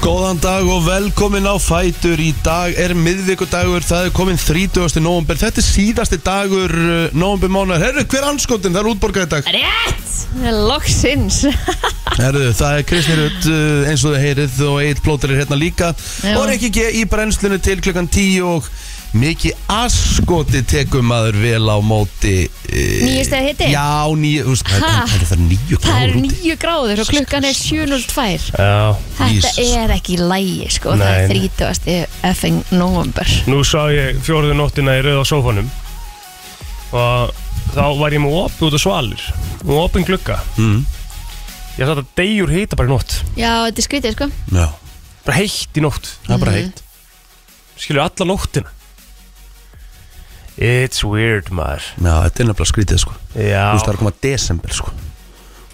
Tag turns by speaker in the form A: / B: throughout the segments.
A: Góðan dag og velkomin á Fætur Í dag er miðvikudagur, það er komin 30. november Þetta er síðasti dagur uh, november mánar Herru, hver anskotin? Það er útborgað í dag
B: Rétt! Loksins
A: Herru, það er Kristnir Rutt uh, eins og þið heyrið og Eitt Plóter er hérna líka
B: Já.
A: Og Rikki G í brennslunni til klukkan 10 og mikið askoti tekum maður vel á móti e...
B: Níu stiga hiti?
A: Já, nýju, þú veist, það
B: Ha?
A: er- það er nýju
B: Það er nýju gráður og klukkan er 7.02
C: Já,
B: Þetta
A: Jesus.
B: er ekki lægi sko Það
C: Nei,
B: er
C: nei.
B: 30. effing november
C: nú sá ég fjórðu nóttina í rauða sófanum og þá var ég með opið út á svalir og opin glugga
A: Mm.
C: Ég satt að degjur hýta bara í nótt
B: Já, þetta er skrítið sko
A: Já,
C: bara heitt í nótt
A: það er bara heitt
C: skilur alla nóttina It's weird maður
A: Já, þetta er nefnilega skrítið sko Þú
C: Já,
A: veist, það er að koma desember sko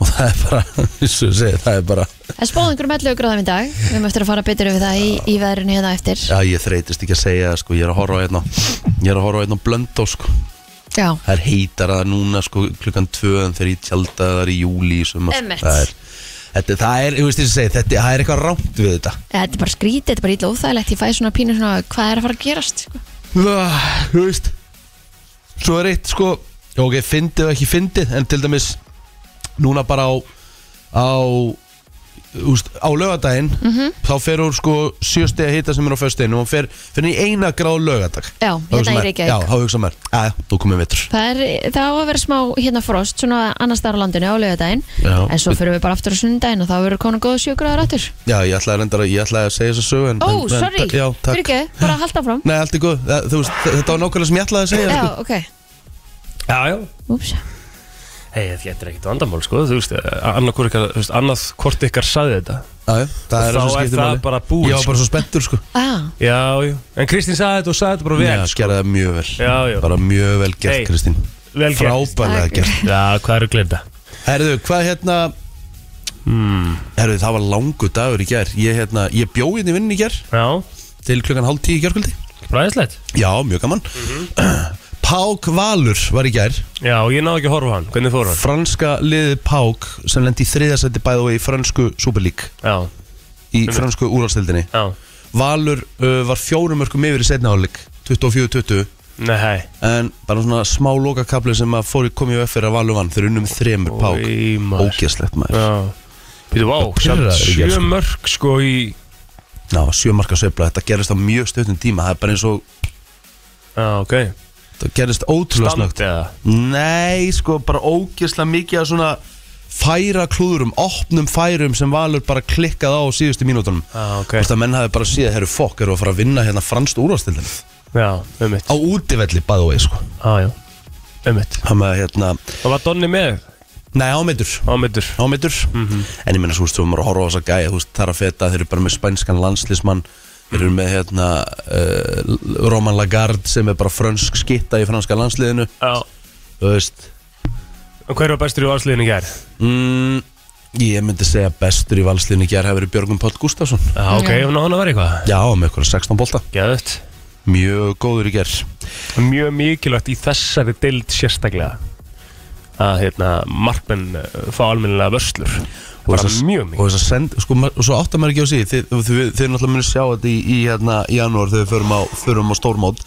A: Og það er bara, eins og þú segir, það er bara
B: Það spáði einhverjum 11 gráðum í dag Við möttum að fara betur yfir það í, í veðrinu hérna eftir
A: Já, ég þreytist ekki að segja það, sko, ég er að horfa á hérna Ég er að horfa á hérna blönd á sko
B: Já,
A: Það er heitar að núna sko klukkan tvö En þegar ég tjálta það er í júli í sumar, sko.
B: Emmett.
A: Það er, þetta, það er, þú veist, ég segi, þetta það er eitthvað rámt við þetta
B: þetta er bara skrítið, þetta er bara illa óþægilegt Ég fæði svona pínu svona hvað er að fara að gerast sko.
A: Vá, Ah, Þú veist Svo er eitt sko já, Ok, fyndið og ekki fyndið En til dæmis Núna bara á Á Úst, á lögadaginn
B: Mhm.
A: þá fer hún sko sjöstega hita sem er á föstudeginu og hún fer, fer hún í eina gráð lögadag
B: Já,
A: Þá
B: hérna
A: hugsa
B: í
A: maður,
B: Reykjavík.
A: já, þá hugsa maður, að þú komið vittur
B: Það, er, það á að vera smá hérna frost svona annars þar á landinu á laugardaginn
A: Já.
B: en svo fyrir við bara aftur á sundaginn og þá verður konar góð sjögraður aftur
A: já, ég ætlaði, reyndar, að- ég ætlaði að segja þess að sögu en,
B: Ó,
A: en, en,
B: sorry,
A: já, takk.
B: fyrir ekki, bara halda áfram
A: Nei, allt er góð, Það- þú veist, þetta var nákvæmlega sem ég ætlaði að segja
B: Já,
A: sko.
B: ok,
C: já, já.
B: úps
C: Hei, þetta er ekkert vandamál sko þú veist, annað hvort ykkar, þú veist, annað hvort ykkar saði þetta
A: já, já,
C: Þá
A: það er það sem
C: er
A: skiptir
C: það
A: máli.
C: bara búið,
A: Ég var
C: sko.
A: bara svo spenntur sko
B: ah,
C: Já, já, en Kristín saði þetta og saði þetta bara vel
A: Já,
C: sko.
A: gerði það mjög vel
C: Já, já.
A: Bara mjög vel gert,
C: Hey,
A: Kristín
C: vel gert.
A: Frábærlega
B: Takk.
A: gert
C: Já, hvað eru glinda?
A: Herðu, hvað hérna
C: Hmm.
A: Herðu, það var langu dagur í gær Ég, hérna, ég bjóð hérna í vinn í gær
C: Já,
A: Til klukkan hálf tíu í gærkvöldi
C: ræðislegt
A: Já, mjög gaman Pák Valur var í gær
C: Já, og ég náði ekki að horfa á hann, hvernig fór hann?
A: Franska liðið Pák Sem lendi í þriðasætti bæðu í fransku Superlík
C: Já,
A: Í fransku úrvalstildinni
C: já,
A: Valur uh, var fjórum örkum yfir í setna hálfleik 24-20
C: nei
A: en bara svona smá lokakabli sem að fóri komið upp fyrir að Valur vann þeir unnum þremur pák
C: Í maður.
A: ógeðslegt maður
C: Já Býtu, vá,
A: pirraður
C: samt
A: í
C: sjö
A: gerð, sko.
C: mörg sko í
A: Ná, sjö marka sveifla, þetta gerist á mjög stöðnum tíma það er bara eins og,
C: Já, ok
A: það gerist ótrúlega snögt
C: eða
A: Nei, sko, bara ógeðslega mikið að svona færa klúðurum, opnum færum sem Valur bara klikkað á síðustu mínútonum
C: Já, ok
A: Þú veist að menn hafi bara síða, herru fokk, eru að fara að vinna hérna franst úrvastildin
C: Já, ummitt
A: á útivelli, by the way, sko
C: Já, já, ummitt
A: hann með hérna,
C: Það var Donni með, Mhm.
A: nei, ámyndur
C: ámyndur
A: ámyndur en ég meina svo, þú veist, þú maður að horfa á þess að gæja þú veist, þar að feta, þeir eru bara með spænskan landslísmann þeir eru með, hérna uh, Roman Lagarde sem er bara frönsk skitta í franska landsliðinu
C: Já
A: þú veist
C: Og hver var bestur í valsliðinu hér?
A: mm, ég myndi segja bestur í valsliðinu í gær hafi verið Björgum Páll Gustafsson
C: Já, ok,
B: Já.
C: hann var eitthvað
A: já, með ykkur 16 bolta,
C: Geðut
A: mjög góður í gær
C: Mjög mikilvægt í þessari dild sérstaklega að hérna markmenn eh, fá almennilega vörslur
A: Og
C: bara
A: þess að-
C: mjög
A: og
C: mikið
A: þess að send, sko, ma- og svo áttar maður ekki á sig þið, þið, þið náttúrulega munir sjá þetta í, í hérna, í janúar þegar við förum á, förum á stórmót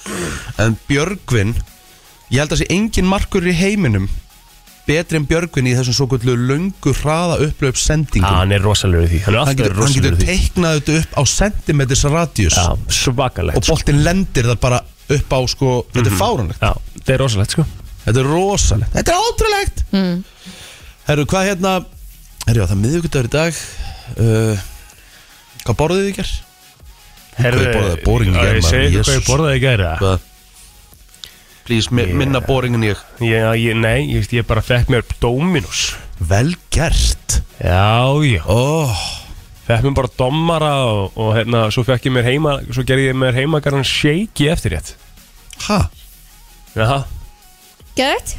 A: en Björgvin ég held að sé engin markur í heiminum betri en Björgvin í þessum svo kvöldu löngu hraða upplöf
C: Já,
A: sendingum
C: hann er rosalegur í því Hann er
A: hann
C: alltaf
A: getur, hann
C: rosalegur
A: getur
C: í því
A: teiknað þetta upp á sentimeters radius
C: Já, svakalegt sko. Mhm.
A: og boltinn lendir það bara upp á sko, þetta er fárunlegt
C: Já, það er rosalegt sko
A: þetta er rosalegt, þetta er ótrúlegt mm. herru, hvað hérna herru, já, það er miðvikudagur í dag uh, hvað borðið þið í gerð?
C: Herðu,
A: ég borðaði boring í
C: já,
A: gær,
C: Ég
A: maður,
C: segi þér hvað
A: Jesus.
C: ég borðaði í gæri
A: Hvað? Please, mi
C: Ég-
A: minna boring en ég
C: ég, ég, Nei, ég, ég bara fekk mér Dominus
A: Vel gert
C: Já, já
A: oh,
C: Fekk mér bara Domara og, og hérna, svo fekk ég mér heima Svo gerði ég mér heimagarðan shake í eftirrétt
A: ha,
C: Jaha
B: Gjöðt,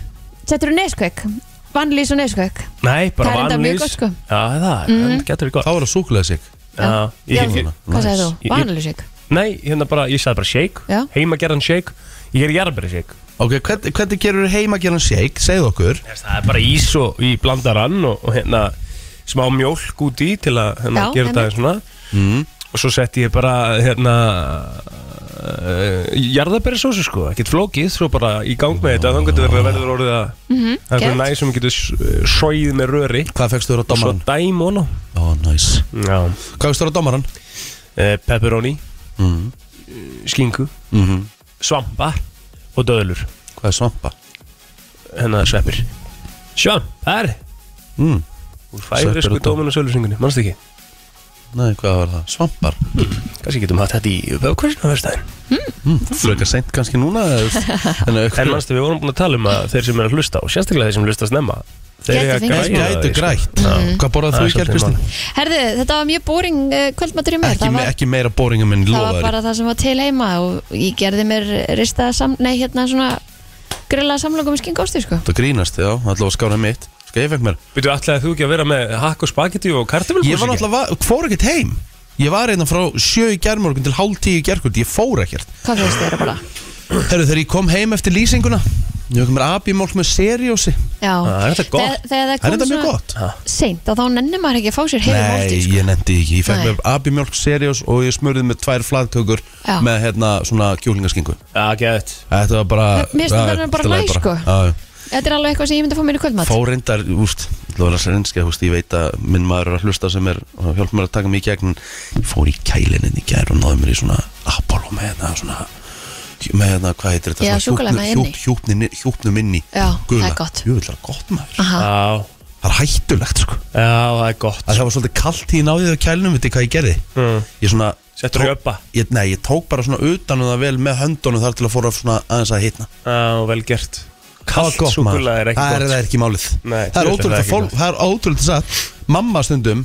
B: settur þú neskveik Vannlýs og neskveik
C: Nei,
B: Það
C: bara
B: er enda
C: vanlýs.
B: mjög gott, sko.
C: Já, það, mm -hmm. getur við
A: þá
C: gott
A: er það súkulega sig
C: Já,
B: Já.
C: ég, ég,
B: Hvað
A: Nice.
B: sagði þú?
C: Ég- ég-
B: Vannlýs ykk
C: Nei, hérna bara, ég sagði bara shake
B: Já.
C: Heimagerðan shake Ég gerði jarðbæri shake
A: Ok, hvernig, hvernig gerur heima geran shake, segðu okkur
C: Þess, Það er bara ís og í blandarann og, og hérna smá mjólk út í til að hérna,
B: Já,
C: gera þetta
B: einmitt.
C: svona
A: mm.
C: og svo setti ég bara hérna uh, jarðabæri sósu sko, ekkert flókið svo bara í gang með þetta, þannig að það verður orðið að
B: Mhm,
C: það er svona
B: gett.
C: næg sem getur sóið með röri
A: Hvað fegstu þér á
C: og svo
A: domaran?
C: dæm og
A: Ó, næs
C: ná
A: Hvað fegstu þér á domaran?
C: Eh, pepperoni,
A: Mm.
C: skingu,
A: Mm
C: svampa og döðlur
A: Hvað er svampa?
C: hennar Hérna sveppir svampar
A: Mm.
C: úr
A: Sveppir
C: færisku
A: og dó-
C: dómun og sölusingunni, mannstu ekki?
A: Nei, hvað var það? Svampar?
C: kannski getum hatt þetta í vefkvæsina á verðstæðin
A: Mm. Frekar seint kannski núna eða, þú veist,
C: En
A: En auðvitað
C: mannstu, við vorum búin að tala um að þeir sem er að hlusta og sérstaklega þeir sem hlusta snemma þeir
B: Gætu
C: eiga að
B: fengið
C: græja
B: smá.
C: á
A: Gætu
C: því, sko.
A: grætt
C: Já.
A: Hvað borðað
C: Það
A: þú
C: er
A: í
C: svolítið
A: gerð, Kristín?
B: Herði, þetta var mjög boring uh, kvöldmatur í mér
A: Ekki,
B: Það
A: me
B: var,
A: ekki meira bóringum minn
B: það var
A: lofaður
B: bara það sem var til heima og ég gerði mér ristað sam, nei, hérna svona grillaða samlokum í skingosti, sko
A: Það grínast, já, allavega skánaði mitt Ska ég fekk mér
C: Býtu, ætlaði þú ekki að vera með hakk og spagetti og kartöflum?
A: Ég var náttúrulega, va- fór ekkert heim Ég var einna frá sjö í gerðmorgun til hálf tíu í gerðkvöld Ég fór ekkert
B: Hvað finnst þér bara?
A: Herru, þegar ég kom heim eftir lýsinguna Ég kom mér abimólk með seriósi
B: Já,
A: Ah,
C: Það er þetta gott
B: Þe- þegar það
A: Það er
B: kom
A: þetta mjög gott
B: seint og þá nennir maður ekki að fá sér heilu
A: Nei,
B: máltíð, sko.
A: ég nefndi ekki, ég fekk
B: Nei.
A: mér abimjólk seriós og ég smurði með tvær fladkökur
B: Já.
A: með hérna svona kjúlingaskingu
C: Já, gæðt
A: Þetta var bara
B: Það- mér finnst
A: það
B: það
A: er
B: vera bara
A: allt í lagi
B: næs, sko.
A: Já, já.
B: Þetta er alveg eitthvað sem ég myndi að fá mér í kvöldmat
A: Fór reyndar, úst, það var að reynska, úst, ég veit að minn maður er að hlusta sem er og hjálp mér að taka mig í gegn ég fór í kælinin í gær og náði mér í svona Apollo með hérna svona með hérna, hvað heitir þetta
B: Já,
A: svona
B: súkkulaði
A: hjúp- hjúp- hjúpnum inni
B: Já, það er gott.
A: Jú, það er gott maður
B: Aha,
C: Já,
A: Það er hættulegt sko
C: já, það er gott
A: að það var svolítið kallt í náðið á kælinum veit ég hvað ég gerði
C: Mm.
A: ég svona
C: Settur
A: tók-
C: röpa.
A: ég, nei, ég tók bara svona utan og það vel með höndunum þar til að fóra svona aðeins að hitna
C: Já, vel gert Kallt
A: gott, maður.
C: súkkulaði er ekki
A: það er,
C: gott,
A: það er ekki málið
C: Nei,
A: það er
C: þetta er
A: ótrúlega
C: ekki
A: það, fólk,
C: gott.
A: það er ótrúlega satt mamma stundum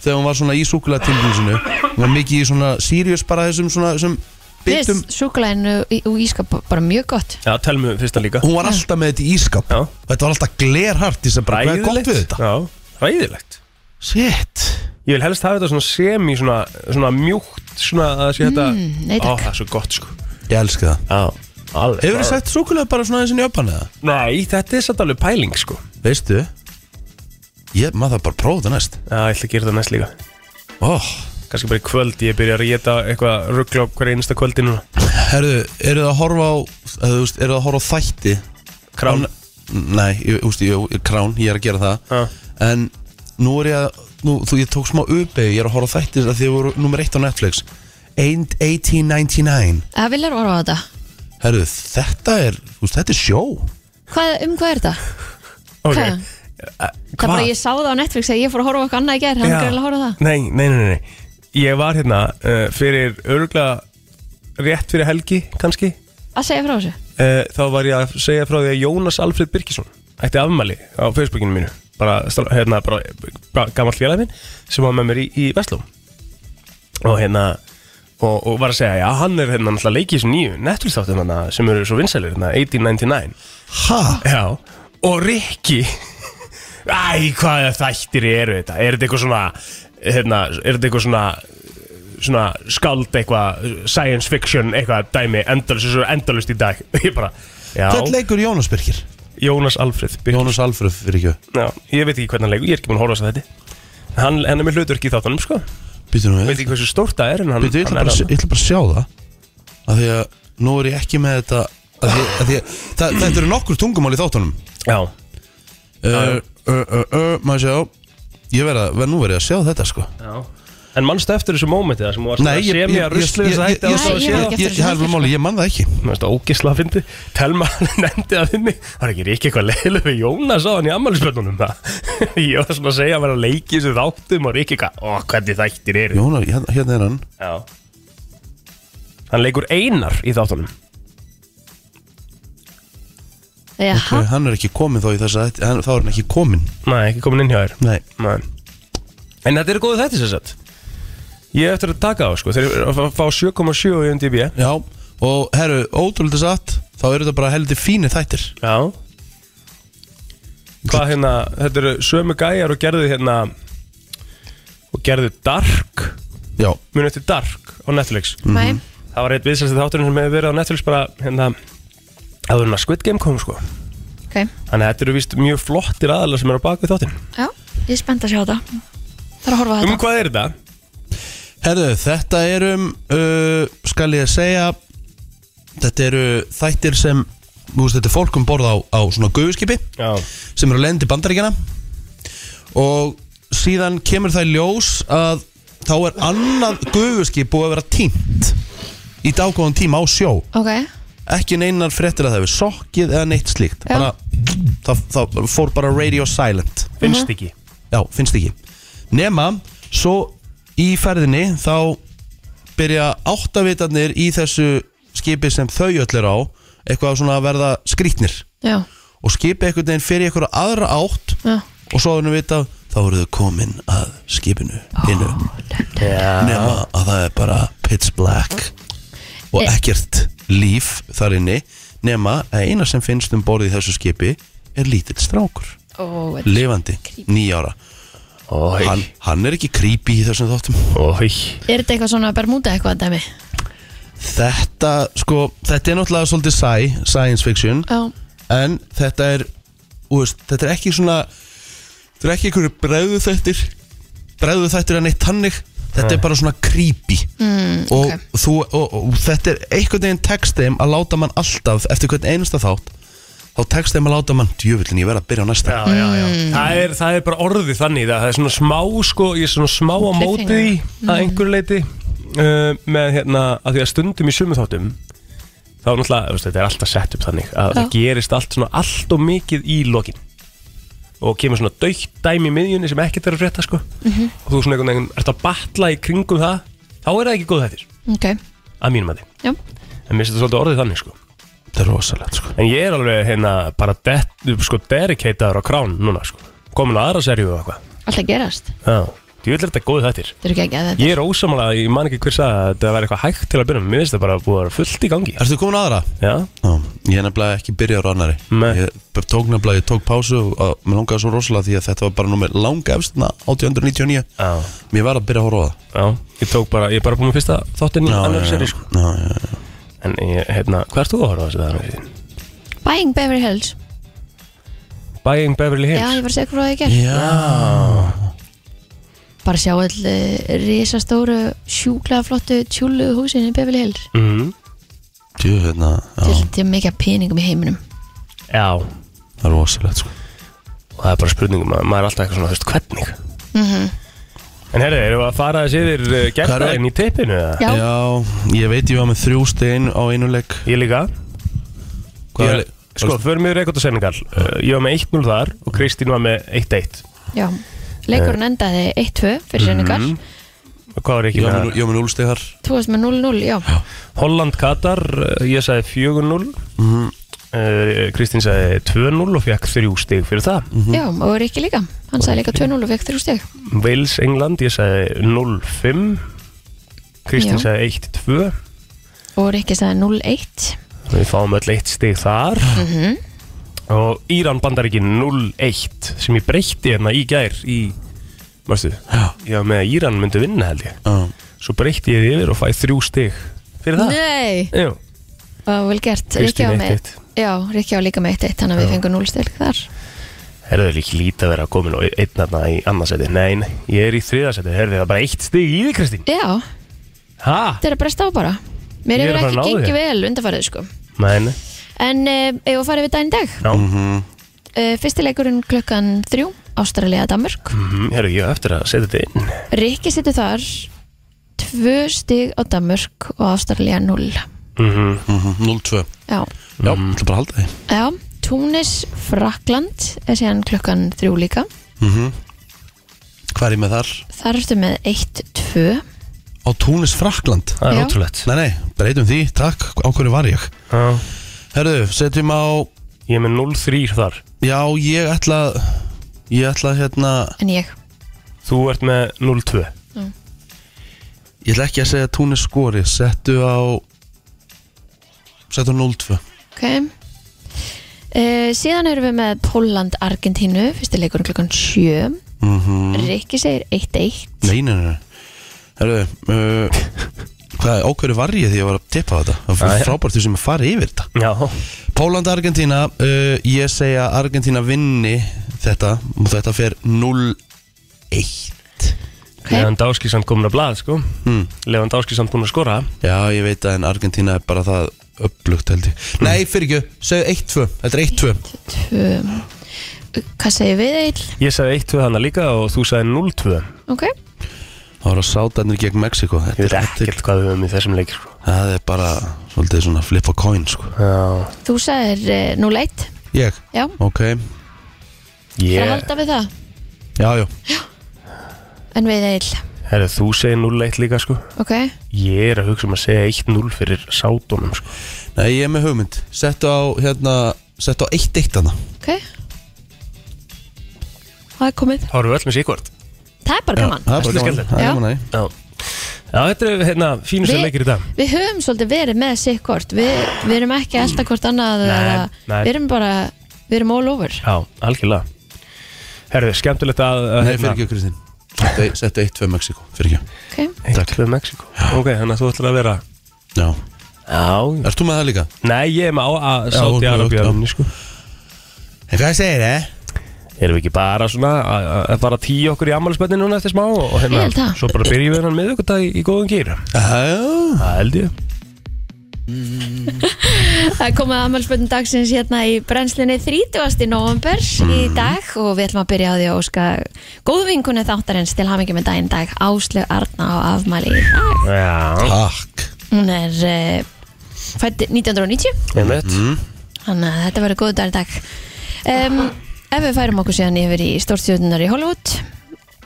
A: þegar hún var svona í súkulega tímlunum sinu hún var mikið í svona sírjus bara þessum svona þessum bitum
B: Súkulæðinu og ískap bara mjög gott
C: Já, telum við fyrsta líka
A: hún var alltaf með þetta í ískap
C: Já.
A: þetta var alltaf glerhart í þess að bara hvað er gott við þetta
C: Já, ræðilegt
A: shit
C: Ég vil helst hafa þetta svona semi, svona, svona mjúkt, svona að það sé þetta
B: Mm, nei,
C: Ó,
B: takk.
C: það er svo gott, sko
A: ég elski það
C: Já, alveg
A: hefur þið sett súkulega bara svona aðeins inn í öpan eða
C: Nei, þetta er satt alveg pæling, sko
A: veistu ég maður það bara að prófa þetta næst
C: Já, ég ætla að gera þetta næst líka
A: oh.
C: Kanski bara í kvöld, ég byrja að réta eitthvað ruggla á hverja einsta kvöldi núna
A: herðu, eru það að horfa á eða, þú veist, eru það að horfa á þætti
C: Krán
A: Á- nei, ég, úst, ég, ég, krán, ég er að gera það
C: Já.
A: en nú er ég að nú, þú, ég tók smá uppeyju, ég er að horfa á þætti að þið voru nummer eitt á Netflix Ain't 1899
B: Það viljar orða á þetta
A: herðu, þetta er, þú veist, þetta er sjó
B: hvað, Um hvað er þetta?
C: Ok Eh,
B: Hvað? Það er bara ég sá það á Netflix að ég fór að horfa á eitthvað annað í gerð Hann
C: Já.
B: greiði að horfa á það
C: Nei, nei, nei, nei Ég var hérna uh, fyrir örugla rétt fyrir helgi, kannski
B: Að segja frá þessu
C: uh, Þá var ég að segja frá því að Jónas Alfred Birkisson ætti afmæli á Facebookinu mínu bara, stál- hérna, bara, bara gammal félagi minn sem var með mér í, í Vestló og hérna og, og var að segja, já, hann er hérna náttúrulega leikið sem nýju, netflixþáttum hann sem eru svo vinsælir, hérna, 1899
A: ha,
C: Já, og Rikki Æ, hvaða þættir eru þetta? Er þetta eitthvað svona hérna, er þetta eitthvað svona svona skald eitthvað science fiction eitthvað dæmi endalust, svo endalust í dag ég bara, já,
A: þetta leikur Jónas Birkir
C: Jónas Alfred Birgir.
A: Jónas Alfröð, fyrir ekki
C: já, ég veit ekki hvernig hann leikur, ég er ekki búin að horfa þess að þetta hann, hann er með hlutur ekki í þáttunum, sko
A: býtum við
C: veit ekki hversu stórt það er en hann,
A: Býtu, ég, ætla
C: hann
A: bara,
C: er
A: að sjá- ég ætla bara að sjá það af því að nú er ég ekki með þetta af því, af því að, það, þetta eru nokkur tungumál í þáttunum
C: já,
A: uh, uh, uh, uh, maður sjá ég verða, ver, nú verð ég að sjá þetta sko
C: já En mannstu eftir þessu mómenti það sem hún var
A: Nei, ég-
C: sem ég
A: ég-
C: að ruslu
A: ég-
C: þess að
A: ég-
C: hætti
A: ég-
C: og svo að
B: Nei,
C: sé
B: ég-
C: það
B: ekki
A: ég,
B: eftir
A: ég,
B: þessu
A: það er alveg
B: helgi,
C: sko.
A: máli, ég man það ekki
C: Mér finnst það ógisla að fyndi Telma nefndi það við mig Það er ekki ekki eitthvað leiðileg við Jónas á hann í ammælisböndunum það Ég var svona að segja að vera að leiki þessu þáttum og ekki eitthvað, ó hvernig þættir eru
A: Jónar, hérna hérna er hann
C: Já Hann leikur einar í þáttunum
B: Jaha,
A: okay, hann er ekki komin þá í þess að hann, þá er hann ekki komin
C: Nei, ekki komin inn hjá þér
A: Nei.
C: Nei. En þetta eru góðu þættir sér sett Ég hef eftir að taka á sko Þeir eru að fá 7,7 í MDB
A: já, og herru, ótrúlega satt þá eru þetta bara heldur fínir þættir
C: Já Hvað hérna, þetta eru sömu gæjar og gerðu hérna Og gerðu Dark
A: já,
C: muni eftir Dark á Netflix
B: mæ
C: það var eitt viðsælsti þátturinn sem hefur verið á Netflix bara hérna áður en að Squid Game kom sko
B: Ok,
C: þannig að þetta eru víst mjög flottir aðalar sem eru á bak við þáttin
B: já, ég er spennt að sjá þetta Það er að horfa á
C: um
B: þetta
C: hvað er þetta?
A: Herðu, þetta erum uh, skal ég segja þetta eru þættir sem þú veist, þetta er fólkum borð á, á svona guðskipi
C: Já,
A: sem eru lendi bandaríkjana og síðan kemur það í ljós að þá er annað guðskip búið að vera týnt í dágóðan tíma á sjó
B: ok,
A: ekki neinar fréttir að það hefur sokkið eða neitt slíkt
B: Já.
A: bara, það, það fór bara radio silent
C: finnst ekki
A: Já, finnst ekki Nema, svo í ferðinni þá byrja áttavitarnir í þessu skipi sem þau öll er á eitthvað svona að verða skrítnir
B: já,
A: og skipi einhvern veginn fyrir eitthvað aðra átt
B: já
A: og svo þannig vita þá eru þau komin að skipinu hinu nema að það er bara pitch black og
B: Eh.
A: ekkert líf þar inni nema að eina sem finnst um borðið í þessu skipi er lítill strákur
B: Ó, þetta er
A: lifandi, nýjára
C: Ói,
A: hann, hann er ekki creepy í þessum þáttum
C: ói
B: Er þetta eitthvað svona Bermuda eitthvað dæmi?
A: Þetta, sko, þetta er náttúrulega svolítið sci, science fiction
B: Já,
A: En þetta er, þú veist, þetta er ekki svona Þetta er ekki einhverju bregðu þættir Bregðu þættir en eitt tannig Þetta er bara svona creepy mm, og,
B: ok.
A: þú, og, og, þetta er einhvern veginn text þeim að láta mann alltaf Eftir hvern einasta þátt Þá text þeim að láta mann Djöfullin, ég verð að byrja á næsta
C: Já, já, já.
B: Mm.
A: Mm.
C: Það, er, það er bara orðið þannig það, það er svona smá, sko, ég er svona smá á móti því að einhverju leiti uh, með hérna, að því að stundum í sumu þáttum þá er náttúrulega, þú veist, þetta er alltaf sett upp þannig að það gerist allt svona allt og mikið í lokin og kemur svona daukt dæmi í miðjunni sem ekkert er að frétta, sko og þú svona einhvern veginn ert að batla í kringum það þá er það ekki góð hættir,
B: ok,
C: að mínum að
B: já
C: en mér finnst þetta svolítið orðið þannig, sko
A: Þetta er rosalegt, sko
C: En ég er alveg hérna bara det, sko, derikeitaður á krán núna sko. komin á aðra serju og eitthvað
B: Alltaf gerast,
C: Já, ég vil þetta góð þættir
B: þetta er ekki að þetta
C: Ég er ósamála, ég man ekki hver sagði að þetta væri eitthvað hægt til að byrja með Mér finnst þetta bara búið að vera fullt í gangi
A: Ertu komin á aðra?
C: Já,
A: Já, ég er nefnilega ekki byrjað á annari
C: Nei.
A: Ég b- tók nefnilega, ég tók pásu og að, mér langaði svo rosalega því að þetta var bara nummer langa efst þarna 1899
C: já,
A: Mér var að byrja að horfa á það
C: já Ég tók bara, ég er bara búin með fyrsta þáttinn í annar
A: já,
C: serju sko.
A: já, já, já.
C: En ég, hérna, hvað ert þú að horfa á þessu það?
B: Buying Beverly Hills
C: Buying Beverly
B: Já, ég
C: Hills Ah.
B: var að segja hvað það ekki er
A: já,
B: Bara sjá öll eh, risastóru sjúklega flottu tjúlu húsin í Beverly Hills
C: Mhm.
A: djú, hérna, já,
B: til, til mikið peningum í heiminum
C: Já,
A: það er rosalegt sko
C: og það er bara spurningum að maður er alltaf eitthvað svona, þú veist, hvernig
B: Mhm.
C: En herri, erum við að fara þessi yfir uh, gerðarinn í teipinu? eða?
B: Já,
A: ég veit ég var með þrjú stein á einu leik
C: Ég líka
A: Hvað er
C: Ég,
A: leik?
C: sko, förum við rekord og Senegal uh, Ég var með 1-0 þar og Kristín var með 1-1
B: já Leikurinn endaði 1-2 fyrir Senegal
C: Eh. Mhm. Og Hvað var
A: Ég
C: ekki
A: var með
C: með?
A: nú- ég var með núlsteg þar
B: Þú varst með 0-0, já
C: Holland-Katar, uh, ég sagði 4-0
A: Mhm.
C: uh, Kristín sagði 2-0 og fekk 3 stig fyrir það
A: Mhm.
B: Já, og Rikki líka, hann sagði líka 2-0 og fekk 3 steg
C: Wales-England, ég sagði 0-5 Kristín
B: Já.
C: sagði 1-2
B: og Rikki sagði 0-1
C: Við fáum öll 1 stig þar Mhm. Og Íran-Bandaríkin 0-1 sem ég breytti hérna í gær í, varstu,
A: Já.
C: já með að Íran myndi vinna held ég
A: Já.
C: Svo breytti ég þið yfir og fæ þrjú stig Fyrir það?
B: Nei,
C: Jú,
B: það var vel gert Rikki á
C: Kristín
B: með
C: 1-1
B: Já, Rikki á líka með 1-1 þannig að við fengum 0 steg þar
C: Herðu líka lítið að vera komin og einn þarna í annarsæti Nei, nei, ég er í þriðarsæti Herðu það er bara eitt stig í þig Kristín
B: Já,
C: Ha?
B: þetta er að bresta á bara Mér
C: Ah. Ég
B: hefur
C: er að fara
B: ekki
C: að ná
B: gengið
C: þér.
B: vel undarfærið sko
C: Nei, nei
B: En eh, ef við farið við daginn í dag
C: Já, mm -hmm.
B: uh, Fyrsti leikurinn klukkan 3 Ástralia Danmörk
C: Mhm, herðu ég á eftir að setja þetta inn
B: Rikki situr þar 2 stig á Danmörk og Ástralia 0
C: mm -hmm.
A: Mhm, 0-2
B: Já,
A: Já, mm. ætla bara að halda því
B: Já Túnis Frakland er síðan klukkan 3 líka
A: Mhm. Hvað er ég með þar?
B: Þar ertu með 1-2
A: Á Túnis Frakland
C: Það er
B: Já.
C: ótrúlegt
A: Nei, nei, breytum því, takk, á hverju var ég?
C: Já.
A: Herðu, setjum á
C: Ég er með 0-3 þar
A: Já, ég ætla Ég ætla hérna
B: En ég
C: Þú ert með 0-2
A: Ég ætla ekki að segja að Túnis skori Settu á Settu á 0-2
B: Ok Uh, síðan erum við með Póland Argentínu, fyrsti leikurinn klukkan 7
A: mm
B: Rikki segir 1-1
A: Nei, nei, nei Herru, uh, hvað, á hverju var ég því ég var að tippa á þetta? Það
C: Ah,
A: var
C: ja.
A: frábært því sem að fara yfir þetta
C: Já,
A: Póland-Argentína, uh, ég segja að Argentína vinni þetta og þetta fer 0-1
B: Ok, ok?
C: Lewandowski samt komin að blað sko mm. Lewandowski samt búin að skora
A: Já, ég veit að en Argentina er bara það upplugt held ég
C: Mm.
A: Nei, fyrir ekki, segðu 1-2 Þetta er 1-2
B: Tvö Hvað segir við Egil?
C: Ég sagði 1-2 hana líka og þú sagði 0-2
B: Ok,
A: Það voru að sáta hennir gegn Mexiko
C: Ég
A: þetta,
C: veit
A: er-
C: ekkert hvað við höfum í þessum leik sko.
A: Það er bara svolítið svona flip a coin sko
C: Já,
B: þú sagðir eh, 0-1
A: Ég,
B: Já,
A: ok,
B: það
C: ég,
B: halda við það
A: já, já
B: En við Egil,
C: herru, þú segir 0-1 líka sko
B: ok
C: Ég er að hugsa um að segja 1-0 fyrir sátunum sko
A: Nei, ég er með hugmynd Settu á, hérna, settu á 1-1 hana
B: Ok Það er komið
C: Þá erum við öll með síkvort
B: Það er bara gaman
A: Það er bara
C: Þetta er
A: gaman,
C: skemmtilegt.
A: það
B: Já.
A: er gaman að því.
C: Já, Já þetta er hérna fínustu
B: Við-
C: leikir í dag
B: Við höfum svolítið verið með sitt hvort Við, við erum ekki alltaf hvort annað
C: Nei,
B: eða-
C: nei.
B: Við erum bara, við erum all over
C: Já, algjörlega Herru, skemmtilegt að að,
A: Nei,
C: hérna,
A: fyrir ekki, Kristín Settu- Settu 1-2 Mexiko, fyrir ekki
B: okay.
C: Eitt við Mexiko Ok, þannig að þú ætlar að vera
A: Já,
C: Já
A: ert þú með það líka?
C: Nei, ég er með á að
A: Já,
C: sátt í
A: ok, ok, já.
C: Arabíu sko.
A: En hvað segir þið?
C: Erum við ekki bara svona að að bara tíu okkur í ammálspenni núna eftir smá og og
B: Ég held
C: hérna,
B: það.
C: svo bara byrjum við hennan miðvikudag í, í góðum gýr
A: Já,
C: Það held ég
B: Það er komið aðmælspöldum dagsins hérna í brennslinni 30. november í dag og við ætlum að byrja á því að óska góðvingunni þáttarins til hamingi með daginn í dag Áslög Arna á afmæli í dag.
C: Já,
A: takk
B: Hún er uh, fætt 1990
C: ég veit
D: Mm-hmm.
B: þannig að þetta verður góðu dag í dag um, Ef við færum okkur síðan yfir í stórstjóðunar í Hollywood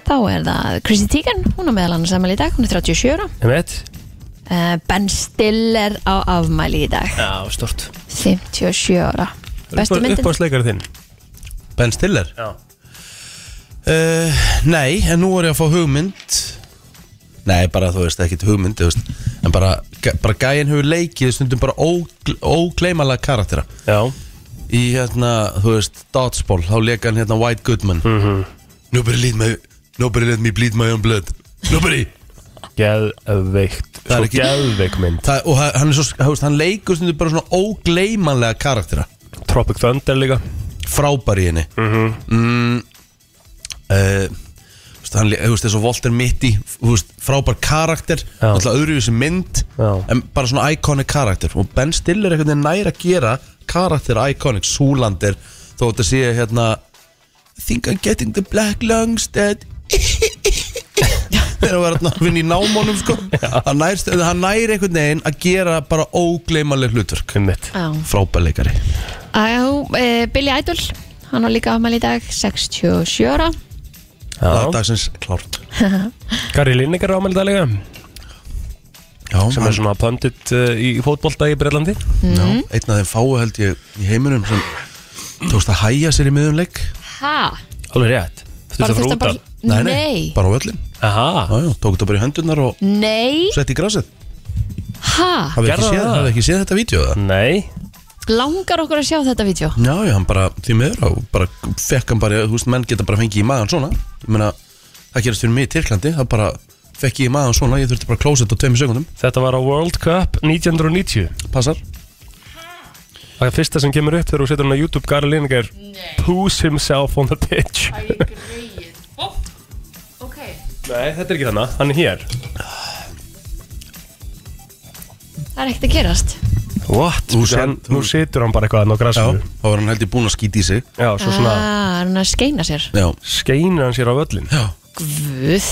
B: þá er það Chrissy Teigen, hún á meðal annars afmæli í dag, hún er 37 ára
C: Ég veit
B: uh, Ben Stiller á afmæli í dag
C: Já, stort
B: 57 ára Bestu myndin?
C: Uppáðsleikari þinn
A: Ben Stiller?
C: Já
A: Uh, nei, en nú er ég að fá hugmynd Nei, bara þú veist, ekkert hugmynd þú veist, En bara, bara gæin hefur leikið stundum bara ógl- ógleymanlega karaktera
C: Já,
A: Í hérna, þú veist, Dodgeball Þá leika hann hérna White Goodman
C: Mhm.
A: Nobody, let me, nobody let me bleed my own blood Nobody
C: geðveikt
A: Það er
C: Svo
A: ekki-
C: geðveik mynd
A: Það, Og hann er svo, þú veist, hann leikur stundum bara svona ógleymanlega karaktera
C: Tropic Thunder líka Mhm.
A: frábær í henni mm -hmm. mm, uh, veist, hann, þú veist, þessu Walter Mitty þú veist, frábær karakter
C: Já.
A: alltaf öðruvísi mynd
C: Já.
A: en bara svona iconic karakter og Ben Stiller er einhvern veginn nær að gera karakter iconic, súlandir þó þetta sé hérna I think I'm getting the black lungs dead þegar hann var að vinna í námónum sko. hann, nær, hann nær einhvern veginn að gera bara ógleymanleg hlutverk
C: Kummitt
B: Já.
A: frábær leikari
B: Æjá, e, Billy Idol hann var líka afmæli í dag, 67 ára Mm.
A: það er
C: Já,
A: dagsins klárt
C: Kari Linnegar ámælið það líka
A: Já,
C: sem er svona pöndit uh, í fótbolta í Breitlandi
A: Já, einn af þeim fáu held ég í heiminum sem tókst að hæja sér í miðunleik
B: Hæ?
C: Alveg rétt Þú þurft að frúta
B: Nei,
A: bara á öllum já,
C: Aha,
A: já, Tók þetta bara í höndunar og
B: nei,
A: sett í grasið
B: hæ?
A: Hafið
C: Gerðu
A: ekki, séð-
C: það?
A: hafið ekki séð þetta vídeo það?
C: nei
B: Langar okkur að sjá þetta vídeo?
A: Já, já, hann bara, því miður og bara fekk hann bara, þú veist, menn geta bara fengið í maðan svona Ég meina, það gerast fyrir mig í Tyrklandi það bara fekk ég í maðan svona, ég þurfti bara að klósa þetta á tveimur sekundum,
C: Þetta var á World Cup 1990
A: passar
C: Það er fyrsta sem kemur upp þegar þú setur hann á YouTube Gary Linegar Poos himself on the pitch Nei, þetta er ekki hérna. þannig, hann er hér
B: Það er ekkert að gerast
C: What?
A: Þú sér-
C: hann, nú situr hann bara eitthvað hann á
A: Já,
C: grassinu
A: þá var hann held ég búinn að skýti í sig
C: Já, svo
B: Ah,
C: svona
B: er hann að skeina sér
A: Já,
C: skeinir hann sér á völlin
A: já,
B: Guð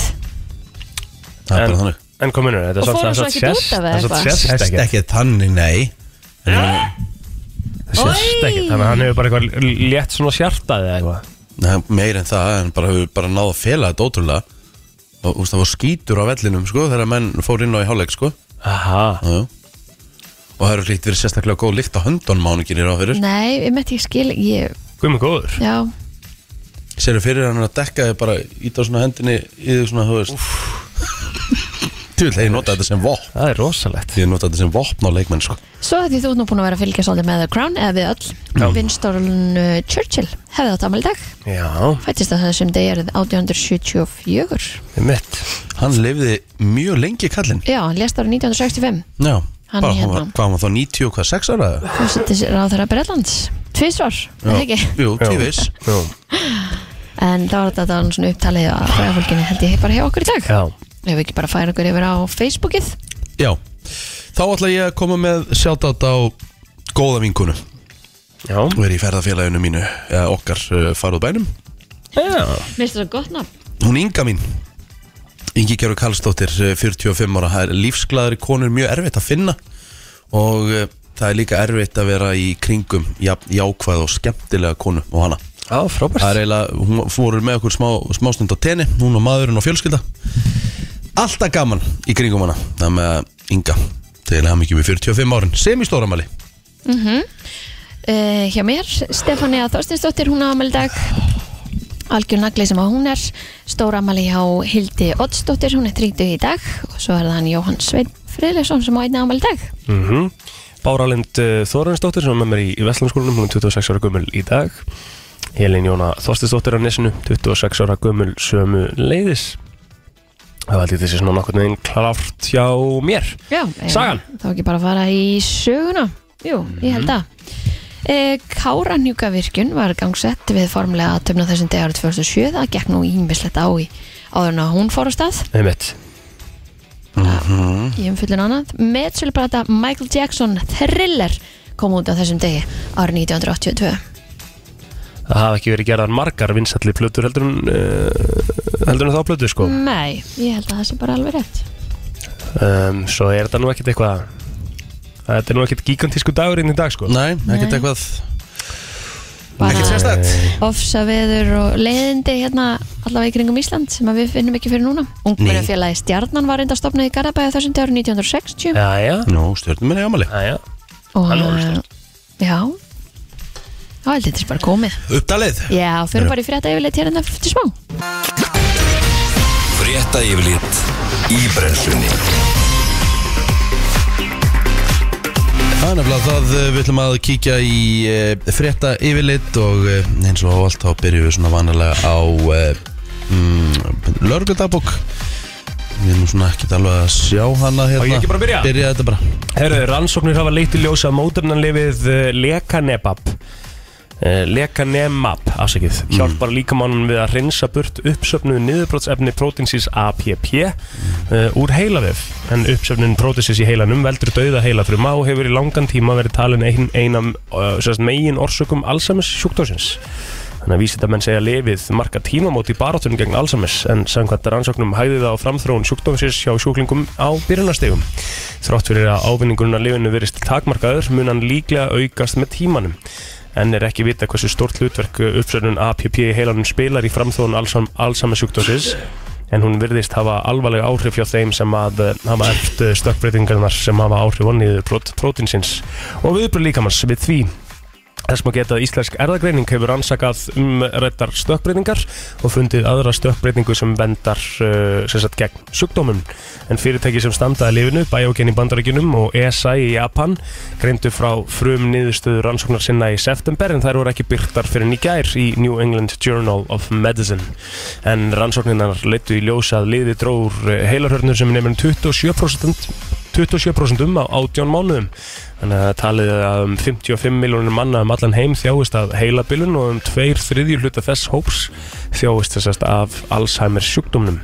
C: En-
A: það er bara þannig
C: En kominu, þetta
B: Og
C: er samt-
B: fór hann
C: það
B: svo
C: er
B: ekkert út
C: sérst-
B: af
C: það er
B: eða
C: samt
B: eitthvað?
C: sérst
A: Sest
C: ekkert
A: ekki þannig, nei
C: Það sérst
B: Oj!
C: ekkert, þannig að hann hefur bara eitthvað l- létt svona sjartaði eða eitthvað
A: Nei, meir en það, en bara hefur bara náð að fela þetta ótrúlega og úst, það var skítur á vellinum sko, þegar menn fór inn á í hálfleik sko.
C: Aha,
A: Já, já. og það eru hlýtt verið sérstaklega góð lykt á höndunum máningin er á fyrir
B: Nei, ég mætti ekki skil ég,
C: guð með góður
B: Já,
A: séru fyrir hann að dekka þig bara íta svona hendinni í þig svona þú veist Tjúl, ég nota þetta sem vopn
C: Það er rosalegt
A: ég nota þetta sem vopn á leikmenn sko.
B: Svo að því þú ert nú búin að vera að fylgja svolítið með The Crown eða við öll Vinstórun Churchill hefði átt afmæli í dag
C: Já,
B: Fættist að þessum degi er 1874
C: mitt
A: hann lifði mjög lengi kallinn
B: Já, hann lést árið 1965
A: já,
B: Hann
A: bara,
B: hérna.
A: var, hvað var þá 90 og hvað 6 ára eða?
B: Fórsetis ráðherra Breitlands Tvísvar, er það ekki?
A: jú,
C: Já.
A: tífis
C: Jú.
B: en það var þetta það var nú svona upptalið að fræðafólkinu held ég bara hjá okkur í dag
C: Já,
B: ef við ekki bara færa okkur yfir á Facebookið
A: Já, þá ætla ég að koma með sjátátt á góða vinkunu
C: já,
A: og er í ferðafélaginu mínu, eða okkar uh, farað bænum
C: já.
B: minnst það gott nafn
A: Hún Inga mín Ingi Gerur Karlsdóttir, eh, 45 ára Það er lífsglæðari konur mjög erfitt að finna Og eh, það er líka erfitt að vera í kringum jafn, Jákvæð og skemmtilega konu og hana
C: Já, frábært
A: Það er eiginlega, hún fór með okkur smá, smástund á tenni Hún og maðurinn og fjölskylda Alltaf gaman í kringum hana Það með að Inga Þegar hann ekki með 45 árin Sem í stóramæli
B: uh, Mhm. hjá mér, Stefania Þorstinsdóttir hún á afmæli í dag algjör nagli sem að hún er stóra afmæli hjá Hildi Oddsdóttir hún er 30 í dag og svo er það hann Jóhann Sveinn Friðleifsson sem á einna afmæli í dag
C: mm -hmm. Báralind uh, Þorunnsdóttir sem er með mér í, í Vestlandskólanum, hún er 26 ára gömul í dag Helin Jóna Þorstinsdóttir á Nesinu, 26 ára gömul sömu leiðis Það var alltaf þessi svona nokkurn veginn klart hjá mér
B: Já,
C: Sagan.
B: eh, Þá ekki bara að fara í söguna Jú, ég held að e, Káranjúkavirkjun var gangsett við formlega að töfna þessum degar 2007 það gekk nú ímislegt á í áður en að hún fór á stað
C: Einmitt.
D: Mm-hmm.
B: í umfyllun annað Metsölubrata Michael Jackson Thriller kom út á þessum degi árið 1982
C: Það hafa ekki verið gerðar margar vinsalli plötur heldur en, uh, heldur en þá plötur sko
B: Nei, ég held að það sé bara alveg rétt
C: um, Svo er þetta nú ekkit eitthvað Þetta er nú ekkit gigantísku dagurinn í dag sko
A: Nei, ekkert
B: Nei.
A: eitthvað Ekkert
B: bara
A: sérstætt
B: ofsaveður og leiðindi hérna allavega í kringum Ísland sem að við finnum ekki fyrir núna Ungmennafélagi Stjarnan var reynda stopnað í Garabæði þessum dagur 1960
C: Jæja,
A: Nú, stjórnum minni ámæli
C: jæja
B: og
C: Hann var
B: eh, já þá held ég þetta sé bara komið
A: Uppdalið
B: já, fyrir bara í frétta yfirleitt hérna eftir smá
E: Frétta yfirlit í brennslunni
A: Það er nefnilega það eh, við ætlum að kíkja í uh, frétta yfirlit og uh, eins og á allt þá byrjum við svona vanalega á uh, mm, lörgutabók Við erum nú svona ekkert alveg að sjá hana hérna
C: Á ég ekki bara að byrja?
A: Byrja þetta bara
C: Herru, rannsóknir hafa leitt í ljósa mótefnanlifið lekanebab eh, Lekanemab, afsakið Hjálpar líkamannum við að hreinsa burt uppsöfnuð niðurbrotsefni prótinsins APP uh, úr heilavef En uppsöfnun prótinsins í heilanum veldur dauða heilafruma og hefur í langan tíma verið talin ein, einam uh, sérst, megin orsökum Alzheimer's sjúkdósins Þannig að vísindamenn segja lifið marka tímamót í baráttunum gegn Alzheimer's en samkvæmt rannsóknum hæði það á framþróun sjúkdómsins hjá sjúklingum á byrjunastegum. Þrátt fyrir að ávinningurinn að lifinu verist takmarkaður mun hann líklega aukast með tímanum en er ekki vita hversu stórt hlutverk uppsörnun APP í heilanum spilar í framþróun Alzheim- Alzheimer's sjúkdómsins en hún virðist hafa alvarlega áhrif hjá þeim sem að eh, hafa eft stökkbreytingarnar sem hafa áhrif á niður prótinsins og viðbröð líkamanns við því Þess má geta að Íslensk erðagreining hefur ansakað umrættar stökkbreytingar og fundið aðra stökkbreytingu sem vendar uh, sem sagt, gegn sjúkdómum. En fyrirtæki sem standaði lifinu, Biogen í Bandaríkjunum og ESI í Japan greindu frá frum niðurstöðu rannsóknar sinna í september en þær voru ekki byrtar fyrir í gær í New England Journal of Medicine. En rannsóknirnar leittu í ljósa að liði dróður heilarhörnur sem um nefnum 27% 27% um á 18 mánuðum þannig að talið er að um 55 miljónir manna um allan heim þjáist af heilabilun og um tveir þriðju hluta þess hóps þjáist þessast af Alzheimer sjúkdómnum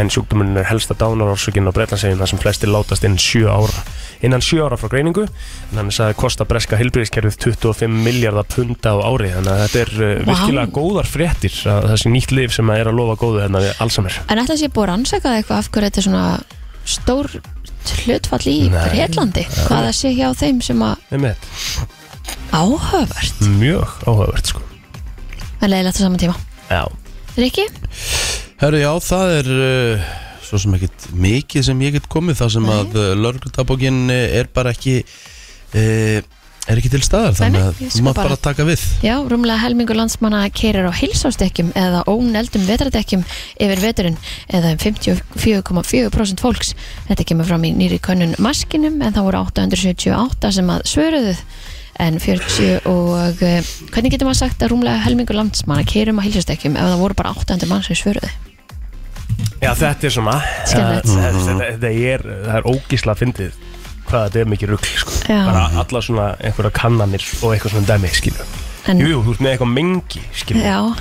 C: en sjúkdómurinn er helsta dánarorsökin á Bretlandsegin þar sem flesti látast innan 7 ára innan 7 ára frá greiningu en hann sagði kosta breska hilbriðiskerfið 25 miljardar punda á ári þannig að þetta er uh,
B: Vá.
C: virkilega góðar fréttir að þessi nýtt lif sem að er að lofa góðu hérna við Alzheimer
B: en ætla að sé búið að rannsaka eitthvað af hverju þetta er svona stór hlutfall í
C: Nei.
B: Breitlandi hvað það sé hjá þeim sem að
C: Einmitt.
B: áhöfvert
C: mjög áhugavert sko
B: en leiðilegt á saman tíma
C: Já.
B: Rikki?
A: Herru, já, það er uh, svo sem ekkert mikið sem ég get komið þar sem
B: Nei.
A: að uh, lörgutabókin er bara ekki uh, er ekki til staðar
B: Nei, nei,
A: þannig að
B: ég
A: þú
B: skal
A: mátt bara taka við
B: Já, rúmlega helmingur landsmanna keirir á hilsástekkjum eða óneldum vetradekkjum yfir veturinn eða um 54,4% fólks. Þetta kemur fram í nýri könnun maskinum en þá voru 878 sem að svöruðu en 40 og eh, hvernig getur maður sagt að rúmlega helmingur landsmanna keirum á hilsástekkjum ef það voru bara 800 mann sem svöruðu?
C: Já, þetta er svona
B: Skemmtilegt.
C: uh, þetta- Þetta þetta er, það er ógísla fyndið hvað þetta er mikið rugl sko.
B: Já.
C: bara alla svona einhverja kannanir og eitthvað svona dæmi skilu.
B: En,
C: Jú, jú, þú ert með eitthvað mengi skilu.
B: Já,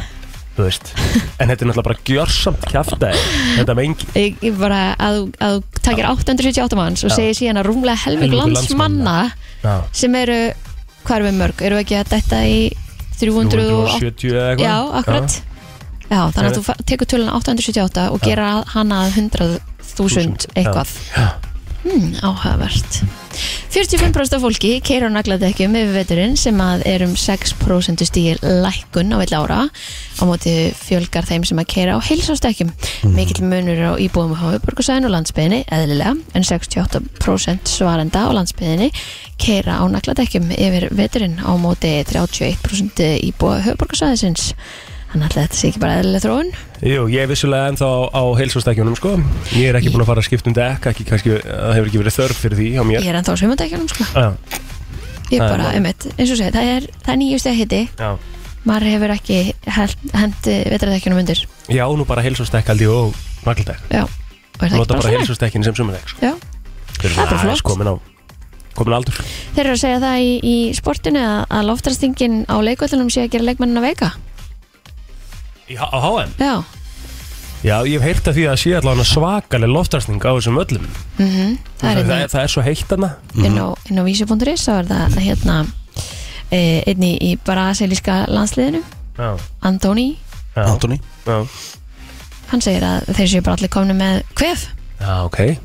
C: þú veist En þetta er náttúrulega bara gjörsamt kjaftaði Þetta með engi
B: Ég, ég bara að, þú- að þú takir 878 manns og segir síðan að rúmlega helming
C: Helmingur
B: landsmanna
C: Já,
B: sem eru, hvað erum við mörg? Eru við ekki að detta í 300 og
C: 370 eða eitthvað
B: Já, akkurat Já, þannig að þú fa- tekur tölun 878 og gera hana að 100.000 eitthvað hmm, Áhugavert 45% af fólki keirir á nagladekkjum yfir veturinn sem að er um 6% stíl lækkun á vill ára á móti fjölgar þeim sem að keira á heilsástekkjum.
C: Mhm.
B: Mikill munur er á íbúðum á höfuborgarsæðin og landsbyðinni eðlilega en 68% svarenda á landsbyðinni keira á nagladekkjum yfir veturinn á móti 31% íbúða höfuborgarsæðisins. Þannig að þetta sé ekki bara eðlilega þróun.
C: Jú, ég er vissulega ennþá á heilsvastækjunum sko Ég er ekki búin að fara að skipta um dekk ekki, kannski, Það hefur ekki verið þörf fyrir því á mér
B: Ég er ennþá á sumandekkjunum sko.
C: Já,
B: Ég
C: Það er
B: bara,
C: málið.
B: einmitt, eins og segja, það er, það er nýjust að hitti
C: já
B: maður hefur ekki hendi vetraðekjunum undir
C: Já, nú bara heilsvastekk held ég og nagladekk
B: já, og er það ekki bara
C: Nota bara
B: svona
C: heilsvastekkin sem sumardekk sko.
B: já.
C: Þeir eru
B: Það er bara
C: aðeins
B: flott.
C: komin á komin á aldur
B: þeir eru að segja það í, í sportinu að, að loftrastingin á leikvöldunum sé að gera leikmennina veika
C: Í, H- á HM?
B: já,
C: Já, ég hef heyrt af því að sé allavega svakaleg loftarsning á þessum öllum
B: mm það er
C: það,
B: einnig
C: það, það er svo heitt Mhm. hana
B: inn á, inn á vísi.is þá er það hérna e, einnig í brasilíska landsliðinu
C: Já,
B: Antoni,
C: já,
A: Antoni
C: já.
B: hann segir að þeir séu bara allir komni með kvef
C: já ok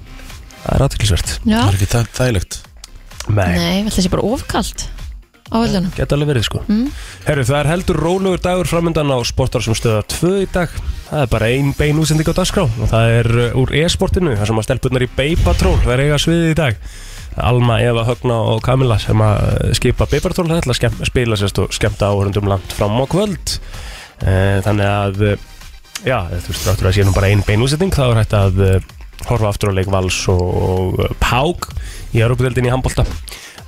C: Það er aðtöklisvert
B: já,
A: Það er ekki það- þægilegt
C: Nei,
B: nei, það sé bara ofkalt á Mhm. völdunum
C: geta alveg verið sko Herru, það er heldur rólegur dagur framöndan á sportar sem stöða tvö í dag Það er bara ein bein útsending á dagskrá og það er uh, úr e-sportinu, það sem að stelpunnar í Beipatrón, það er eiga sviðið í dag Alma, Eva, Högna og Kamila sem að uh, skipa Beipatrón, það ætla að skemm, spila sérst og skemmta áhörundum langt fram á kvöld Eh, Þannig að, eh, já, þú veist, ráttur að sé nú bara ein bein útsending, þá er hægt að eh, horfa aftur á leik Vals og, og eh, Pák í Europadeldin í handbolta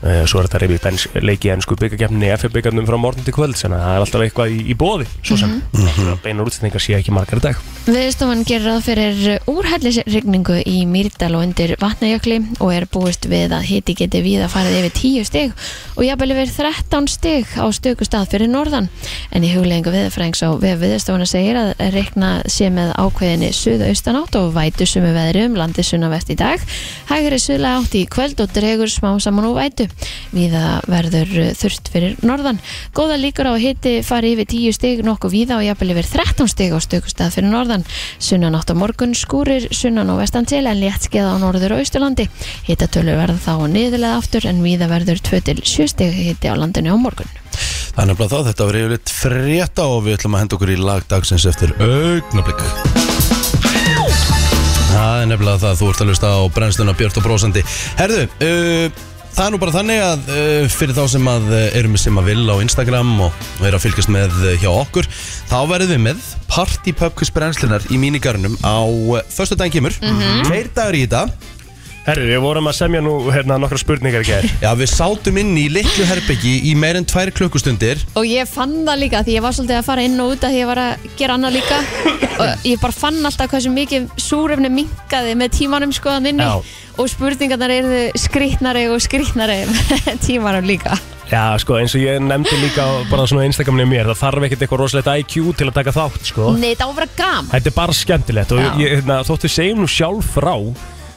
C: Eh, Svo er þetta reyfið bens, leiki í ennsku byggakefninni FF byggarnum frá morgun til kvöld Þannig að það er alltaf eitthvað í, í bóði Svo sem
B: Mhm.
C: beinar útsendingar sé ekki margar í dag
B: Viðstofan gerir ráð fyrir úrhellisregningu í Mýrdal og undir vatnajökli og er búist við að hiti geti víða farið yfir 10 stig og jafnvel yfir 13 stig á stöku stað fyrir norðan. En í hugleggingu viðfrængs á vef viðstofana segir að regna sé með ákveðinni suðaustan átt og vætu sumu veðri um landi sunnavert í dag. Hægri suðlega átt í kvöld og dregur smá saman úr vætu. Víða verður þurft fyrir norðan. Góða líkur á að hiti fari yfir 10 stig nokkuð víða og jafnvel yfir 13 stig á stöku stað fyrir norðan. Sunnan átt á morgun skúrir, sunnan og vestan til en létt skeða á norður og austurlandi. Hitatölur verða þá niðurlega aftur en víða verður 2-7 stig hiti á landinu á morgun.
A: Það er nefnilega það, þetta var yfirleitt frétta og við ætlum að henda okkur í lagdagsins eftir augnablík Það er nefnilega það, þú ert að lusta á brennsluna Björn og Brósandi Herðu, uh, það er nú bara þannig að uh, fyrir þá sem að uh, erum við sem að vil á Instagram og, og er að fylgjast með uh, hjá okkur þá verðum við með Party Pubquiz brennslunar í mínigarnum á uh, förstu daginn kemur, tveir dagur í þetta
C: Herru, við vorum að semja nú hérna nokkra spurningar í gær
A: Já, við sátum inn í litlu herbyggi í meir en tvær klukkustundir
B: Og ég fann það líka því ég var svolítið að fara inn og út að því ég var að gera annað líka og ég bara fann alltaf hversu mikið súrefni minkaði með tímanum skoðan inni
C: Já.
B: og spurningarnar eru skrýtnari og skrýtnari með tímanum líka.
C: Já, sko, eins og ég nefndi líka á- bara svona einstakamni mér Það þarf ekkert eitthvað rosalegt IQ til að taka þátt, sko
B: Nei, það var bara gaman.
C: Þetta er bara skemmtilegt og
B: Já.
C: ég, hérna, þótt við segjum nú sjálf frá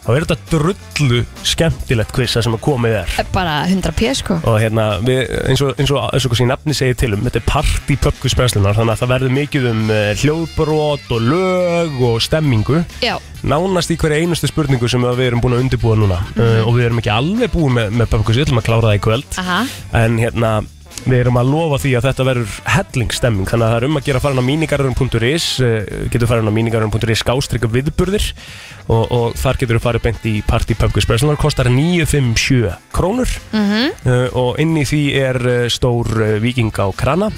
C: þá er þetta drullu skemmtilegt kvissa sem að komið er
B: Bara 100 p sko.
C: og hérna, við, eins og eins og, eins og hversi nafni segir til um, þetta er party pubquiz brennslunar þannig að það verður mikið um uh, hljóðbrot og lög og stemmingu
B: Já,
C: nánast í hverja einustu spurningu sem að við erum búin að undirbúa núna uh, og við erum ekki alveg búin með, með pubquiz, við ætlum að klára það í kvöld
B: aha,
C: en hérna við erum að lofa því að þetta verður hellingstemming þannig að það er um að gera að fara inn á mínigarðurinn.is eh, getur farið inn á mínigarðurinn.is skástrykka viðburðir og, og þar getur þú farið beint í Party Pubquiz Breslunar kostar 957 krónur eh, og inn í því er eh, stór eh, viking á krana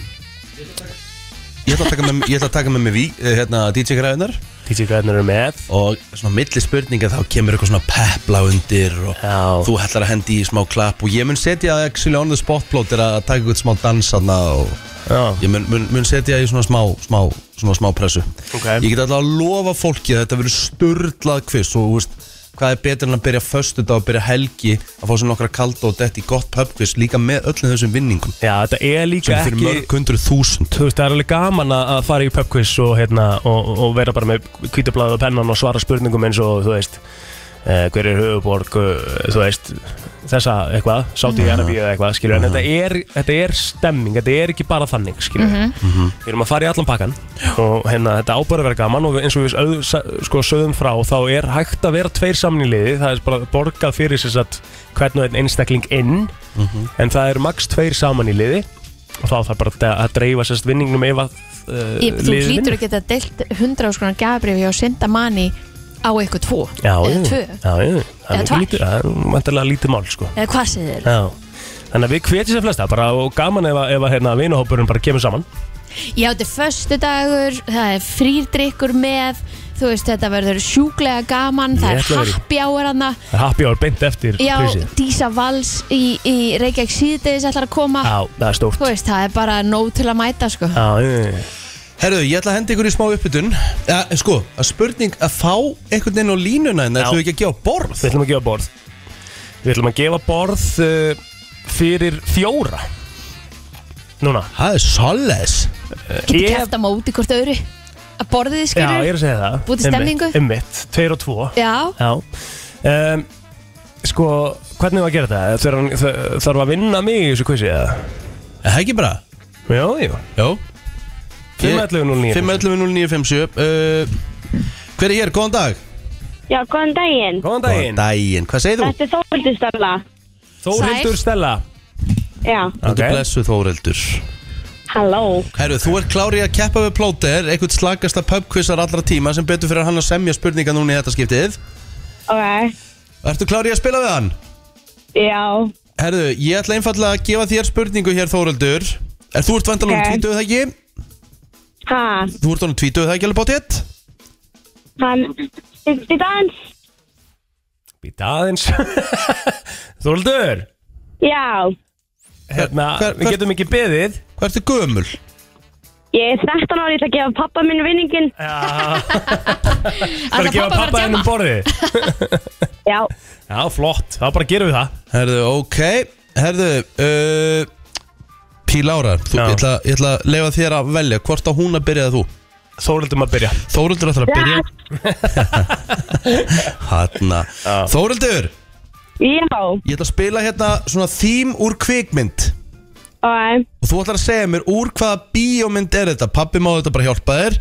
A: Ég ætla að taka með, ég ætla að taka með mig vík, eh, hérna, DJ-græðunar
C: DJ Græðnur er með
A: og svona milli spurninga þá kemur eitthvað svona pepla undir og
C: Já.
A: þú ætlar að hendi í smá klapp og ég mun setja actually on the spot plótir að taka eitthvað smá dans þarna og
C: Já.
A: ég mun, mun, mun setja í svona smá, smá, svona smá pressu
C: Ok.
A: Ég get alltaf að lofa fólki að þetta verður sturlað kviss og þú veist, hvað er betur en að byrja föstudag og byrja helgi að fá svona nokkra kalda og detti í gott pubquiz líka með öllum þessum vinningum
C: Já, þetta er líka
A: sem fyrir
C: ekki
A: mörg hundru þúsund
C: Þú veist, það er alveg gaman að að fara í pubquiz og, hérna, og, og vera bara með kvítablaðu og pennan og svara spurningum eins og, þú veist, eh, hver er höfuborg, eh, þú veist, þessa eitthvað, sátti í Arabíu eða eitthvað, skilur, en þetta er, þetta er stemming, þetta er ekki bara þannig, skilur.
B: Mhm.
C: Við erum að fara í allan pakkan og hérna, þetta ábæður að vera gaman og eins og við öð, sko, sögum frá, þá er hægt að vera tveir saman í liði, það er bara borgað fyrir sér satt hvern og einn einstakling inn, en það er maks tveir saman í liði og þá þarf bara að- að dreifa sérst vinningnum ef að uh,
B: Ég, þú
C: liðið
B: hlýtur
C: vinnur.
B: að geta deilt 100 áskonar gabrið hjá Sindamanni á eitthvað tvo
C: Já,
B: eða
C: já,
B: tvö
C: já, já, það er
B: Eða
C: ekki
B: tvær.
C: lítið, það er vantarlega lítið mál sko.
B: eða hvað séð þér?
C: Já, þannig að við hvetjum sér flesta bara og gaman ef að, ef að hérna, vinahópurinn bara kemur saman
B: Já, þetta er föstudagur, það er frýrdrykkur með þú veist, þetta verður sjúklega gaman það
C: Ég ætla
B: er
C: að vera í.
B: happy hour hana
C: Það er happy hour beint eftir
B: Já,
C: prísið.
B: Dísa Vals í, í Reykjavík síðdegis ætlar að koma
C: Já, það er stórt
B: Þú veist, það er bara nóg til að mæta sko.
C: Já, já, já.
A: Herðu, ég ætla að henda ykkur í smá uppbytun ja, Sko, að spurning að fá einhvern veginn á línuna en
C: Já.
A: það ætlum við ekki að gefa borð
C: Við ætlum að gefa borð Við ætlum að gefa borð uh, fyrir fjóra Núna
A: Það er svolítið
B: Getur
C: Ég-
B: kæft að móti hvort öðru að borðið
C: Já, ég
B: skilur
C: er að segja það
B: Búið til stemningu?
C: Ummitt, tveir og tvo
B: Já,
C: Já um, Sko, hvernig var að gera þetta? Þarf hann- þ- Þarf að vinna mig í þessu kvissi eða?
A: Er það ekki bara?
C: Já, já
A: Jó
C: 5.11.09
A: 5.11.09.57 uh, Hver er hér? Góðan dag
F: Já, góðan daginn.
C: Góðan
A: Góðan
C: daginn
A: daginn Hvað segir þú?
F: Þetta er Þórhildur Stella.
C: Þórhildur
B: Sæl.
C: Stella
F: Já,
A: Þetta er blessuð Þóreldur
F: halló.
A: Herru, þú ert klárið að keppa við plóter einhvern slagasta pubquizar allra tíma sem betur fyrir hann að semja spurninga núna í þetta skiptið
F: Ok,
A: Ertu klárið að spila við hann?
F: já,
A: Herru, ég ætla einfallega að gefa þér spurningu hér Þóreldur Er þú ert vandalega
F: Ok.
A: um tvítuð það ekki?
F: ha,
A: Þú ert honum tvítuð það ekki alveg bóttið?
F: hann, fyrstu dans?
C: Býta aðeins Þórhildur
F: Já,
C: Hérna,
A: Hver-
C: við
A: hver-
C: getum ekki beðið
A: Hvað ertu gömul?
F: ég er 13 ári, ég ætla að gefa pappa minn vinningin.
C: Já, það er
B: ætlar pappa
C: að gefa
B: að
C: pappa
B: fara að djama
C: hennum borðið
F: Já,
C: Já, flott, þá bara gerum við það
A: Herru, ok Herru, uh, Píl Ára þú,
C: Já.
A: ég, ætla, ég ætla að leifa þér að velja hvort á hún að byrja eða þú
C: Þórhildum að byrja
A: Þóreldur ætlar að byrja Hanna
C: Já.
A: Þóreldur
F: já,
A: Ég ætla að spila hérna svona þým úr kvikmynd
F: ok,
A: Og þú ætlar að segja mér úr hvaða bíómynd er þetta Pappi má þetta bara hjálpa þér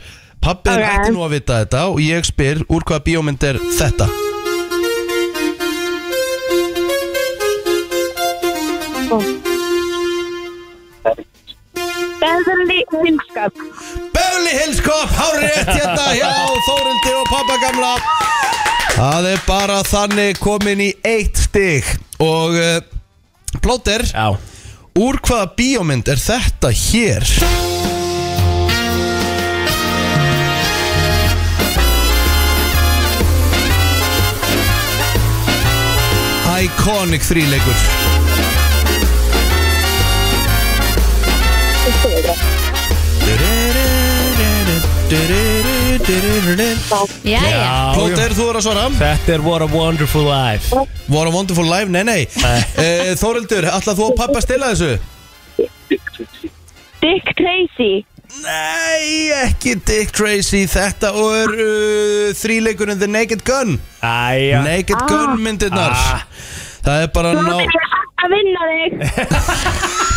A: Pappi okay.
F: Ok.
A: ætti nú að vita þetta Og ég spyr úr hvaða bíómynd er þetta
F: Beverly Himskap.
A: Beverly Hills Cop, hárið rétt hérna hjá Þóruldi og pappa gamla Það er bara þannig komin í eitt stig Og uh, plóter,
C: Já,
A: úr hvaða bíómynd er þetta hér? Iconic þríleikur
B: já, já
A: Plóter, þú er að svara
C: Þetta er What a Wonderful Life
A: What a Wonderful Life, nei nei uh, Þórildur, ætlað þú að pappa stila þessu?
F: Dick Tracy.
A: Nei, ekki Dick Tracy Þetta er uh, þríleikurinn The Naked Gun
C: Æja
A: Naked Gun myndirnar
C: Ah.
A: Það er bara
F: Þú
A: ná
F: ætlar að vinna þig.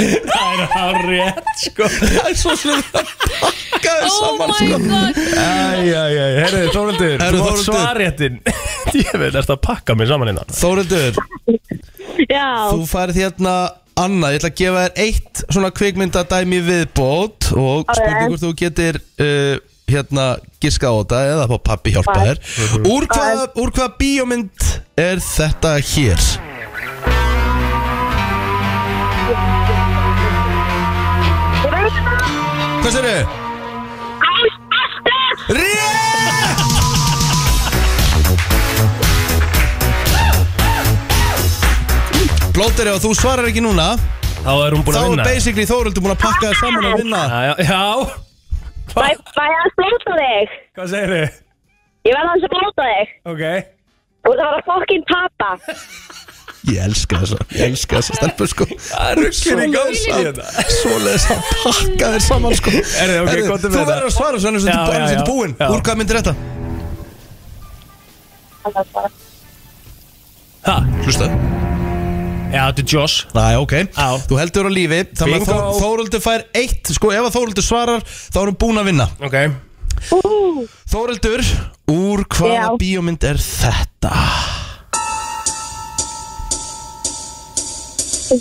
C: Það er hár rétt sko
A: Það er svo slum Pakkaðu
B: Oh
A: saman sko.
B: my god
C: Æja, æja, herru Þórhildur
A: Herru,
C: Þú átt
A: Þórhildur.
C: svarréttin Ég veit að pakka mig saman hérna? innan
A: Þórildur,
F: Já,
A: þú færið hérna Anna, ég ætla að gefa þér eitt svona kvikmyndadæmi í viðbót og spurning hvort þú getir uh, hérna giska á þetta eða þá pappi hjálpa þér Úr hvað, úr hvað bíómynd er þetta hér?
F: ég veit það.
A: Hvað sér þau?
F: Ghostbusters!
A: Rétt! Blóttir, ef þú svarar ekki núna
C: Þá er hún búin
A: Þá
C: að
A: er
C: vinna
A: basically Þóruldur búin að pakka þér saman og
C: Já,
A: vinna
C: já, já
F: Bæ, bæ, að slóta þig.
C: Hvað segir þið?
F: Ég verða aðeins að blóta þig.
C: Ok
F: Þú ert að fara að fokkin tapa.
A: Ég elska þessa, ég elska þessa stelpu sko
C: Ruggir í gansi þetta
A: Svoleiðis að pakka þér saman sko
C: Herri, ok,
A: Herri,
C: gott um
A: Þú
C: þetta.
A: verður að svara svo annars
C: Já, já,
A: þetta
C: já.
A: búinn
C: Já.
A: Úr hvað myndir þetta?
C: Ha,
A: Hlusta
C: já, þetta er Josh
A: Næ, ok
C: Já.
A: Þú heldur á lífi Þannig
C: Bingo.
A: að Þó- Þórhildur fær eitt Sko, ef að Þórhildur svarar Þá erum búin að vinna
C: Ok
A: Þórhildur, úr hvaða
F: Já.
A: bíómynd er þetta?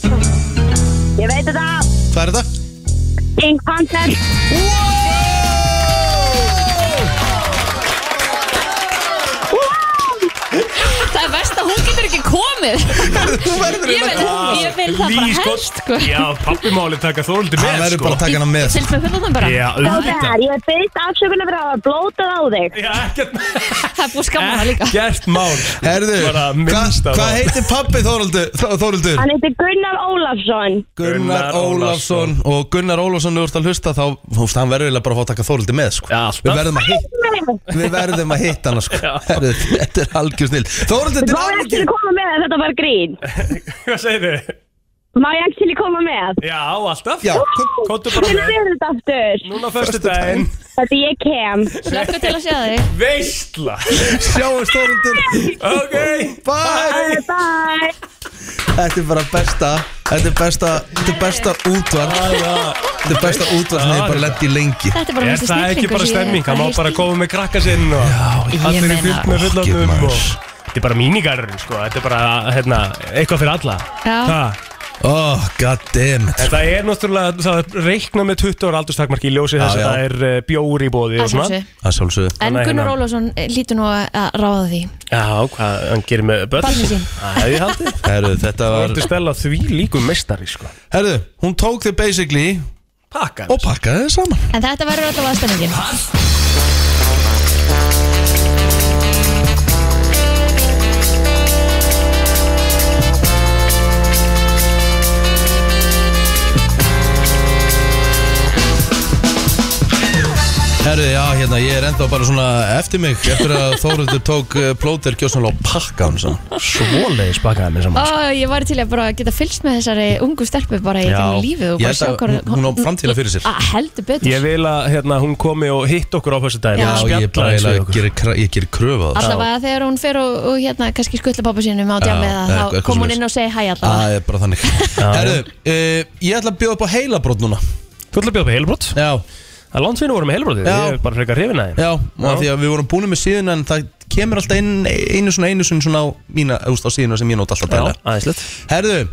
F: Ég veit þetta.
A: Hvað er þetta?
F: King Panther.
B: Það er verst að hún getur ekki komið
A: Þú verður
B: Ég vil, ég vil það bara helst sko.
C: Já, pappi máli taka Þóruldi
A: Það
C: með
A: verður
C: sko
A: bara að taka hana með
B: Til með fullorðan bara
C: Já, auðvitað
F: Þóðar, ég byrst afsökunar fyrir að hafa blótað á þig.
C: Já, ekkert
B: Það er búið skamma það líka
C: Ekkert mál
A: Herðu,
C: Bara
A: hvað
C: minnst á
A: hva
C: það.
A: heitir pappi Þórhildur? Þó- Þórhildur?
F: Hann heitir Gunnar Ólafsson.
A: Gunnar
C: Gunnar
A: Ólafsson og Gunnar Ólafsson þú ert að hlusta þá, þú veist, hann verður eiginlega bara að fá að taka Þórhildi með, sko
C: Já, alltaf.
A: Við verðum að hitta Við verðum að hitta hana, sko Herðu, Þetta er algjör snill Þórhildur,
F: Má
A: til
F: ég
A: aðvikið
F: ekki koma með að þetta var grín?
C: Hvað segir þið?
F: Má ég ekki koma með?
C: Já, alltaf
A: Já, kom-
C: Kóttu bara
F: Hvernig
C: með
F: verður þetta aftur?
C: Núna fyrstu daginn
F: Þetta ég kem.
B: Slökku til að sjá þig
C: Veistla
A: sjáumst Þórhildur
C: Ok
A: Bye!
F: Bye bye.
A: Þetta er bara besta Þetta er besta, þetta er besta útvart Þetta er besta útvart sem ég bara lett í lengi
B: Þetta er bara
C: Er
B: mesti
C: það ekki
B: snillingur
C: bara
B: sem ég-
C: stemming? Það má
B: hef
C: bara
B: heyrt í.
C: koma með krakka sinn og
B: ég
C: allir í
B: meina- oh,
C: fyllt með fullanum
A: Fuck,
C: og
A: maður.
C: Þetta er bara mínigarður sko, þetta er bara hérna, eitthvað fyrir alla
B: Já.
C: ha,
A: Oh, goddammit
C: En það er náttúrulega, það reikna með 20 ára aldurstakmarki í ljósi þess að
A: Já, já.
C: það er eh, bjór í bóði og
B: Að
C: svona
B: sjálfsögðu.
A: Það sjálfsögðu
B: En
C: Þannig að
B: Gunnar
C: hérna-
B: Ólafsson eh, lítur nú að að ráða því
C: Já, hvað hann gerir með börn
B: Barnið sín.
C: Það hefði ég haldið
A: Herðu, þetta
C: Það
A: var
C: ertu stella því líkum mestari sko
A: Herðu, hún tók þig basically
C: Pakka
A: og pakkaði þig saman
B: En þetta verður alltaf aðstæðningin
A: Herðu, já, hérna, ég er ennþá bara svona eftir mig Eftir að Þóruldur tók uh, plóter Gjóðsvonlega og pakkaði hann saman
C: Svoleiðis pakkaði mér saman
A: Sko.
B: Ó, Ég var til að bara geta fylgst með þessari ungu stelpu bara í
C: Já.
B: gegnum lífið og
A: Ég
B: bara
A: held
B: sjá
A: að
B: hvað
A: hún- hún á framtíðina fyrir sér.
B: Að heldur betur
C: Ég vil að hérna, hún komi og hitt okkur á fyrstu daginn
B: Já.
A: Já, ég bara eiginlega gerir kra- ég gerir kröfu á það
B: Allavega þegar hún fer og, og hérna kannski skuttla pappa sínum á
A: Já,
B: djamið
A: eða
B: þá
A: eitthvað
B: kom hún
A: svoleiðis.
B: inn og segi hæ allavega
A: Ah. Það er bara þannig Herðu, uh, ég ætla að bjóða upp á heilabrót núna
C: Þú ætla að bjóða upp heilbrot?
A: Já,
C: Það er langt fyrir vorum með heilbrotið,
A: Já.
C: ég er bara frekar hrifin að þeim
A: Já, og af því að við vorum búin með síðuna en það kemur alltaf inn einu svona einu svona svona á mína, úst, á síðuna sem ég nót alltaf dæla
C: aðeinslegt
A: Herðu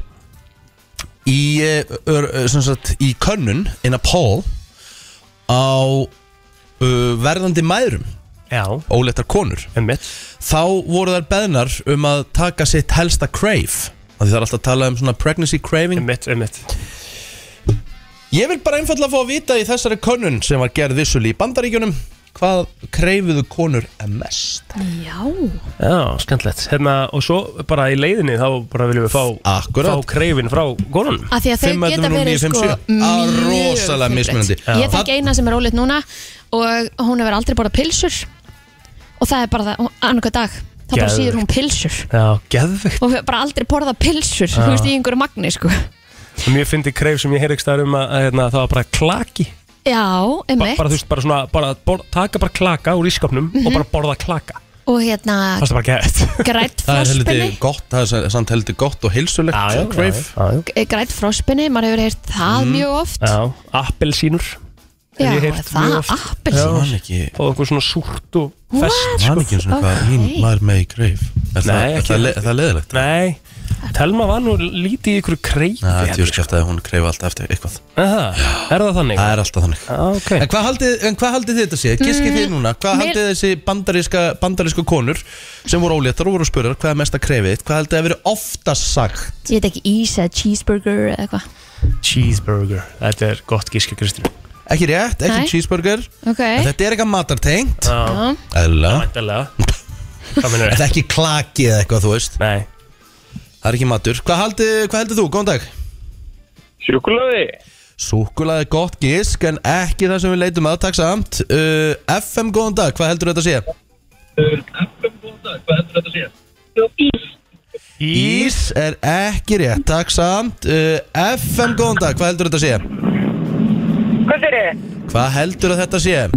A: í, eh, ör, eh, sem sagt, í könnun inn að Paul á uh, verðandi mæðrum
C: Já,
A: óleittar konur
C: emmitt
A: þá voru þær beðnar um að taka sitt helsta crave af því það er alltaf að tala um svona pregnancy craving
C: Emmitt, emmitt
A: Ég vil bara einfallega fá að vita í þessari könnun sem var gerð vissul í bandaríkjunum hvað kreifuðu konur mest
B: Já,
C: Já, skemmtilegt Hérna, og svo bara í leiðinni þá bara viljum við fá
A: Akkurat.
C: Fá kreifin frá konun
B: af því að þau
A: 5,
B: geta
A: 11,
B: verið
A: 9, 5,
B: sko
A: 7. Að Ah, rosalega
B: fjölbreytt.
A: mismunandi. Já.
B: Ég þekki eina sem er óleitt núna og hún hefur aldrei borðað pilsur og það er bara það, annarka dag þá bara
C: Geðveikt.
B: síður hún pilsur
C: Já, geðvikt
B: og hefur bara aldrei borðað pilsur þú veist í einhverju magni sko
C: Mjög fyndi kreif sem ég heyri ekki staðar um að, að hérna, það var bara klaki
B: Já,
C: ba
B: emmitt
C: Bara þú veist, bara svona, bara bor, taka bara klaka úr ískapnum
B: Mhm.
C: og bara borða klaka
B: og hérna
C: Það er bara geðvikt
B: grætt
A: Það er
B: frospinni
A: heldur gott, það er samt heldur gott og heilsulegt Crave.
C: já,
B: grætt frospinni, maður hefur heyrt það
A: Mhm.
B: mjög oft
C: já appelsínur
B: Já,
C: ég heyrt
B: það
C: mjög oft.
A: Ég
B: appelsín
A: Man ekki,
C: og eitthvað svona súrt og fest
A: man ekki eins og hvað
B: Ok.
A: mín var með í Crave. Er það,
C: Nei,
A: er
C: ekki
A: það, le,
C: heldur.
A: er það leðilegt?
C: Nei, Telma var nú lítið í ykkur kreifi
A: Það er
C: heldur, sko.
A: tjóðskæft að hún kreifa alltaf eftir eitthvað
C: Er það er það þannig?
A: Það er alltaf þannig
C: Já, ok.
A: En hvað haldið, en hvað haldið þið þetta sé? Giskið þið núna, hvað
B: Mm. mér-
A: haldið þessi bandaríska, bandaríska konur sem voru óléttar og voru að spura hvað er mest að kreifið þitt, hvað haldið að verið oftast sagt
B: Ég veit ekki ís eða cheeseburger eða eitthvað
C: Cheeseburger, þetta er gott gíska Kristín
A: Ekki rétt, ekki
B: Nei.
A: cheeseburger
B: Ok
A: en Þetta er eitthvað matartengt
C: Já,
B: Já.
A: Æðla
C: vandalega Hvað minnur
A: Þetta
C: þetta?
A: er ekki klakið eða eitthvað, þú veist
C: Nei,
A: Það er ekki matur Hvað haldið, hvað haldið þú? Góðan dag
G: Sjúkulaði?
A: Súkulag er gott gisk en ekki það sem við leitum að, takk samt uh, FM, góðan dag, hvað heldur þetta að sé?
G: Uh, þetta sé
A: Ís er ekki rétt, takk samt uh, FM, góðan dag, hvað heldur þetta sé?
H: Hvað þeir eru?
A: Hvað heldur að þetta sé?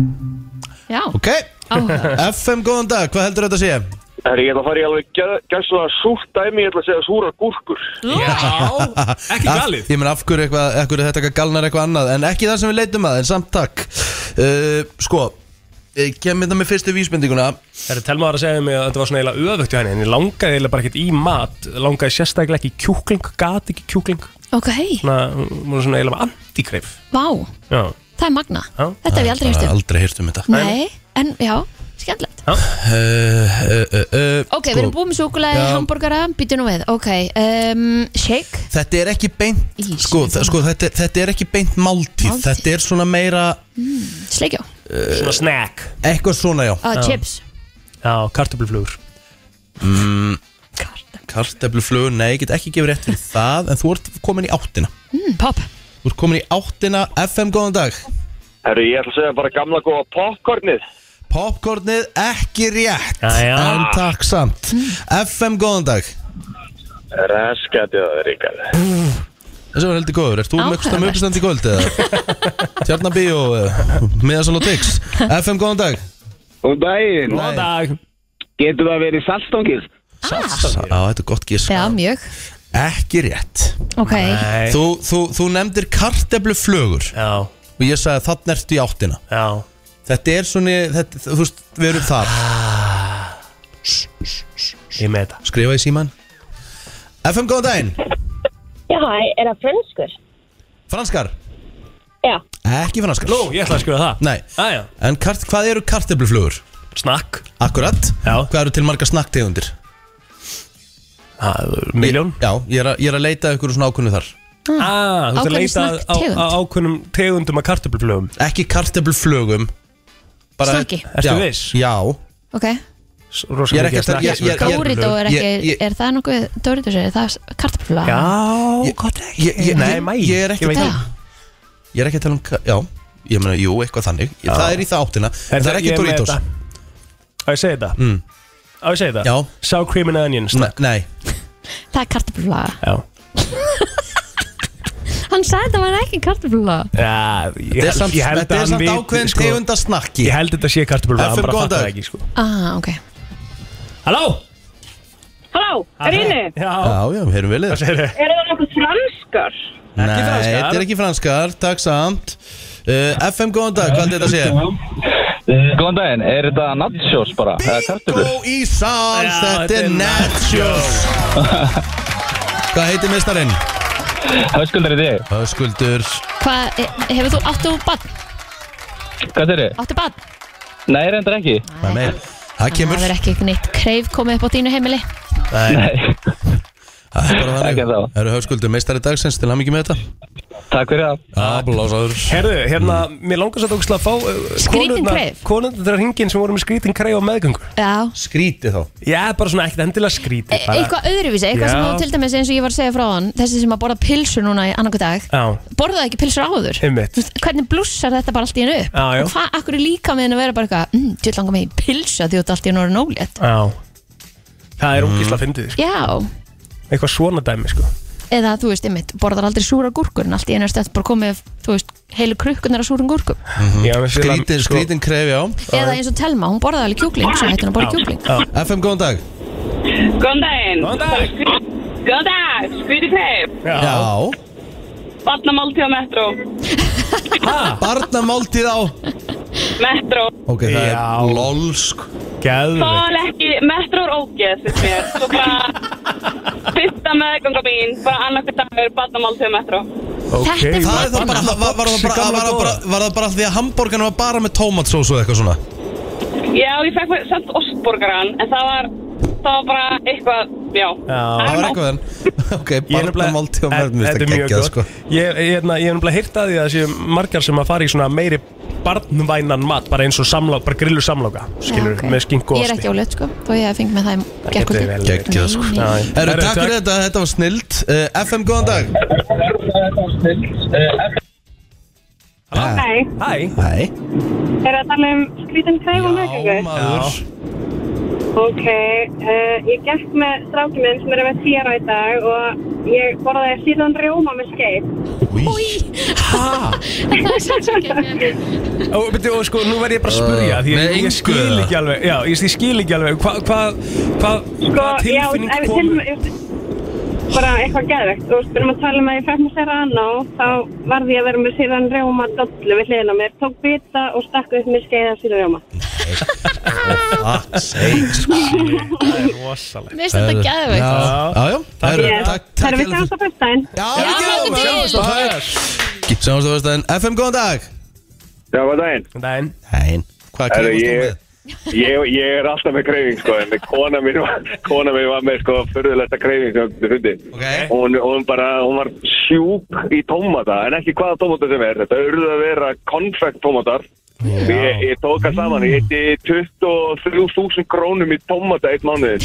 B: Já,
A: Ok,
B: áhuga
A: FM, góðan dag, hvað heldur þetta sé?
G: Það er ég ætla að fara í alveg gæslega súrt dæmi, ég ætla að segja súra gúrkur
C: Já, ekki
A: Af-
C: galið
A: Ég menn af hverju, eitthvað, af hverju þetta galnar eitthvað annað En ekki það sem við leitum að, en samt takk uh, Sko Ég kem þetta með fyrstu vísbendinguna
C: Þetta telma var að segja um mig að þetta var svona eiginlega öfugt hjá henni En ég langaði eiginlega bara ekkert í mat Langaði sérstaklega ekki í kjúkling, gat ekki kjúkling
B: Ok,
C: Svona, hún var svona eiginlega antikreif
B: vá,
C: Já,
B: það er magna
C: Já.
B: Þetta hef ég aldrei hefst
A: Bara
B: um
A: Aldrei hýrt um þetta
B: Nei, en já, skemmtilegt
A: uh, uh, uh, uh,
B: Ok, við erum búið með súkulega
A: Já.
B: hambúrgara, býtu nú við Ok, um, shake
A: Þetta er ekki beint
B: Ís,
A: sko,
B: við
A: þa- sko, þetta, er- þetta er ekki beint máltíð
B: Máltíð.
A: Þetta er svona meira Mm. uh,
B: Sleikjó,
C: svona snack
A: Eitthvað svona já
B: uh, chips
C: Já, kartöfluflugur
A: Kartefluflugur, Mm. nei, ég get ekki gefið rétt fyrir það En þú ert komin í áttina
B: mm, Pop,
A: Þú ert komin í áttina, FM góðan dag
G: Herru, ég ætla að segja bara gamla góða popcornið
A: Popcornið ekki rétt
C: Jæja.
A: En takk samt
B: Hmm.
A: FM góðan dag
G: Raskatið að það ríkar
A: Þessi var heldur góður, ert þú mögst að
B: Áhugavert.
A: mögst í kvöld eða? Tjarnabí og miðasal og tix FM góðan dag
G: Góðan daginn
C: Góðan dag
G: Getur það verið saltstangir?
B: Ah,
A: Sá, á, þetta er gott gís
B: já, mjög
A: Ekki rétt
B: Ok,
C: Nei
A: þú, þú, þú nefndir karteblu flögur
C: Já,
A: og ég sagði þann ertu í áttina
C: já
A: Þetta er svona, þetta, þú veist, við erum þar
C: Ah. Ég er með þetta
A: Skrifa í síman FM góðan daginn,
F: Já, er það frönskur?
A: franskar
F: Já.
A: Ekki franskar
C: Nú, ég ætla að skrifa það Ah,
A: Nei,
C: Æja,
A: en kart, hvað eru karteblu flögur?
C: snack
A: Akkurat,
C: Já.
A: hvað eru til marga snakktegundir?
C: Ah, Miljón
A: Já, ég er, að, ég er að leita ykkur svona ákunnu þar
C: Ah, þú ert að
B: Ákveðin
C: leita að-
B: snacktegund.
C: á- á ákveðnum tegundum af kartöfluflugum
A: Ekki kartefluflögum
B: Snakki.
C: Ertu
A: já,
C: viss?
A: Já,
B: ok
A: Ég er
C: Rosa mikið um
A: ekki að-
C: að snakka
A: ég-
C: sem er
A: ég- ég-
B: Dórító er ekki,
A: Ég- ég-
B: er það nokkuð Dórító sér, það er kartafla
C: Já, gott
A: ég, ég,
C: Nei,
A: ég-
C: mæ
A: ég er ekki
C: veit
A: að
C: það.
A: tala Ég er ekki að tala um, ka- já, ég meina, jú, eitthvað þannig já. Það er í það áttina, en það
C: ég
A: er ekki
C: með
A: Doritos
C: þetta. Á ég að segja þetta? Mm. Á ég að segja þetta?
A: Já.
C: Sour cream and onion
A: Nei,
C: snack
A: nei.
B: Það er kartafla
C: Já
B: Hann sagði það var ekki kartafla
C: Já, ég,
A: Þetta er
C: held-
A: samt,
C: ég held að
A: þetta er
C: hann
A: samt
C: viti,
A: ákveðin
C: sko,
A: tegunda snakki
C: Ég held þetta sé kartöflufluga,
A: FM,
C: hann bara
A: góðan
C: fattar
A: dag.
C: það ekki sko.
B: Ah, ok
C: Halló?
F: Halló, er inni?
C: Já,
A: Já, já, heyrum við
C: hvað
A: þér
C: segir
F: Er það nokkuð franskar?
A: Nei,
C: franskar.
A: þetta er ekki franskar, takk samt uh, FM, góðan dag, hvað er þetta að segja?
G: Eh, Góðan daginn, er þetta nachos bara? Eða
A: Bingo í sál,
C: Já,
A: þetta er Nachos Hvað heitir mistarinn?
G: Höskuldar í þig,
A: Höskuldur
B: Hvað, e- hefur þú, áttu bann?
G: hvað er þið?
B: Áttu bann?
G: Nei, reyndar ekki
A: Hvað meir? Það kemur
B: Það er ekki neitt kreif komið upp á þínu heimili
A: Nei, það er bara
G: Ekki
A: þannig
G: þá.
A: Það eru höskuldur meistari dagsins til hamingi með þetta
G: Takk fyrir það
A: Ablásaður
C: Herðu, hérna,
A: Mm.
C: mér langar svo að fá uh,
B: Skrýtin kreif.
C: Konundar þeirra hringin sem voru með skrítin kreif á meðgöngu
B: Já
A: Skríti þá
C: Já, bara svona ekkert endilega skríti
B: E- Eitthvað öðruvísi, eitthvað
C: Já.
B: sem þú til dæmis eins og ég var að segja frá hann Þessi sem að borða pilsur núna í annarku dag
C: Já,
B: Borðaði ekki pilsur áður
C: Einmitt.
B: Þú veist, Hvernig blússar þetta bara allt í hennu upp
C: Já, já.
B: Og hvað, akkur er líka með henni að vera bara eitthvað mm, Þú langar mig í pilsa því þú ert allt í hennu orðin ólétt
C: já Það
A: Mm.
C: er ógísla fyndið, sko.
B: Já,
C: eitthvað svona dæmi sko.
B: eða þú veist, einmitt, borðar aldrei súra gúrkur en allt í einu er stöðt bara komið, þú veist, heilu krukkunar af súrum gúrkum
C: Já, mér finnst það-
A: Skrítin,
C: sko-
A: skrítin krefi á
B: eða eins og Telma, hún borðaði alveg kjúkling svo hætti hún að borða kjúkling
C: Já,
A: FM, góðan dag
H: Góðan daginn.
C: Góðan dag.
H: Góðan dag. Skvíti kreif.
C: já.
A: Já
H: Batnamáltíð á Metro.
A: Barnamáltíð á
H: Metro.
A: Ok, það er sko.
C: Já.
A: lolsk
C: Gæðvig
H: Þól ekki. Metro er ógeð, finnst mér. Svo bara... Fyrsta meðganga mín, bara annarkvæmt dagur, batnamáltíð á Metro.
B: Þetta er
A: Það er þá bara, var, var, það bara, var, það bara, var það bara því að hambúrgarna var bara með tómatsós og eitthvað svona
H: Já, ég fekk mér samt ostborgaran, en það var, það var bara eitthvað, já.
A: Það var
H: Barna-
A: eitthvað þenn Ok,
C: Ég er nefnilega-
A: barnamáltíð og
C: En-
A: mörgum
C: Þetta er
A: Þetta
C: mjög
A: geggjað
C: gott
A: sko
C: Ég ég- hérna, ég er nefnilega heyrt að því að það séu margar sem að fara í svona meiri barnvænan mat bara eins og samlá, bara grillu samláka skilur,
B: Já, ok.
C: með skink og
B: Ég er ekki ólétt, sko, þó ég hef fengið með það í gerkvöldi
A: Geggjað sko Herru, takk fyrir
C: þetta
A: þetta, þetta var snild uh, FM, góðan dag
F: Nei,
C: Hæ,
A: Hæ
F: er það að tala um skrítin kreif og
A: Já,
F: meðgöngu?
A: maður
H: Ok, uh, ég gekk með strákinn minn sem er með þér á í dag og ég borðaði síðan rjóma með skeið.
B: Það er svo ekki að mér
C: Og, beti, og sko, nú verð ég bara að spurja
A: Uh,
C: Því
A: með
C: að ég
A: engu
C: skil
A: eða?
C: ekki alveg Já, ég, ég skil ekki alveg Hvað hva, hva, hva
B: Sko,
C: tilfinning
H: já,
C: kom
H: kom? bara eitthvað geðvegt. Þú veist, við erum að tala um að ég fekk mér sér anná, þá varði ég að vera með síðan rjóma dollu við hliðina á mér, tók bita og stakk upp með skeið af síðan rjóma.
C: Það er rosalega
B: Mér finnst þetta
A: Já,
B: gæðveikt
A: já, já Herru,
H: Yes.
A: Takk,
H: Það
A: takk
H: er við
A: hérlega
H: sjáumst á fyrstæðin.
A: Já,
B: Já, sjáumst á föstudaginn.
A: föstudaginn Sjáumstu föstudaginn FM, góðan dag
G: Já, hvað daginn?
C: Dæn
A: Hæn Hvað
G: Herru,
A: kemur um? þú
G: ég-
A: með?
G: Ég, ég er alltaf með kreyfing, sko, en kona mín var, kona mín var með, sko, fyrðulegsta kreyfing sem þú fundið.
A: Ok
G: Og hún, og hún bara, hún var sjúk í tómata, en ekki hvaða tómata sem er. Þetta urðu að vera konfekt tómatar. Ég, ég tók að saman, ég hitti 23.000 krónum í tómata eitt mánuðin.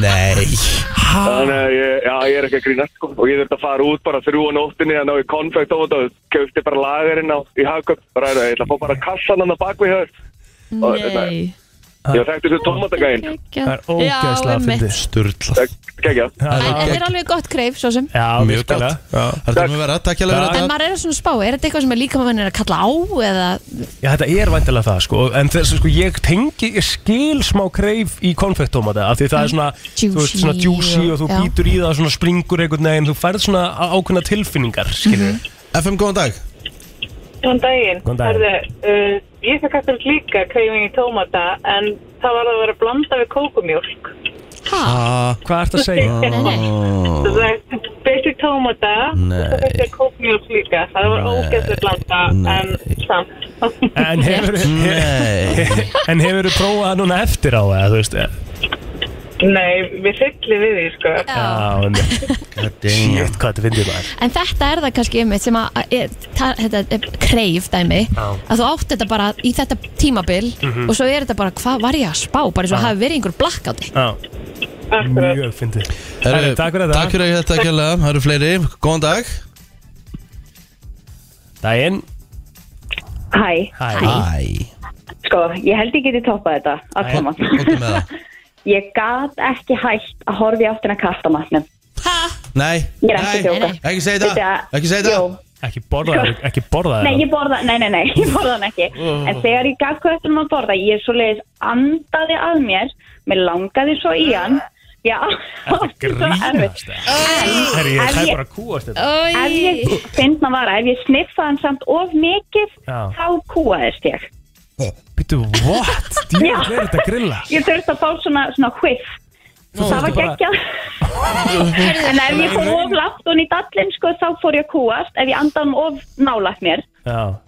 A: Nei
G: Þannig að ég, já, ég er ekki að grínast sko. og ég þurfti að fara út bara þrjú á nóttinni að ná í konfekt á þetta og kefti bara lagarinn á í hagköp bara er ég ætla að fá bara kassan hann að bak við hér
B: Nei
G: hérna, ég þekkti þessu tómatagæðin
C: Það
B: Geggjað.
C: er ógeðslega
B: Já,
C: að
B: einmitt.
C: fyndi
A: Sturla
G: kegja
B: En en þetta er alveg gott kreif, svo sem
C: Já,
A: Mjög gott
C: virkilega. Já.
A: Þetta er með vera Takk hérlega
C: Takk.
A: fyrir
B: En
A: þetta
B: maður er að svona spá, er þetta eitthvað sem er líka maður er að kalla á eða
C: Já, þetta er vantilega það sko En þess að sko ég tengi, ég skil smá kreif í konfekttómata Af því það er svona, þú veist, svona
B: Mm, Juicy
C: juicy og þú
B: og- já.
C: býtur í það svona springur einhvern veginn Þú færð svona á- ákveðna tilfinningar,
B: Mhm.
C: skilur
A: FM, góðan dag
H: Góðan daginn.
C: Góðan daginn.
H: Herðu, uh, ég fekk eftir líka kreyfing í tómata en það var að vera blanda við kókumjólk.
B: Hæ?
C: Hvað ert að segja?
B: Nei, nei,
A: Ó,
H: Það er basic tómata
A: Nei.
H: og það fekk ég kókumjólk líka. Það var
A: Nei.
H: ógæslega blanda en samt.
C: En hefur
A: Nei
C: En hefur þú prófað það núna eftir á það, þú veist Já,
H: Nei, við fyllir við því sko.
B: já
C: en
A: Shit.
C: Shit, hvað þetta fyndið maður
B: En þetta er það kannski einmitt sem að, að, að, ta- þetta er kreif dæmi
C: Já.
B: að þú átt þetta bara í þetta tímabil og svo er þetta bara hvað var ég að spá bara eins og hafi verið einhver blackáti
C: Já,
H: Akkurat.
C: mjög fyndið
A: Herru,
C: Herru, Takk fyrir
A: Takk
C: þetta
A: fyrir þetta Takk hérlega Það eru fleiri Góðan dag
C: Dæin
F: Hæ,
C: Hæ
A: Æ
F: sko, ég held ég geti toppað þetta að
C: Jæja.
F: koma.
A: Góðan með það
F: Ég gat ekki hægt að horfa í áttina kastamatnum.
A: Nei
F: Ég er ekki að
A: Nei
F: djóka.
B: nei.
A: Ekki segja þetta
F: Þetta-
A: Ekki segja
F: Jú.
A: þetta
C: Ekki borða það, ekki borða
F: Nei,
C: það
F: ég borða, nei, nei, nei, ég borða hann ekki. En þegar ég gaf hvað eftir um að borða, ég svo leiðis andaði að mér, mér langaði svo í hann. Já,
C: Þetta grínast Herri, ég
F: Ef
C: hæði
F: ég-
C: bara að kúast þetta
F: Ef ég, finna vara, ef ég sniffa hann samt of mikið,
C: Já.
F: þá kúaðist ég.
C: Býttu, what? Djöfn er þetta grilla
F: Ég þurfti að fá svona, svona hviff. það var
C: þurfti bara-
F: geggjað. en ef ég kom of langt og í dallin, sko, þá fór ég að kúast. Ef ég andaði hann of nálægt mér,
C: Já.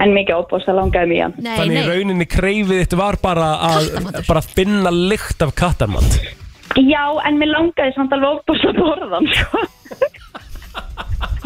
F: en mikið óbúst að langaði mér í hann.
B: Nei,
C: Þannig í
B: nei,
C: rauninni kreifið þitt var bara að
B: Kattamatur.
C: bara að finna lykt af kattamat
F: Já, en mér langaði samt alveg óbúst að borða hann, sko.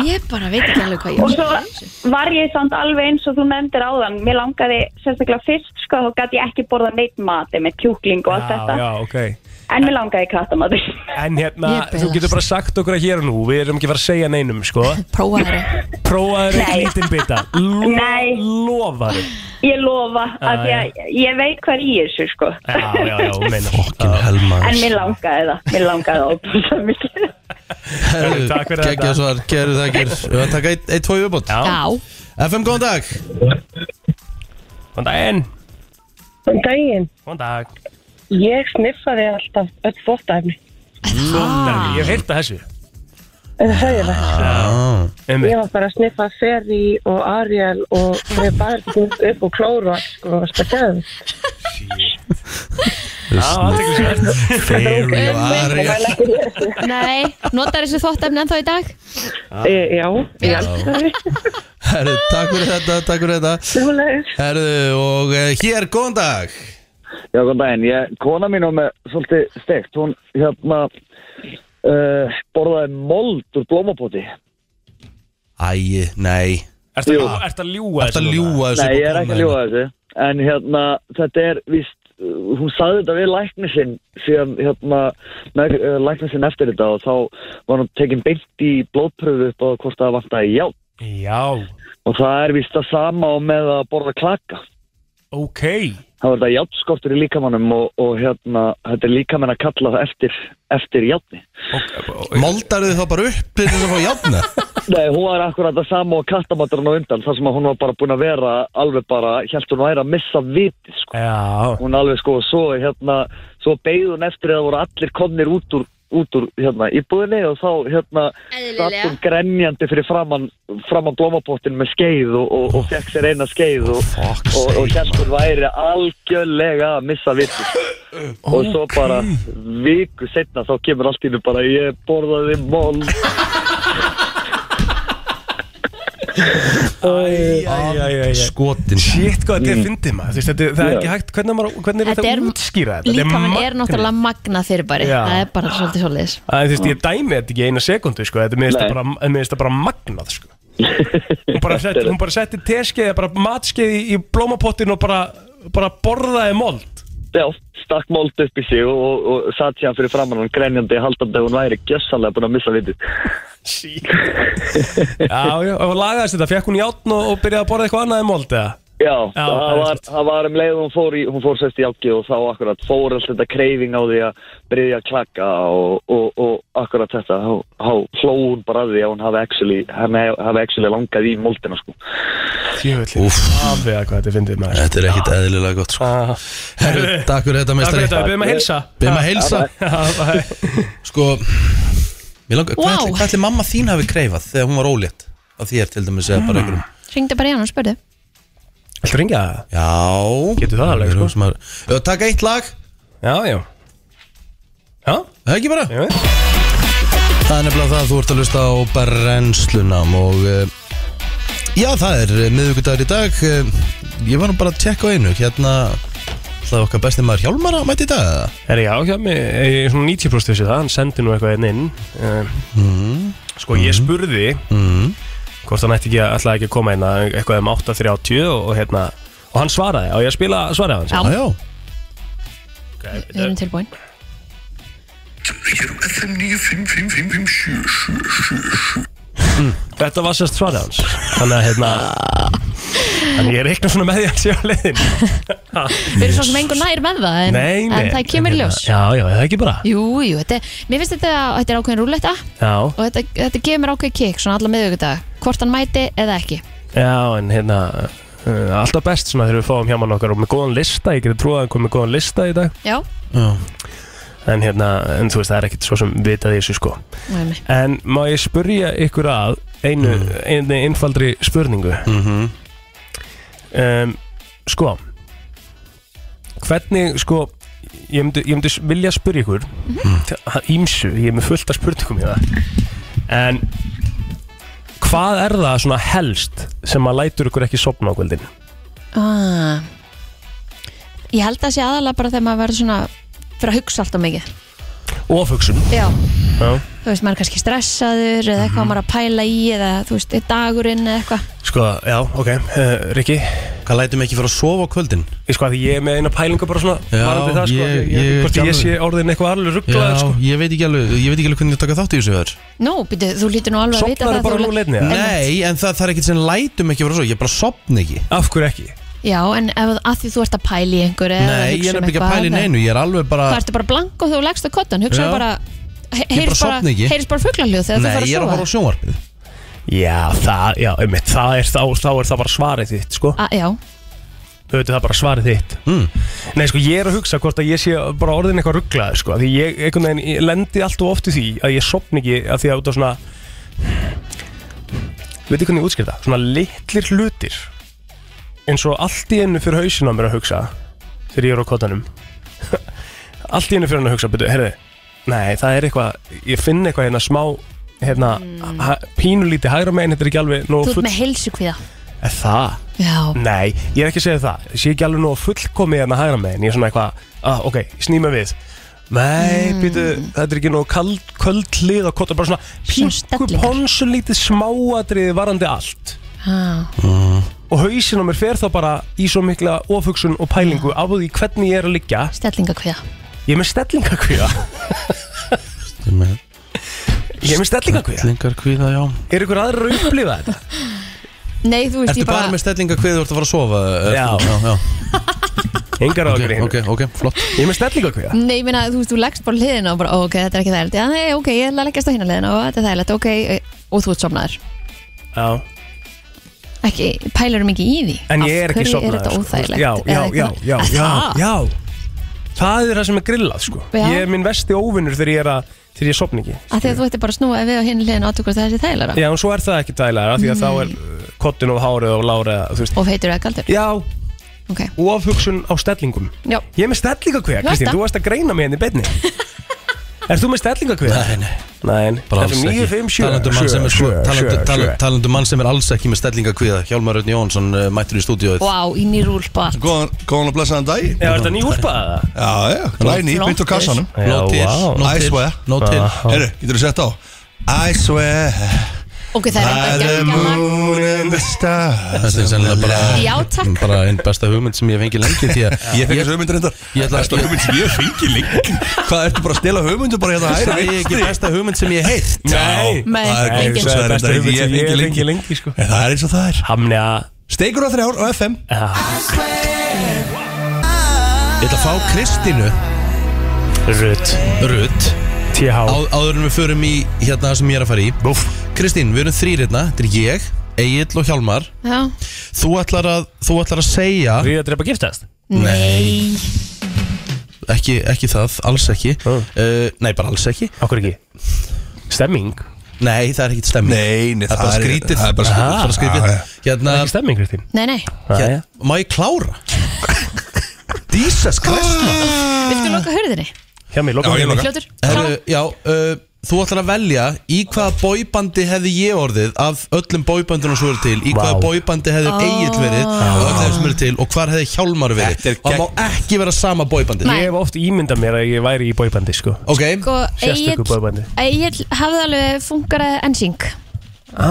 B: ég bara veit ekki alveg hvað ég var
F: Og
B: að
F: svo
B: segja.
F: var ég samt alveg eins og þú nefndir áðan Mér langaði sérstaklega fyrst sko þá gæti ég ekki borða neitt mati með kjúkling og allt þetta
C: já, ok
F: En mér langaði kattamatur
C: En hérna,
B: Ég bilast.
C: þú getur bara sagt okkur að hér og nú Við erum ekki að fara að segja neinum, sko
B: prófa þeirra
C: Prófaður eitt
F: Nei.
C: lítinn bita Lo
F: Nei.
C: Lofaður
F: Ég lofa að
C: já.
F: ég, ég veit hvað er í þessu sko
C: Já, já, já, hún meinar
A: Fucking hell
F: En
A: maður
F: mér langaði það, mér langaði það óbúst að mikið
A: Herru,
C: Takk fyrir þetta.
A: Gekkja svar Geru þakkir Við varum að taka eitt, eitt, tvo í uppbót
C: Já,
B: Já,
A: FM, góðan dag
C: góðan daginn
I: Um daginn,
C: Góðan dag
I: ég sniffaði alltaf öll þvóttæfni.
C: Svolítið, ég hef heyrt að þessu
I: En það er það.
A: ah.
I: Ég
C: Einmitt.
I: var bara að sniffa Ferri og Ariel og við bara upp og klóra sko, og spækjaði.
C: Já, aðteklisvert
A: Fairy og Ariel
B: nei, notar þessu þóttæfni ennþá í dag?
I: E, já,
B: Já.
A: Herru, takk fyrir þetta Takk fyrir þetta
I: svoleiðis.
A: Herru, og eh, hér, góðan dag
G: Já, góðan daginn, ég, kona mín var með svolítið steikt, hún hérna uh, borðaði mold úr blómapoti
A: Æ, nei
C: Ertu að- ertu að ljúga
A: Þetta ljúa þessu
G: Nei, ég er
A: upp á
G: ekki
A: konu
G: að ljúa þessu En hérna, þetta er víst uh, Hún saði þetta við lækni sinn Síðan hérna, með, uh, lækni sinn eftir þetta Og þá var hún tekin beint í blóðpröfu upp á hvort það vantaði já
C: Já,
G: Og það er víst það sama og með að borða klaka
C: Ok
J: þá er þetta játnskortur í líkamannum og, og hérna, þetta er líkamann að kalla það eftir, eftir játni
A: Moldar þið þá bara upp til þess að fá játna?
J: Nei, hún var akkurat það sama og kattamaturinn á undan þar sem að hún var bara búin að vera alveg bara, hjælt hún væri að missa viti sko.
C: Já
J: hún alveg sko, svo hérna svo beigð hún eftir að voru allir komnir út úr út úr hérna íbúðinni og þá hérna satt hún grenjandi fyrir framann framann blómapottin með skeið og, og, og fekk sér eina skeið og,
C: Fuck's
J: og, og
C: sake,
J: hérna hún væri algjörlega að missa viti og svo
C: Ok.
J: bara viku setna þá kemur allt í hennu bara ég borðaði mól
C: Æjæjæjæ
A: Skotin
C: Shit, hvað þetta er fyndið maður Þú veist, þetta, það er ekki hægt Hvernig, maður, hvernig er
B: Þetta
C: þetta
B: er-
C: að útskýra þetta? Þetta
B: Líkamann er
C: magnað.
B: náttúrulega magnað fyrirbæri
C: Já.
B: Það er bara svolítið svolítið
C: Æ, Þú veist, ég dæmi þetta ekki í eina sekundu sko. Þetta miðist
J: Nei.
C: bara, en mér finnst það bara magnað sko. hún, bara setti, hún bara setti teskeið bara matskeið í, í blómapottin og bara, bara borðaði mold
J: Já, stakk mold upp í sig og, og, og satt sér fyrir framann hún grenjandi haldandi að hún væri gjössanlega búin að missa viti
C: Sí. Já, já, og lagaðist þetta Fekk hún játn og, og byrjaði að borða eitthvað annað í mold eða?
J: Já,
C: Já, það
J: það,
C: er
J: var,
C: satt.
J: það var um leið og hún fór, í, hún fór sérst í ákki og þá akkurat fór alltaf þetta kreyfing á því að byrja að klaka og, og, og akkurat þetta, þá þá hló hún bara að því að hún hafi actually, hann hafi actually langað í moldina sko.
C: Tjöfulli
A: Úff.
C: Afið að hvað þetta er fyndið maður
A: Þetta er ekkit eðlilega gott sko.
C: Ah.
A: Herru, takk fyrir
C: Takk
A: þetta
C: fyrir
A: meistari
C: þetta, við byrjum að heilsa Ah,
A: Byrjum að heilsa
C: Já, bæ.
A: Sko mér langar,
B: Vá.
A: hvað, ætli, hvað ætli mamma þín hafi kreifað þegar hún var ólétt Að þér til dæmis eða bara einhverjum
B: Ringdi bara í hann og spurði
C: Viltu ringja?
A: Já
C: Getur það alveg, sko.
A: sko Ö, Takk eitt lag,
C: Já, já Já,
A: það ekki bara
C: já
A: Það er nefnilega það, þú ert að lusta á brennslunam og uh, já, það er miðvíkudagur í dag uh, ég var nú bara að tjekka á einu hérna, það er okkar besti maður Hjálmar að mæta í dag eða?
C: Er já, hjá mig, eh, ég er svona 90% þessi það, hann sendi nú eitthvað einn inn um,
A: Mhm.
C: Sko, ég spurði
A: mm.
C: hvort hann ætti ekki að, ætlaði ekki að koma inn eitthvað um 8.30 og, og hérna Og hann svaraði, og ég að spila svaraði hans
B: Já.
A: ah, Já,
B: Við erum tilbúin
C: Mm, Þetta var sérst svarið hans Þannig að hérna Þannig að ég reikna svona með því að sé á leiðin
B: Við erum svo sem engur nær með það En,
C: Nei, nei hérna,
B: en það kemur í ljós
C: Já, já, er það ekki bara
B: Jú, jú, þetta, er- mér finnst þetta, þetta er ákveðin rúletta og
C: Já,
B: þetta, þetta gefur mér ákveðin kikk svona alla miðvikudag, hvort hann mæti eða ekki
C: já, en hérna uh, Alltaf best svona þegar við fáum hjá mann okkar og með góðan lista, ég geti trúið að hann kom með góðan lista í dag
B: Já,
A: já.
C: En hérna, en þú veist, það er ekkit svo sem vitað í þessu sko
B: nei, nei.
C: En má ég spurja ykkur að einu, einu einfaldri spurningu
A: Mm. Mhm.
C: um, Sko Hvernig sko Ég myndi, ég myndi s- vilja spyrja ykkur
A: Mhm.
C: Það Ímsu, ég er með fullt af spurningum í það En Hvað er það svona helst sem að lætur ykkur ekki sopna á kvöldin?
B: Ah. Ég held að sé aðalega bara þegar maður verður svona fyrir að hugsa alltaf mikið
C: Ofugsun
B: Já,
C: Já.
B: þú veist, maður er kannski stressaður eða
A: Mhm.
B: eitthvað maður er að pæla í eða þú veist, er dagurinn eða eitthvað
C: Sko, já, ok, uh, Rikki
A: Hvað lætum ekki fyrir að sofa á kvöldin?
C: Ég sko að ég er með eina pælingu bara svona
A: Já,
C: varðandi það, sko,
A: ég-
C: ég,
A: ég-
C: ég, hvort ég,
A: gamlu-
C: sé orðin eitthvað alveg rugglaður sko.
A: ég veit ekki alveg, ég veit ekki alveg hvernig ég taka þátt í þessu verður
B: Nú, býtu, þú lítur nú alveg að vita
C: Sopnar
B: það
C: bara
B: þú-
C: nú leitni eða?
A: Nei, en það, það er ekkert sem lætum ekki fyrir að sofa, ég bara sopn ekki
C: Af hverju ekki?
B: Já, en ef að því þú ert að pæla í einhverju eða
A: Nei, ég
B: hugsa um
A: er nefnilega ekki að
B: eitthvað,
A: pæla í
B: þá-
A: neinu, ég er alveg bara
B: Það ertu bara blank og þú leggst á kottan Hugsaðu
A: Já.
B: bara Heyrist bara,
A: sofna ekki.
B: heyrist bara fuglaljóð þegar
A: Nei,
B: þú
A: ég er
B: fara að
A: að horfa á
B: sofa
A: sjónvarpið
C: Já, það, já, einmitt, það er, þá, þá er það bara svarið þitt, sko
B: A, Já,
C: Þau veitir það er bara svarið þitt
A: Mm.
C: Nei, sko, ég er að hugsa hvort að ég sé bara orðin eitthvað rugglaður, sko Því ég, einhvern veginn, ég lendi allt og oft í því að ég sopni ekki að því að út af svona Veit ekki hvernig ég útskýr það? Svona litlir hlutir eins og allt í einu fyrir hausinn á mér að hugsa þegar ég er á kottanum Allt í einu fyrir hann að hugsa, betur, heyrðu Nei, það er eitthvað, ég finn eitthvað hérna smá hérna, mm. pínulítið hægra megin, þetta er ekki alveg nógu
B: Hmm. þú ert
C: full-
B: með heilsu kvíða
C: Er það?
B: Já,
C: Nei, ég er ekki að segja það Ég sé ekki alveg nú fullkomið hérna hægra megin Ég er svona eitthvað, ah, ok, snýma við Nei, mm. þetta er ekki nú kald, köld hlið á kottu Bara svona
B: Svona
C: píku
B: stellingar.
C: ponsulítið smáatriði varandi allt
B: Ha,
C: Og hausinn á mér fer þá bara í svo mikla ofugsun og pælingu Af því hvernig ég er að liggja
B: stellinga kvíða
C: Ég er með stellingakvíða Ég er með stellingakvíða
A: Slingar kvíða, já
C: Er ykkur aðra að upplifa þetta?
B: Nei, þú veist,
A: Ertu
B: ég
A: bara
B: bara
A: með stellinga kveður þú ert að fara að sofa?
C: Já.
A: já, já.
C: Engar ágjur í hinn
A: Ok, ok, flott
C: Ég er með snellinga kveða
B: Nei, ég meina, þú veist, þú leggst bara hliðina og bara, ó, ok, þetta er ekki þægilegt. Já, nei, ok, ég ætla að leggjast á hina hliðina og þetta er þægilegt, ok, e, og þú ert somnaður.
C: Já
B: Ekki, pælarum ekki í því.
C: En ég er ekki sofnaður
B: Af hverju er þetta
C: sko.
B: óþægilegt?
C: Já, já,
B: Eða
C: já,
B: eitthvað-
C: já,
B: Er
C: já,
B: það?
C: já Það er það sem er grillað sko
B: Já.
C: Ég er minn vesti óvinnur þegar ég er að Þegar ég sopna ekki
B: Af því að þú ætti bara að snúa við á hinn hliðin og átta hvort það er þægilega
C: Já, en svo er það ekki dælæra Því að þá er uh, kottun og hárið og lárið þú veist.
B: og feitur eða kaldur
C: Já,
B: Ok.
C: ofhugsun á stellingum
B: Já.
C: Ég er með stellingakveða,
B: Þú veist
C: Kristín,
B: það.
C: þú varst að greina mig henni beinni Er þú með stellingakveða?
A: Nei, nei
C: Nei,
A: Bara alls ekki
C: 957
A: Talandi um mann sem er sko talandi- tal- Talandi um mann sem er alls ekki með stellingakviða Hjálmar Örn Jónsson uh, mættur í stúdíóið
B: Vá, í nýrúlpa
K: Góðan, Sko, góðan og blessaðan dag
C: Já, er þetta ný úrpaða?
K: Já, já, glæni,
B: Flottur.
K: beint úr kassanum
C: Já,
A: Nó til,
C: vá.
A: nó
K: I
A: til,
K: swear.
A: nó til
K: Herru, getur þú sett á I swear
B: Ok, það er
K: By
B: eitthvað
K: the
B: geggjala
K: moon and the stars
A: Þetta er sennilega bara,
B: Já, takk.
A: bara einn besta hugmynd sem ég hef fengið lengi Því að
K: Ég fekk þessu hugmyndir reyndar
A: Ég ætla að-
K: Besta hugmynd sem ég hef fengið lengi Hvað, ertu bara að stela hugmyndu bara hérna
A: Það
K: hæra
A: er ekki besta hugmynd sem ég heilt
C: Nei,
B: Nei,
K: Það er
B: engin.
C: það
K: góð
C: er
K: sæðar
C: besta
K: reyndar
C: hugmynd
K: Ég
C: sem ég
K: hef fengið
C: hef
K: lengi
C: fengið lengi sko
K: En það er eins og það er
C: Hamna
K: Steikur á þrjár á FM
A: Ég ætla að fá Kristínu
C: Rut
A: Rutt
C: TH
A: á, Áður en við förum í hérna það sem ég er að fara í Búf. Kristín, við erum þrýr hérna Þetta er ég, Egil og Hjálmar
B: Já.
A: Þú ætlar að, þú ætlar að segja
C: Ríða að drepa giftast
B: Nei
A: ekki, ekki það, alls ekki
C: Mm.
A: uh, Nei, bara alls ekki
C: Okkur ekki Stemming
A: Nei, það er ekkit stemming
K: Nei, nei,
A: Það er bara skrítið
K: Það er bara skrítið,
A: Það er bara skrítið.
K: Já, já.
A: Hérna,
C: Ekki stemming, Kristín Ah,
B: Nei, nei,
A: hérna, má ég klára? Jesus Christ maður.
B: viltu loka hörðinni?
C: Hjá mig, loka
K: Já, ég
C: mig.
K: loka.
B: Fljótur,
A: Herru, já, uh, þú ætlar að velja í hvaða bóibandi hefði ég orðið af öllum bóibandunum sem eru til í hvaða
C: Vá.
A: bóibandi hefði oh. Egil verið af öllum þeim sem eru til og hvar hefði Hjálmar
K: Ah. Þetta er
A: verið það
K: gegn-
A: má ekki vera sama bóibandi
B: Nei.
C: Ég hef oft ímyndað mér að ég væri í bóibandi sko
A: Ok,
B: sko,
C: Sérstöku boybandi.
B: Egil hafði alveg funkarað ensing
C: Á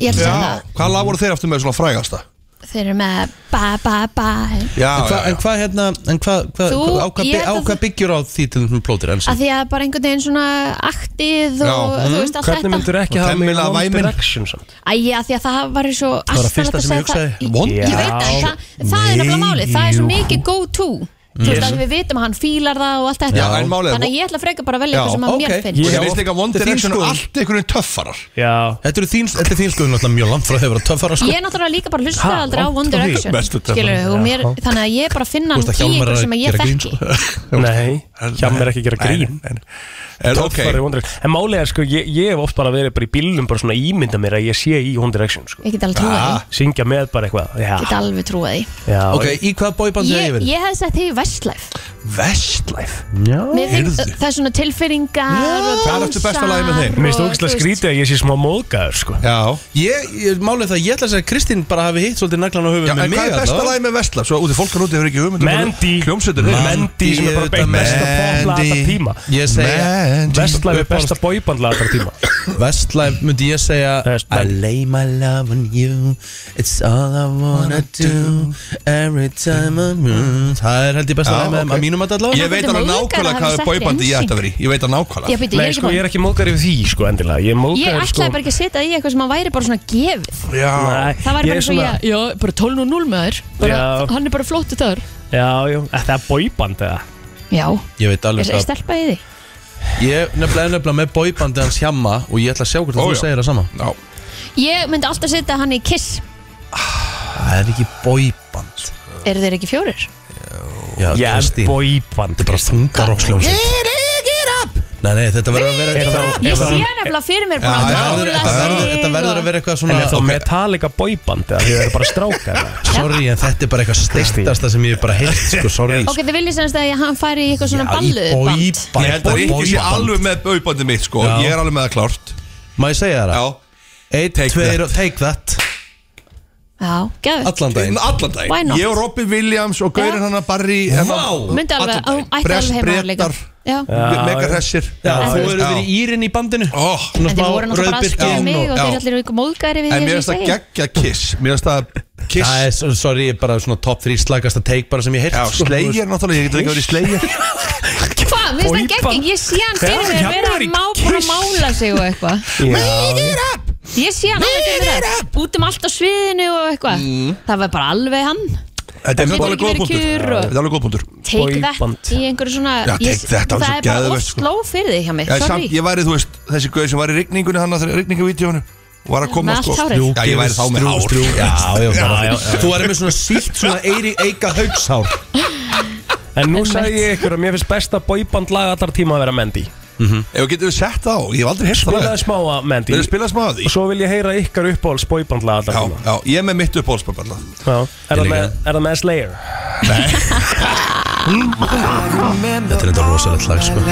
B: Ég ætla að segja það
K: Hvað lag voru þeir aftur með svona frægasta?
B: Þeir eru með ba ba ba
K: Já,
A: en hvað
K: já, já.
A: hva, hérna en hva, hva,
B: Þú,
A: hva, á hvað
B: ég
A: by-
B: held
A: á
B: að
A: hva
B: þú-
A: byggjur á því til þessum plótir enn
B: Að
A: sem
B: því að bara einhvern veginn svona aktið og
K: Já,
B: þú veist allt
C: Hvernig
B: þetta
C: myndur ekki
K: Og
C: hafa mig í
K: temmilega
C: One
K: væmin.
C: Direction samt?
B: Æja, að því að það var svo
A: var
B: alltaf
A: það fyrsta
B: að
A: sem ég
B: segja það
A: hugsaði.
B: Í-
A: Vond.
B: Ég veit það, en það, það er nefnilega málið Það er svo mikið go to Þú veist að við vitum að hann fílar það og allt þetta
K: Já, en málið er-
B: Þannig að ég ætla freka bara að velja
K: Já,
B: eitthvað sem að
A: ok.
B: mér finnst
K: Ég
C: Ég-
K: finnst líka One
C: Þetta er þín
K: Direction
C: skoðun.
K: allt einhvern veginn töffarar
C: Já
A: Þetta er þín, þetta er þín skoðun alltaf mjög langt frá því að vera töffara sko
B: Ég er náttúrulega líka bara hlusta
C: Ha,
B: aldrei á
C: vont
B: One
C: og því.
B: Direction
K: Bestu töffarinn.
B: skilurðu, og mér,
C: Já.
B: Þannig að ég bara finna
A: Þú
B: hann
A: veist
B: í
A: að Hjálmar
B: einhver
A: er að
B: sem að ég
A: gera grín,
B: þekki
A: sko.
C: Nei Hjá mér ekki að gera grín
K: Nei, nei, nei. Er, ok,
C: Töffari One Direction En málega sko ég, ég hef oft bara verið bara í bílnum Bara svona ímyndað mér að ég sé í One Direction sko
B: Ég get alveg trúið því
C: Syngja með bara eitthvað Já
B: Ég Get alveg trúið því
C: Já
A: Ok, í hvaða bóibandi hefði ég
B: Ég,
A: verið?
B: ég hef sett því Vestlæf
K: Vestlife
B: Það er svona tilfinningar og
K: Hvað er eftir besta lagið með þeim?
B: dansar
C: Mér finnst
B: og,
C: ógislega
B: þú veist,
C: skrítið að ég sé smá móðgæður sko
K: Já,
A: Ég, ég málið það, ég ætla að segja að Kristín bara hafi hitt svolítið naglan á höfuð
K: Já en
A: með mig
K: hvað er besta lagi með Vestlife? Svo úti, fólk hann úti hefur ekki hugmynd um
C: Mandy
K: hvað Hljómsveitir eru.
C: Mandy sem er bara
A: Mandy,
C: beint besta popla alltaf
K: Mandy.
C: tíma
A: Ég segja,
K: Mandy
C: Vestlæfi besta bóibandla alltaf tíma
A: Vestlife myndi ég segja
C: Það er
A: I
C: spennt.
A: lay my love on you It's all I wanna do Every time I move Það er held ég besta
K: Já,
A: lag með
K: ok.
A: okay. að mínum að allavega
K: Ég veit alveg
B: Móðgar að
K: nákvæmlega
B: hafa
K: hvað er
B: sett
K: bóibandi ég
B: NSYNC.
K: ætti að vera í Ég veit það
B: Já,
K: nákvæmlega
B: býttu,
C: Nei
B: ég er ekki
C: sko ég
B: búin
C: er ekki móðgæður yfir því sko endilega Ég er
B: Ég
C: móðgæður sko
B: ætlaði bara ekki að setja í eitthvað sem að væri bara svona gefið
K: Já,
C: Nei,
B: Það væri bara
C: ég er
B: eins og
C: svona-
B: ég, já, bara 12 og 0 með þér bara,
C: Já.
B: Hann er bara flóttu þar
C: Já, já, þetta er bóiband eða
B: Já,
A: Ég veit
B: er,
A: alveg
B: er
A: það
B: stelpa í því?
A: Ég nefnilega er nefnilega með bóibandi hans hjamma Og ég ætla að sjá
K: Ó,
A: hvort að
K: já.
A: þú segir það sama
K: já
B: Ég myndi alltaf setja hann í kiss
A: Það er ekki bóiband
B: Eru þeir ekki fjórir?
A: Já,
C: Ég er
A: Kristín
C: bóiband
A: Þetta er bara þungarokksljómsveit Nei, nei, þetta verður að vera
C: Er það-
B: Ég
C: er
B: sé
C: það-
B: nefnilega fyrir mér búin
K: Já,
B: að
K: já,
A: Þetta verður-
B: drála
A: þetta verður- Þetta verður að
B: sig
A: vera eitthvað
C: En er þá
A: svona
C: Metallica bóiband eða því það eru bara strákar eða?
A: Sorry, en þetta er bara eitthvað steiktasta sem ég hef bara heilt Sko, sorry
B: og- Ok, þið viljið semst að hann færi í eitthvað
A: Já,
B: svona
A: í
B: balluð band
A: bóiband
K: Ég held að Ríkki sé
A: Bóiband.
K: alveg með bóibandi mitt sko
A: Já.
K: Ég er alveg með það klárt
A: Má ég segja þér það?
K: Já
A: Eitt,
K: Take
A: tveir
K: that.
A: og take that
B: Já, gefið
A: Allan daginn
K: Allan
B: Why
K: dag
B: not?
K: Ég og Robin Williams og Gaurin
B: Já.
K: hann að Barry hérna, Vá
B: Myndi alveg, á- ætti alveg heima þar líka
K: Brest,
B: Já,
K: brettar Mega hressir
A: Já, þú
K: já.
A: eru verið írinn í bandinu
K: Ó,
A: Svona
B: en
A: smá
B: þeir voru náttúrulega bara að
A: rauðbirki
B: skilja
K: birkinn
B: mig og
K: og-
B: þeir
K: já.
B: allir eru eitthvað móðgæri við
K: En
B: því sem
K: mér finnst
B: ég
K: það
B: segi
K: geggja kiss Mér finnst það kiss
A: Það er, svo- sorry, ég er bara svona top 3 slagasta take bara sem ég heilt
K: Já, Slayer náttúrulega, ég getur ekki verið í Slayer
B: Hvað, mér finnst það
C: Boyband.
B: gegn, ég sé hann fyrir
C: Já,
B: mér
C: hérna
B: vera
C: er í
B: má búin að
C: Kiss.
B: mála sig og eitthvað
C: Já,
B: Ég sé hann alveg fyrir það Út um allt á sviðinu og eitthvað Það var bara alveg hann
K: Mm. Þetta er
B: Getur
K: alveg
B: ekki
K: góð
B: verið
K: punktur
B: kjur
K: Þetta
B: og-
K: er alveg góð punktur
B: Take that í einhverju svona ég-
K: Já, take that,
B: Það
K: það var
B: er
K: svo
B: bara
K: geðveikt,
B: oft
K: sko.
B: sló fyrir þig hjá mér
K: Ég, samt,
B: Eh, Sorry
K: ég væri, þú veist, þessi gauð sem var í rigningunni hann að þegar rigningavídeónu var að koma
B: Með
K: sko
B: allt hárið.
K: Já, ég væri þá með
A: Strjú,
K: hár
A: strjú. Já, já, bara- Þú
K: væri með svona sítt
A: Svona eiri eika haugshár
C: En nú sagði ég ykkur að mér finnst besta boyband lag allar tíma að vera Mandy
K: Mhm. Ef við getum sett á, ég hef aldrei heyrst það
C: Spilaði smá að Mandy
K: Við erum spilað smá að því
C: Og svo vil ég heyra ykkar uppáhalds boyband lag allar
K: Já,
C: tíma
K: já, ég er með mitt upp álspapalla
C: Já, er það
K: líka.
C: með, er það með Slayer?
K: Hm? Þetta er þetta rosalegt lag, sko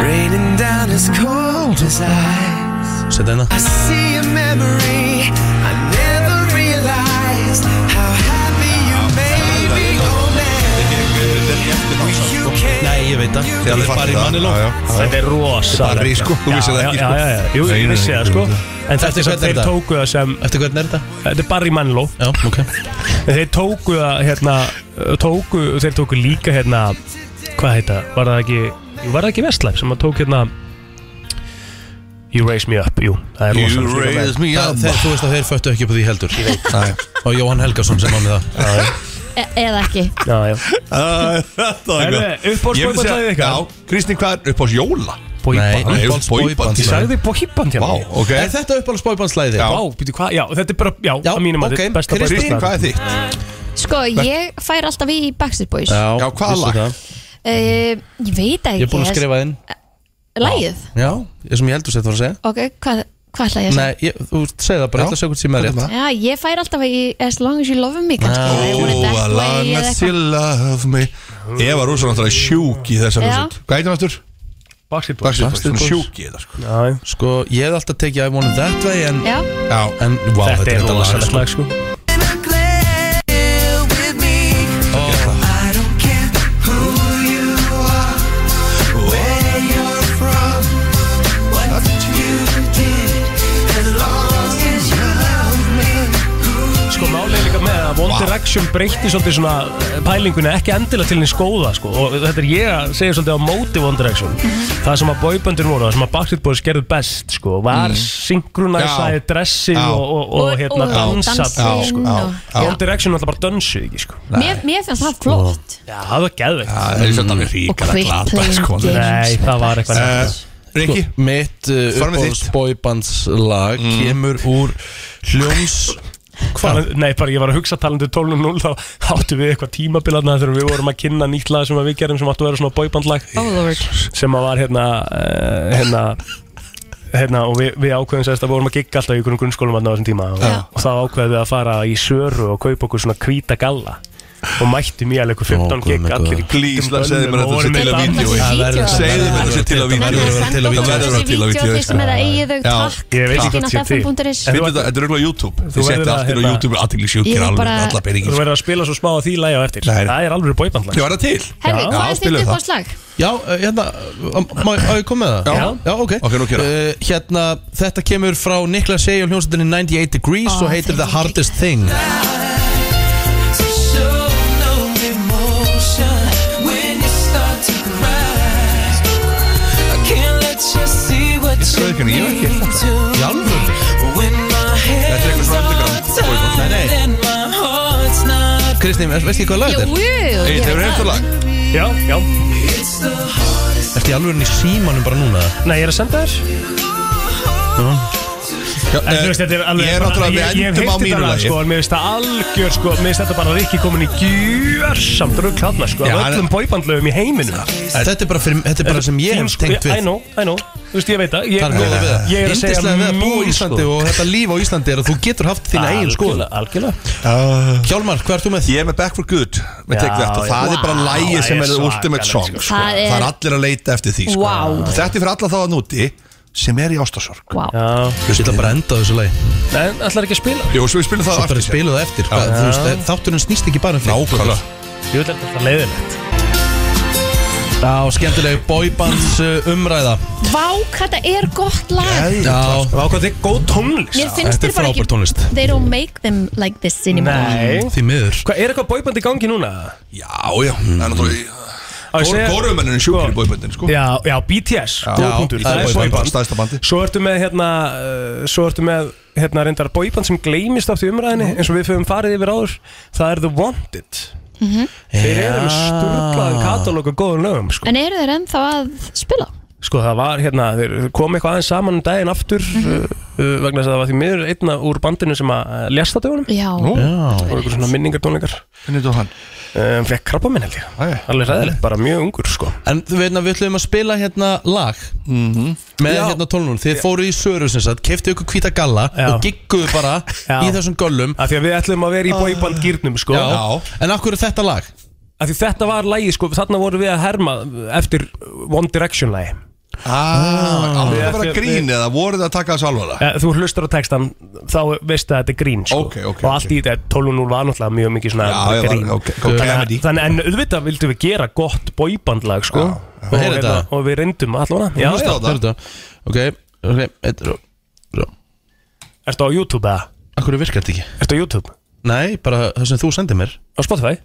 D: Raining down as cold as ice.
A: Sett hérna
D: I see a memory I never realized how happy you made me. Oh man, you
A: Nei, ég veit það Það er bara í manni lók
C: Þetta er rosa
K: Þetta er bara í, sko, þú vissir það ekki,
C: Já,
K: sko.
C: já, já, já, jú,
K: Nei,
C: ég
K: nei,
C: vissi
K: nei,
C: það
K: nei,
C: sko
K: nei.
C: En þetta
A: Eftir
C: er sem
A: hvern er
C: þeir
A: þetta?
C: tóku það sem
A: Eftir hvernig er þetta?
C: Þetta er Barry Manilow
A: Já, ok
C: En Þeir tóku það, hérna tóku, Þeir tóku líka, hérna Hvað heita, var það ekki Jú, var það ekki Vestlæf sem að tók, hérna You raise me up, jú Það er rosa
A: Það- þeir- Þú veist að þeir föttu ekki upp á því heldur Nei. Og Jóhann Helgason sem á með það
B: E eða ekki
C: Já, já
K: Ah, Þetta
C: Herðu, uppáhalds
K: Ég myndi
C: boyband
K: segja-
C: lagið ykkar?
K: Já, Kristín, hvað er uppáhalds jóla?
C: Boyband.
K: Nei,
A: Uppáhalds
K: uppáhalds boyband.
A: boyband.
C: Ég sagði boyband hérna
K: Vá, ok
A: Er þetta uppáhalds bóibandslæði?
K: Já.
C: Vá, býtu hvað, já, þetta er bara, já,
A: Já,
C: að mínum að
A: ok.
C: þetta er besta
A: Kristín,
C: boyband
K: Hvað er þitt?
B: Sko, ég fær alltaf í Backstreet Boys uh,
K: Já, hvaða
A: vissi
K: lag?
A: það.
B: Ég veit ekki
A: Ég er búin að skrifa inn
B: Lægið?
A: Já, ég sem ég heldur sér það var að segja
B: Ok, hvað hvað ætla ég að segja?
A: Nei, ég, þú segir það bara, ég ætla að segja hvort sem er rétt
B: Já, ég fær alltaf í As long as you love me kannski I want it that way eða eitthvað.
K: love me Ég var rosa náttúrulega sjúk í þessari
B: Já.
K: hljómsveit. Hvað heitir hann aftur?
C: Backstreet Boys
K: Backstreet Boys,
A: Backstreet
K: svona
A: Boys.
K: sjúk í þetta sko
C: Já, já.
A: Sko, ég hef alltaf tekið I want it that way En,
B: Já,
K: Já,
A: en wow,
C: Þetta er rosalegt
A: sko.
C: lag, sko
D: glad with me. Oh, I don't care who you are, where you're from, what you did, as long as you love me.
C: Sko málið er líka með að One Direction um breytti svolítið svona eh, pælinguna ekki endilega til hins góða sko og þetta er ég að segja svolítið á móti One Direction
K: Mhm.
C: það sem að boyböndir voru það sem að Backstreet Boys gerðu best sko var mm. synkronæsaði
K: Mhm. Já.
C: dressi
K: Já.
C: og, og, og, hérna
B: og
C: dansat
B: dansinn
C: sko.
K: já,
B: og-
K: já.
B: Já.
C: One Direction alltaf bara dönsuð ekki sko
B: Mér mér fannst það flott
C: Já, það var geðveikt
K: Það er svolítið alveg
B: Og
K: ríkara
B: quit
K: glata
B: playing
K: sko
C: Nei,
B: games
C: það var eitthvað
K: Eh,
C: uh,
K: Riki,
A: Sko, Mitt uh,
K: Fara með
A: uppáhalds
K: þitt.
A: bóibandslag Kemur úr hljóms
C: Hvað? Nei, bara ég var að hugsa talandi 12.0 þá áttu við eitthvað tímabilarna þegar við vorum að kynna nýtt lag sem að við gerum sem áttu að vera svona boybandlag
B: Oh lord
C: sem að var hérna uh, hérna Hérna, og við, við ákveðum sérst að vorum að gigga alltaf í einhvern grunnskólum að á þessum tíma og,
B: Já.
C: og þá ákveðum við að fara í söru og kaupa okkur svona hvíta galla og mættum í alveg eitthvað 15
A: Ó, guð
C: gigg
A: minn
C: allir í
A: góður.
K: Please,
C: hvítum
K: segðu mér
C: bönnum
K: að
C: og
K: þetta
C: vorum með
K: sé til að
C: dans.
K: vídeo
B: Það verður að
K: Segðu mér að þetta sé til að vídeo
A: Þetta
B: Menn
A: verður
B: að
A: að vera til
B: senda
A: að vídeo.
B: okkur þessi vídeo
K: Það verður að vera til að vídeo,
B: þeir sem er að eigi þau
K: Já.
B: takk
C: Ég veit ekki
B: Kristín
C: hvort sé
B: alltaf
C: til.
B: punkturins
C: En
K: Þetta þetta er auðvitað á YouTube Þið
C: verður
K: setja
C: að
K: allt inn á
C: hérna-
K: YouTube Allir
B: Ég
K: sjúkir
B: er
K: alveg
B: bara-
K: Alla
C: Þú
K: peningi
C: verður að spila svo smá á því lægi á eftir
K: Nei.
C: Það er alveg bóibandlag
K: Ég var það til
B: Herri,
C: Já.
B: hvað
K: Já,
B: er þitt
K: spilum það.
B: uppáðslag?
A: Já, uh, hérna, uh, má má ég koma með það?
K: Já.
A: Já, ok,
K: Ok, nú kemur
A: uh, Hérna, þetta kemur frá Niklas Sey og hljómsveitinni 98 Degrees
B: Ó,
A: og heitir
B: thank
A: The
B: you,
A: Hardest Thing
D: To show no emotion when you start to cry. I can't let you see what you
K: Þetta er
D: need to.
A: Í alvöru?
D: When my
K: Þetta er eitthvað
D: hands
K: svona
D: are
K: underground boyband.
D: tied and my heart's not
A: Kristín, veist ekki hvað lag
B: Jú,
A: þetta er?
K: Eitt, hefur hefði lag
C: Já, já
D: It's the hardest
A: Ertu í alvöru í símanum bara núna?
C: Nei, ég er að senda þér
K: Já,
C: En
K: eh,
C: þú veist, þetta er alveg
K: Ég er
C: bara-
K: náttúrulega
C: ég- ég
K: Við
C: hef
K: endum á
C: heyrt
K: mínu
C: þetta lag,
K: lagi
C: sko, En mér finnst það algjör sko Mér finnst þetta bara Rikki komin í gjörsamt rugg hafna sko
K: Já,
C: Af
K: hann-
C: öllum bóibandlöfum í heiminum
A: Þetta er bara, fyrir, þetta er bara sem ég
C: Þín
A: hef
C: sko-
A: tengt
C: I
A: við
C: know, I know Þú veist, ég veit það Ég,
A: Það er góða við það
C: ég er að segja
A: Índislega við að búa
C: mín,
A: í Íslandi
C: sko.
A: og sko- þetta líf á Íslandi er að þú getur haft þína eigin skoðun
C: Algjörlega, algjörlega
A: Ah. Hjálmar, hvað ert þú með?
K: Ég er með Back for Good með
C: Já,
K: Take That og
C: já.
K: það er bara
C: Vá,
K: lægið
C: það
K: sem
C: er
K: er the ultimate
C: svakalegt,
K: song
C: sko.
K: sko.
B: Það er-
K: það er allir að leita eftir því sko.
B: Vá.
K: og þetta er fyrir alla þá að núti sem er í ástasorg
B: Vá
C: Já
A: Ég ætla bara að enda á þessu lagi
C: En ætlar ekki að spila
K: Jó, svo við spilum það á
A: Svo bara
K: eftir sér.
A: spilu það eftir Hvað, þú veist, eh, Þátturinn snýst ekki bara um þig.
K: Nákvæmlega
C: Ég vil þetta er leiðilegt
A: Já, skemmtileg boybands uh, umræða
B: Vá, hvað þetta er gott lag
A: Já,
C: Það ákvæmt þig góð tónlist
B: Mér finnst
A: þetta
B: þér
A: er
B: bara
A: frábær
B: ekki
A: tónlist
B: They don't make them like this anymore
C: Nei
A: Því miður
C: Hvað, er eitthvað bóiband í gangi núna?
K: Já, já, það er náttúrulega
C: Á, ég
K: Kór-
C: segja-
K: Kórumennin er sjúkir í bóiböndin sko
C: Já, já, BTS góður
K: já,
C: punktur,
K: í
C: það er
K: boyband,
C: boyband.
K: stærsta bandi.
C: Svo ertu með hérna uh, Svo ertu með hérna reyndar boyband sem gleymist oft í umræðinni eins og við höfum farið yfir áður Það er The Wanted
B: Mhm.
C: Þeir eru með sturglaðan katalóg og góðum lögum sko.
B: En eru þeir ennþá að spila?
C: sko það var hérna Þeir kom eitthvað aðeins saman um daginn aftur uh, uh, vegna þess að það var því miður einna úr bandinu sem að uh, lést á dögunum
B: Já.
C: Nú,
B: Já.
C: og eitthvað svona minningartónleikar
K: Hvernig þú hann?
C: Um, Fekk krabba minn held ég Alveg ræðilegt, bara mjög ungur sko
A: En þú veit að við ætlum að spila hérna lag Með
C: Mhm. Já.
A: hérna tólnun Þið fóru í Söru sem sagt Keftu ykkur hvíta galla
C: Já.
A: Og gigguðu bara í þessum göllum
C: Af því að við ætlum að vera í boyband gýrnum sko
A: Já. En af hverju er þetta lag?
C: Af því þetta var lagi sko, þarna vorum við að herma eftir One Direction lagi
K: Ah, alveg að vera grín
C: við-
K: eða voruð þið að taka þessu alvarlega?
C: Eh, Þú hlustar á textan, þá veistu að þetta er grín sko. okay, okay, Og allt í þetta, 12.0 var náttúrulega mjög mikið svona
K: Já, ég var-
C: grín
K: ok, ok,
C: Þannig að-
K: comedy.
C: Þannig en auðvitað vildum við gera gott boybandlag sko. og,
A: Heyrðu
C: hérna,
A: þetta?
C: og við reyndum allan
A: Þú hlusta á það. Heyrðu Ok, ok, eitt ró
C: Ertu á YouTube eða?
A: Af hverju virkar þetta ekki?
C: Ertu á YouTube?
A: Nei, bara Eh, það sem þú sendir mér
C: Á Spotify?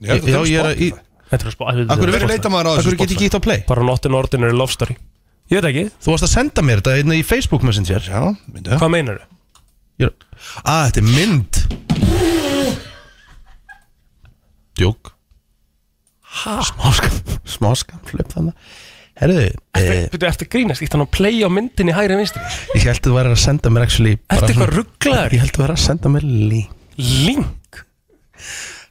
A: Já, já ég er að í...
C: Þetta er á Spotify
A: Af hverju leita maður á þessu
C: Akkur get
A: Spotify?
C: ekki ítt
A: á play?
C: Bara Notin Ordinary Love Story Ég veit ekki
A: Þú varst að senda mér þetta hérna í Facebook Messenger Já, myndu
C: Hvað meinar þau?
A: Ég... Ah, þetta er mynd Djók Smáskam Smáskam, flip þannig Herðu, eh,
C: Byrju, eftir grínast, ítt hann að play á myndinni hægri vinstri
A: ég held að þú væri að senda mér actually bara
C: Ertu
A: svona-
C: eitthvað rugglaður?
A: Ég held að þú væri að senda mér link
C: Link?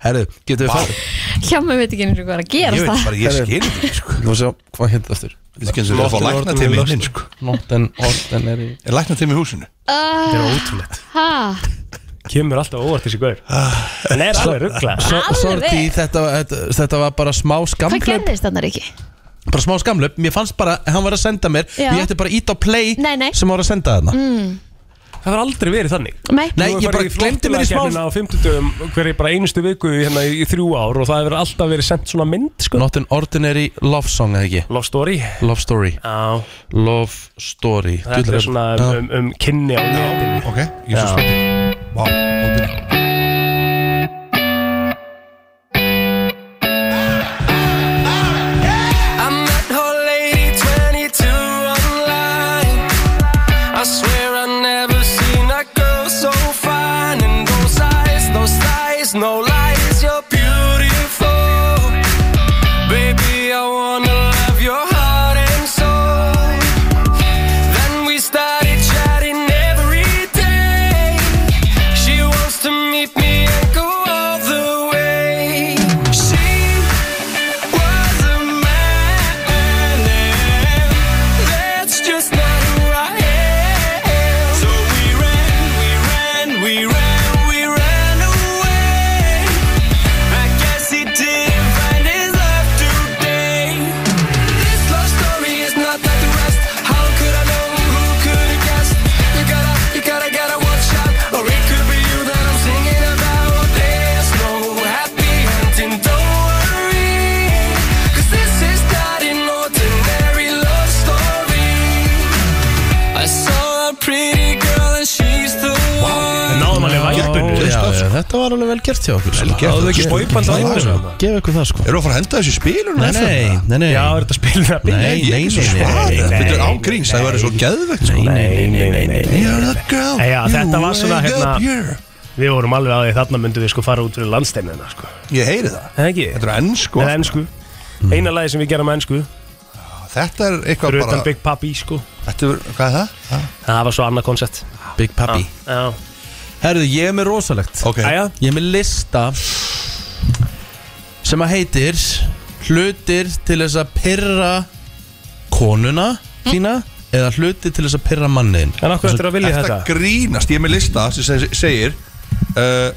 A: Herðu, getur við farið?
B: Hjá mig veit ekki einu sinni hvað er að gera það
A: Herðu, Þú veist að hvað hérna þetta aftur
K: Þetta er ekki eins og sko. við að fá lækna til mig hinn sko
A: Nóttin orðin er í
K: Er lækna til mig í húsinu?
B: Þetta
C: er ótrúlegt
B: Ah. Ha,
C: Kemur alltaf óvart þessi gaur
K: Ah.
C: Hann er alveg rugglaður
A: Svo-
B: Alveg?
A: Sorti, þetta, þetta, þetta var bara smá
B: hvað
A: skamflöp
B: gerðist þannig ekki?
A: Bara smá skamlöp, mér fannst bara að Hann var að senda mér,
B: Já.
A: ég ætti bara að íta á play
B: Nei, nei.
A: Sem hann var að senda þarna
B: Mm.
C: Það var aldrei verið þannig
B: Nei.
A: Nei, ég bara gleymdi mér í
C: Á
A: smá-
C: 50 hverju bara einustu viku hérna í þrjú ár og það hefur alltaf verið sendt svona mynd sko
A: Not an ordinary love song, eða ekki?
C: Love story
A: Love story
C: Já
A: Love story
C: Þetta
A: Dullar-
C: er svona um,
A: Já.
C: um, um kynni á netinu
K: Ok, ég er svo spennt Vá, hópin
D: I met her lady 22 online. I swear I never seen a girl so fine. And those eyes, those eyes, no lies, you're beautiful. Baby, I wanna love your heart and soul. Then we started chatting every day. She wants to meet me and go all the way. She was a man. That's just not who I am. So we ran, we ran, we ran, we ran away. I guess he didn't find his love today. This love story is not like the rest. How could I know? Who could have guessed? You gotta, you gotta, gotta watch out, or it could be you that I'm singing about. There's no happy ending. Don't worry, 'cause this is not an ordinary love story. I saw a pretty girl and she's the one.
C: Náðum alveg
A: Já,
C: væpinu
A: já, já, Þetta var alveg vel gert hjá okkur sko.
K: gert.
C: Náðum ekki
K: Getur ekki
C: spóiband á
K: það,
C: netinu
K: sko.
A: Gef ykkur það sko
K: Eru að fara að henda þessu spilur?
A: Nei, nei, nei, nei
C: Já, er þetta spilin að byrja?
A: Nei, nei, nei, nei, nei,
K: Þetta er ángríns, það væri svo geðvegt sko
C: Nei, nei, nei, nei, nei.
K: You're the girl,
C: Nei, já, þetta var svona,
K: wake
C: hérna-
K: up here.
C: Við vorum alveg að því þarna myndum við sko fara út fyrir landsteinina sko.
K: Ég heyri það
C: Eða ekki?
K: Þetta er ennsku
C: Með ennsku Eina lagi sem við gerum með ennsku
K: Þetta er eitthvað
C: Fyrir
K: bara
C: utan Big Papi sko
K: Þetta er, hvað er það? Ha?
C: Það var svo annað koncept Ah,
A: Big Papi
C: Já
A: Herðu, ég er með rosalegt
K: Ok,
C: Æja
A: Ég er með lista Sem að heitir Hlutir til þess að pyrra Konuna þína Eða hlutir til þess að pyrra manniðin
C: En okkur eftir að vilja
K: þetta
C: þetta
K: grínast Ég er með lista sem seg- segir uh,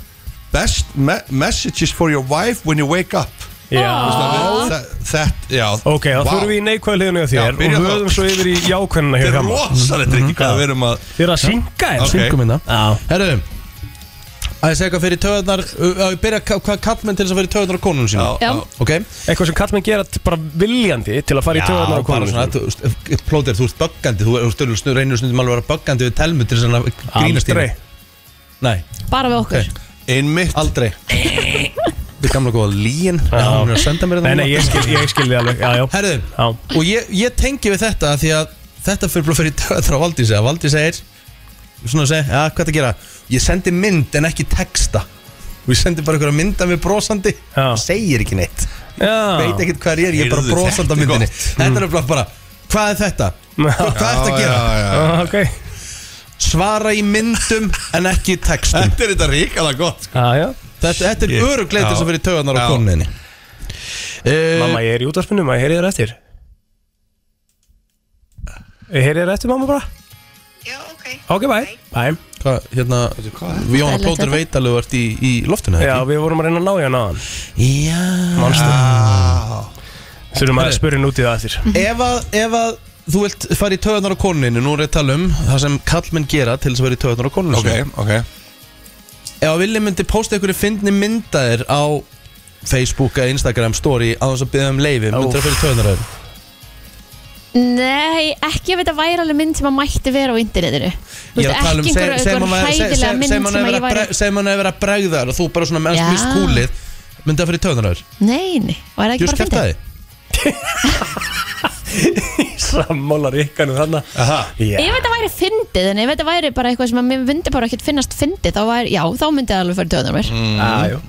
K: Best me messages for your wife when you wake up
C: Já
K: Þa- Þetta, já
C: Ok, þá
K: Vá.
C: þurfum við í neikvæðu hliðinu á
K: Já,
C: þér
K: byrja
C: Og
K: þá.
C: höfum svo yfir í jákvæðina hér
K: Þetta er
C: fram
K: rosalegt ekki
A: Mhm.
K: hvað við erum að
C: Þið er að synga þér
K: Ok.
A: Syngum hérna
C: Já
A: Herðu Að ég segja hvað fyrir töðarnar Að ég byrja ka- hvað kallmenn til þess að fyrir töðarnar á konunum sína
K: Já,
B: Já,
A: Ok
C: Eitthvað sem kallmenn gera t- bara viljandi til að fara í töðunar á
A: bara svona
C: konunum
A: þú veist, Plóter, þú ert böggandi Þú þú stundum- stundum- reynir stundum alveg að vera böggandi við telmu til þess að grínast í
C: Aldrei
A: henni. Nei,
B: bara við okkur
A: Ok.
K: einmitt
A: aldrei við gamla góða líin Já, hún er að senda mér það
C: Nei, nei, ég skil- ég skil þig alveg, já, já
A: Herðu, og ég, ég tengi við þetta af því að þetta fyrir bara fyrir töðra á Valdísi að Valdís segir svona að segja, já, hvað það gera ég sendi mynd en ekki texta og ég sendi bara einhverja mynd af mér brosandi já. segir ekki neitt
C: Já.
A: veit ekkert hvað ég er, ég er bara
C: Heyrðu,
A: brosandi á
C: þetta er
A: myndinni
C: gott.
A: þetta er bara, bara hvað er þetta? Hvað, hvað ertu að gera?
K: já, já. Ah,
C: okay.
A: Svara í myndum en ekki í textum
K: Þetta er þetta ríkala gott sko.
C: ah, já.
A: Þetta, þetta er
C: Shit.
A: örugleiti
C: Já.
A: sem fyrir töðanar á
C: Já.
A: koninni
K: Eh,
C: Mamma, ég er í útvarpinu, maður heyrið þér eftir Ég heyrið þér eftir, mamma, bara Já, ok Ok, bye, bye
A: Hvað, hérna, við Jóna Plóter veit alveg vart í, í loftinu
C: Já, við vorum að reyna að ná hérna aðan
A: Já
C: Manstu Ah. Þurfum að spyrja henni út í það eftir
B: Mhm.
A: ef að, ef að þú vilt fara í töðunar á konuninu Nú er ég að tala um það sem kallmenn gera til þess að vera í töðunar á konuninu
K: Ok, ok
A: Ef að vilja myndi posta ykkur í fyndni myndaðir á Facebook eða Instagram story á þess að byggja um leifi Myndir það fyrir töðunar á þeim
B: Nei, ekki ef þetta væri alveg mynd sem að mætti vera á internetinu Þú
A: Ég er
B: veist,
A: að tala um
B: ekki einhver-
A: segjum
B: einhver hæðilega mynd sem að ég væri
A: hann hefur verið að bregða þér og þú bara svona með
B: Já.
A: mist kúlið Myndi það fyrir töðunar á þeim
B: Nei, nei, og er það ekki bara fyndið?
C: Sammála ríkanu þannig
B: Ef þetta væri fyndið, en ef þetta væri bara eitthvað sem að mér myndi bara ekkert finnast fyndið þá væri, já, þá myndi það alveg fyrir töðunar mér
C: Jájú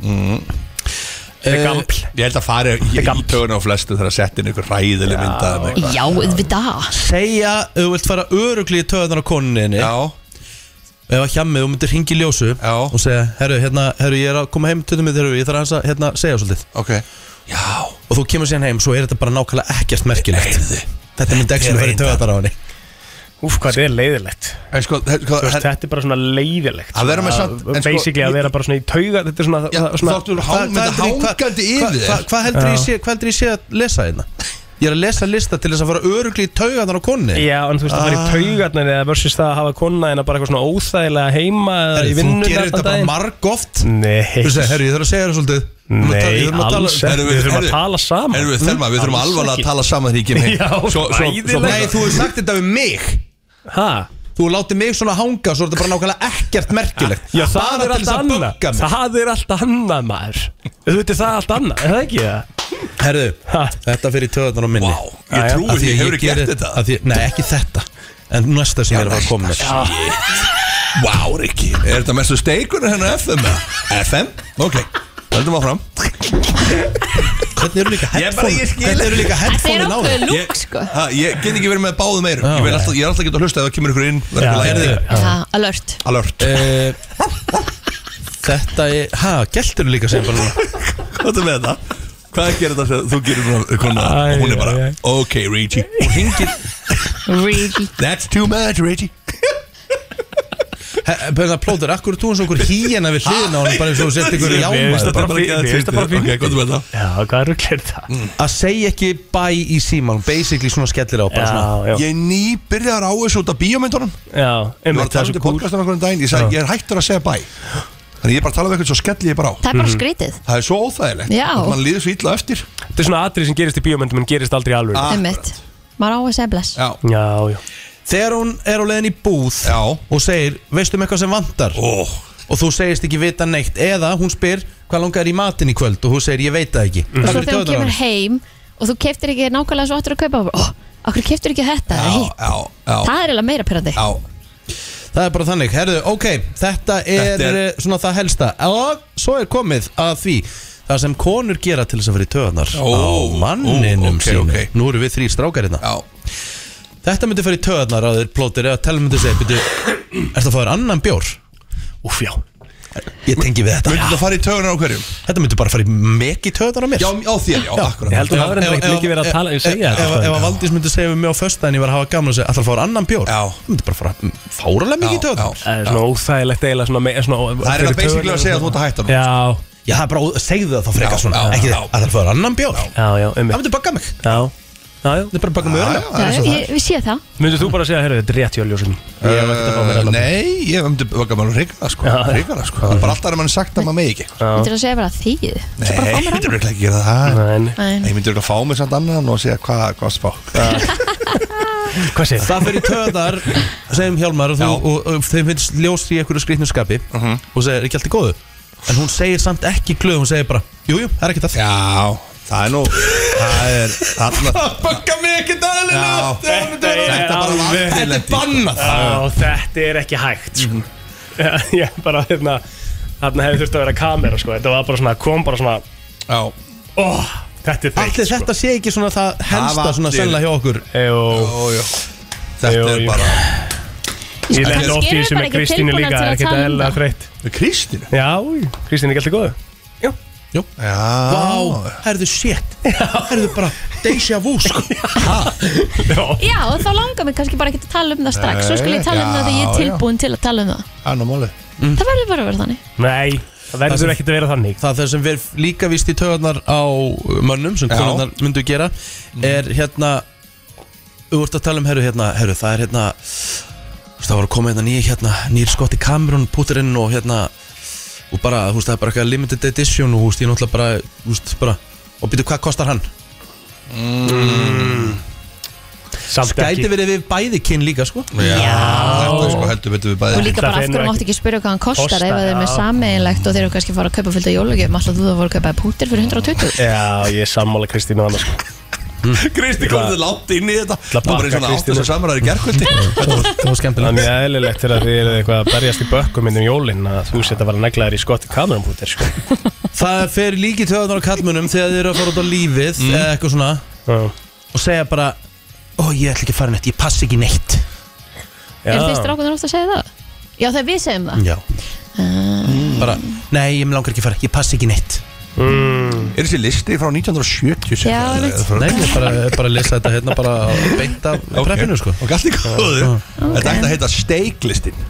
K: Þetta er gampl Mm. Ég held að fara í, í tögun á flestu þegar að setja inn einhver ræðileg myndað
B: Já, við það
A: Segja, ef þú vilt fara örugli í töðunar á konuninu Já Ef að hjammið, þú myndir hringi í ljósu Já Og segja, herru, hérna, herru, ég er að koma heim til þau Herru, ég þarf aðeins að hérna, segja svolítið
K: Ok
A: Já Og þú kemur síðan heim, svo er þetta bara nákvæmlega ekkert merkilegt Heyrðu Þetta myndi ekki verið töðunar á henni
C: Úf, hvað þetta er leiðilegt
K: sko,
C: Þú veist, Þetta er bara svona leiðilegt
A: Að vera með
C: Svona,
A: samt- en sko-
C: um Basically að vera bara svona í tauga Þetta er svona,
A: Já,
C: svona
A: þú áttu há- með hangandi yfir þér. Ah. Hvað heldur ég sé- hvað heldur ég sé að lesa hérna? Ég er að lesa lista til þess að fara örugli í töðunar á konunni
C: Já, en þú veist að fara
A: Ah.
C: í taugarnar eða versus það að hafa konna en að bara eitthvað svona óþægilega heima eða í
A: Herri,
C: vinnunni
A: Þú gerir
C: allan
A: þetta bara
C: daginn.
A: marg oft
C: Nei
A: Þú segir, herru, ég þarf að segja þér svolítið Við þurfum að tala-
C: Nei,
A: við þurfum að tala-
C: alls ekki. Við þurfum að tala saman.
A: Herru, herru,
K: Erum við
C: Mm,
K: þelma, við þurfum
C: alls
K: alvarlega
C: ekki.
K: að tala saman þegar ég kem heim
C: Já, hræðilegt.
A: Nei, þú hefur sagt þetta við mig
C: Hæ?
A: Þú látið mig svona hanga Svo er þetta bara nákvæmlega ekkert merkilegt
C: Já, það
A: Bara
C: er
A: til
C: allt
A: þess að
C: annað
A: bögga mig.
C: Það er allt annað maður Þú veitir það er allt annað, er það ekki það?
A: Herðu, þetta fyrir töðunar á minni wow,
K: ég trúi því, ég hefur gert þetta.
A: Nei, ekki þetta En næsta sem ég er að fara að koma með
K: Vá, Rikki Er þetta mestu steikunum hérna á FM? eða? FM? Ok, höldum áfram
A: Hvernig eru líka
K: headphone
A: Hvernig eru líka
K: Þetta
A: headphone
K: Ég, ha, ég get ekki verið með báðum eirum ég, vil alltaf, ég er alltaf að geta að hlusta ef það kemur ykkur inn verður
A: Já,
K: eitthvað lagið.
A: heyrðu.
B: Já, alert
K: Alert
A: Eh, Þetta er, hæ, gæltur líka sem bara núna
K: Hvað er með þetta? Hvað gerir þetta sem þú gerir svona, svona og hún er bara, ok Reggie og hingir
B: Reggie
K: That's too much Reggie
A: Böðna plóður, akkur er þú eins og okkur híjana við hliðina á hann bara eins og þú sett ykkur
K: Mér
A: jáma
K: finnst það bara- mér finnst það bara fínt. Ok, hvað er með það?
C: Já, hvað er ruglir það?
A: Mm. Að segja ekki bæ í síman Basically svona skellir á bara
C: Já,
A: svona
C: já.
K: Ég er ný byrjar á þessu út af bíómyndunum
C: Já,
K: Ég var
C: einmitt
K: að tala um þetta podcastum einhvern daginn Ég sagði, ég er hættur að segja bæ Þannig ég er bara að tala um eitthvað svo skelli ég bara á
B: Það er bara skrítið
K: Það er svo óþægilegt
B: Já.
K: Og mann líður svo illa eftir
C: Þetta er svona atrið sem gerist í bíómyndum en gerist aldrei alveg
A: Ah.
B: Einmitt. Maður á að segja bless
K: Já,
C: já, já.
A: Þegar hún er á leiðin í búð já. og segir, veistum eitthvað sem vantar
K: oh.
A: og þú segist ekki vita neitt eða hún spyr, hvað langar í matinn í kvöld og þú segir, ég veit það ekki
C: Mhm.
B: Og
A: Það
B: svo
A: Mm. fyrir
B: þegar hún
A: töðunar á
B: kemur
A: henni.
B: heim og þú keftir ekki nákvæmlega svo áttur að kaupa "Oh, Ó, okkur keftir ekki þetta eða hitt?
K: já, já.
B: Það er eiginlega meira pyrrandi
A: Það er bara þannig, herðu, ok, þetta er,
K: Þetta er-
A: eh, svona það helsta og svo er komið að því það sem konur gera til þess að fyrir töðunar
K: Ó,
A: á manninum
K: ó, ok,
A: sínum
K: ok.
A: Nú eru við þrý strákar hérna
K: já.
A: Þetta myndi fyrir töðunar að þeir plótir eða telur myndi segja, byrju, ertu að fá þér annan bjór?
C: Úf, já
A: Ég tengi við þetta
K: Myndi þetta fara í tögunar á hverjum?
A: Þetta myndi bara fara í megi töðunar á mér
K: Já, á þér, já, akkurat
C: Ég held að það verður ekkert mikið verið að tala- ég segja þetta,
A: þetta
C: sko.
A: Ef að Valdís myndi segja við mig á föstudaginn ég var að hafa gaman að segja Alltaf að fá þér annan bjór Já Það myndi bara fara fáralega mikið í töðunar
C: Það er svona óþægilegt eiginlega svona, me- svona
A: Það er
C: fyrir
A: það basically
C: taugarnar
A: að segja að þú
C: og
A: ert að hætta núna.
C: Já
A: Já, það er bara, segðu það þá frekar
C: Já,
A: svona
C: já,
A: Ekki
C: já.
A: að það fá þér annan bjór
C: Já, já, um
A: Það myndi bagga mig
C: Já, já, já
A: Það er bara bagga mig örlega
B: Já, ég, Við sé það
C: Myndir þú bara segja, heyrðu, þetta er rétt jóljósin Ég hef ekkert að fá mér
K: Uh,
C: allan
K: Nei, ég myndi baka mér hrigana sko
C: Já.
K: Hrigana sko Það er bara alltaf að mann sagt að maður megi ekki
B: Þetta er að segja bara þýð
K: Nei, ég myndi örugglega ekki gera það Nei, Ég myndi örugglega fá mér samt annan og segja hvað hva spá
C: Hvað segir
A: Það fyrir töðar,
K: Mhm.
A: segjum Hjálmar og, þú, og, og þeim finnst ljós í einhverju skrýtnu skapi og segir, er ekki allt í góðu? En hún segir samt ekki glöð, hún segir bara Jújú, jú, það er ekki það
K: Já, það er nú Það er þarna
A: Bögga mig ekki dæðilega
C: Þetta er alveg-
A: Þetta er bannað
C: Já, þetta er ekki hægt sko. Ég bara, hérna Þarna hefði þurft að vera kamera, sko Þetta var bara svona, kom bara svona
K: Já
C: Þetta er þeitt,
A: Allir þetta sé ekki svona það helsta svona selja hjá okkur
C: Jó,
K: jó Þetta er bara
C: Ég
K: Þetta
C: lendi
K: er-
C: oft í þessu með Kristínu líka Það er ekki eðla þreytt
K: Kristínu?
C: Já, Kristínu ekki alltaf góðu
A: Jú
K: Já
A: Vá, herðu shit Herðu bara deja vu sko
B: Já, og þá langar mig kannski bara ekki að tala um það strax Svo skal ég tala um
C: Já,
B: það þegar ég er
C: já.
B: tilbúin til að tala um það
K: Annamáli
A: Mhm.
B: Það verður bara að vera þannig
C: Nei, það verður ekki að vera þannig
A: Það sem við líka vist í tögarnar á uh, mönnum sem
K: Já. Mm.
A: konarnar myndu gera er hérna Þú ert að tala um herru hérna, herru það er hérna þú veist, Það voru að koma hérna nýja hérna nýr skott í kamerun, púturinn og hérna og bara, þú veist, það er bara eitthvað limited edition og þú veist, ég náttúrulega bara, þú veist, bara og býtu, hvað kostar hann? Mm.
C: Samt
A: Skæti verið við bæði kyn líka, sko
K: Já, þetta er sko heldur betur við bæði
B: Og líka bara af hverju máttu ekki spyrja hvað hann kostar
A: Kostar,
B: ef það er með
A: já.
B: sameiginlegt og þeir eru kannski að fara að kaupa fylgta jólugjöfum alltaf þú það voru að kaupa pútir fyrir 120
C: Já, ég er sammála Kristínu annars
K: Kristi kom þið látt inn í þetta
C: Það
K: Hún bara í svona áttu sem samræður gerkvöldi
A: Það var skemmtilegt
C: Þannig að eðlilegt þegar þið eru eitthvað að berjast í bökkum minnum jólinn að þú setja að vera neglaðir í skott í kamerambútir sko.
A: Það fer líki töðunar á kallmönum þegar þið eru að fara út á lífið eða eitthvað svona og segja bara ó ég ætla ekki að fara neitt, ég pass ekki neitt
B: Er þeir strákunar ofta að segja það? Já, þegar við segjum það
A: Já
B: Ah.
A: bara, nei ég mig langar ekki að fara, ég pass ekki neitt
C: mm.
K: Er þessi listi frá 1970 sem-
B: Já,
K: eða-
B: einmitt.
K: frá-
A: Nei, ég bara, bara lesa þetta hérna bara beint af preppinu sko
K: Og allt í góðu Þetta ætti að heita steiklistin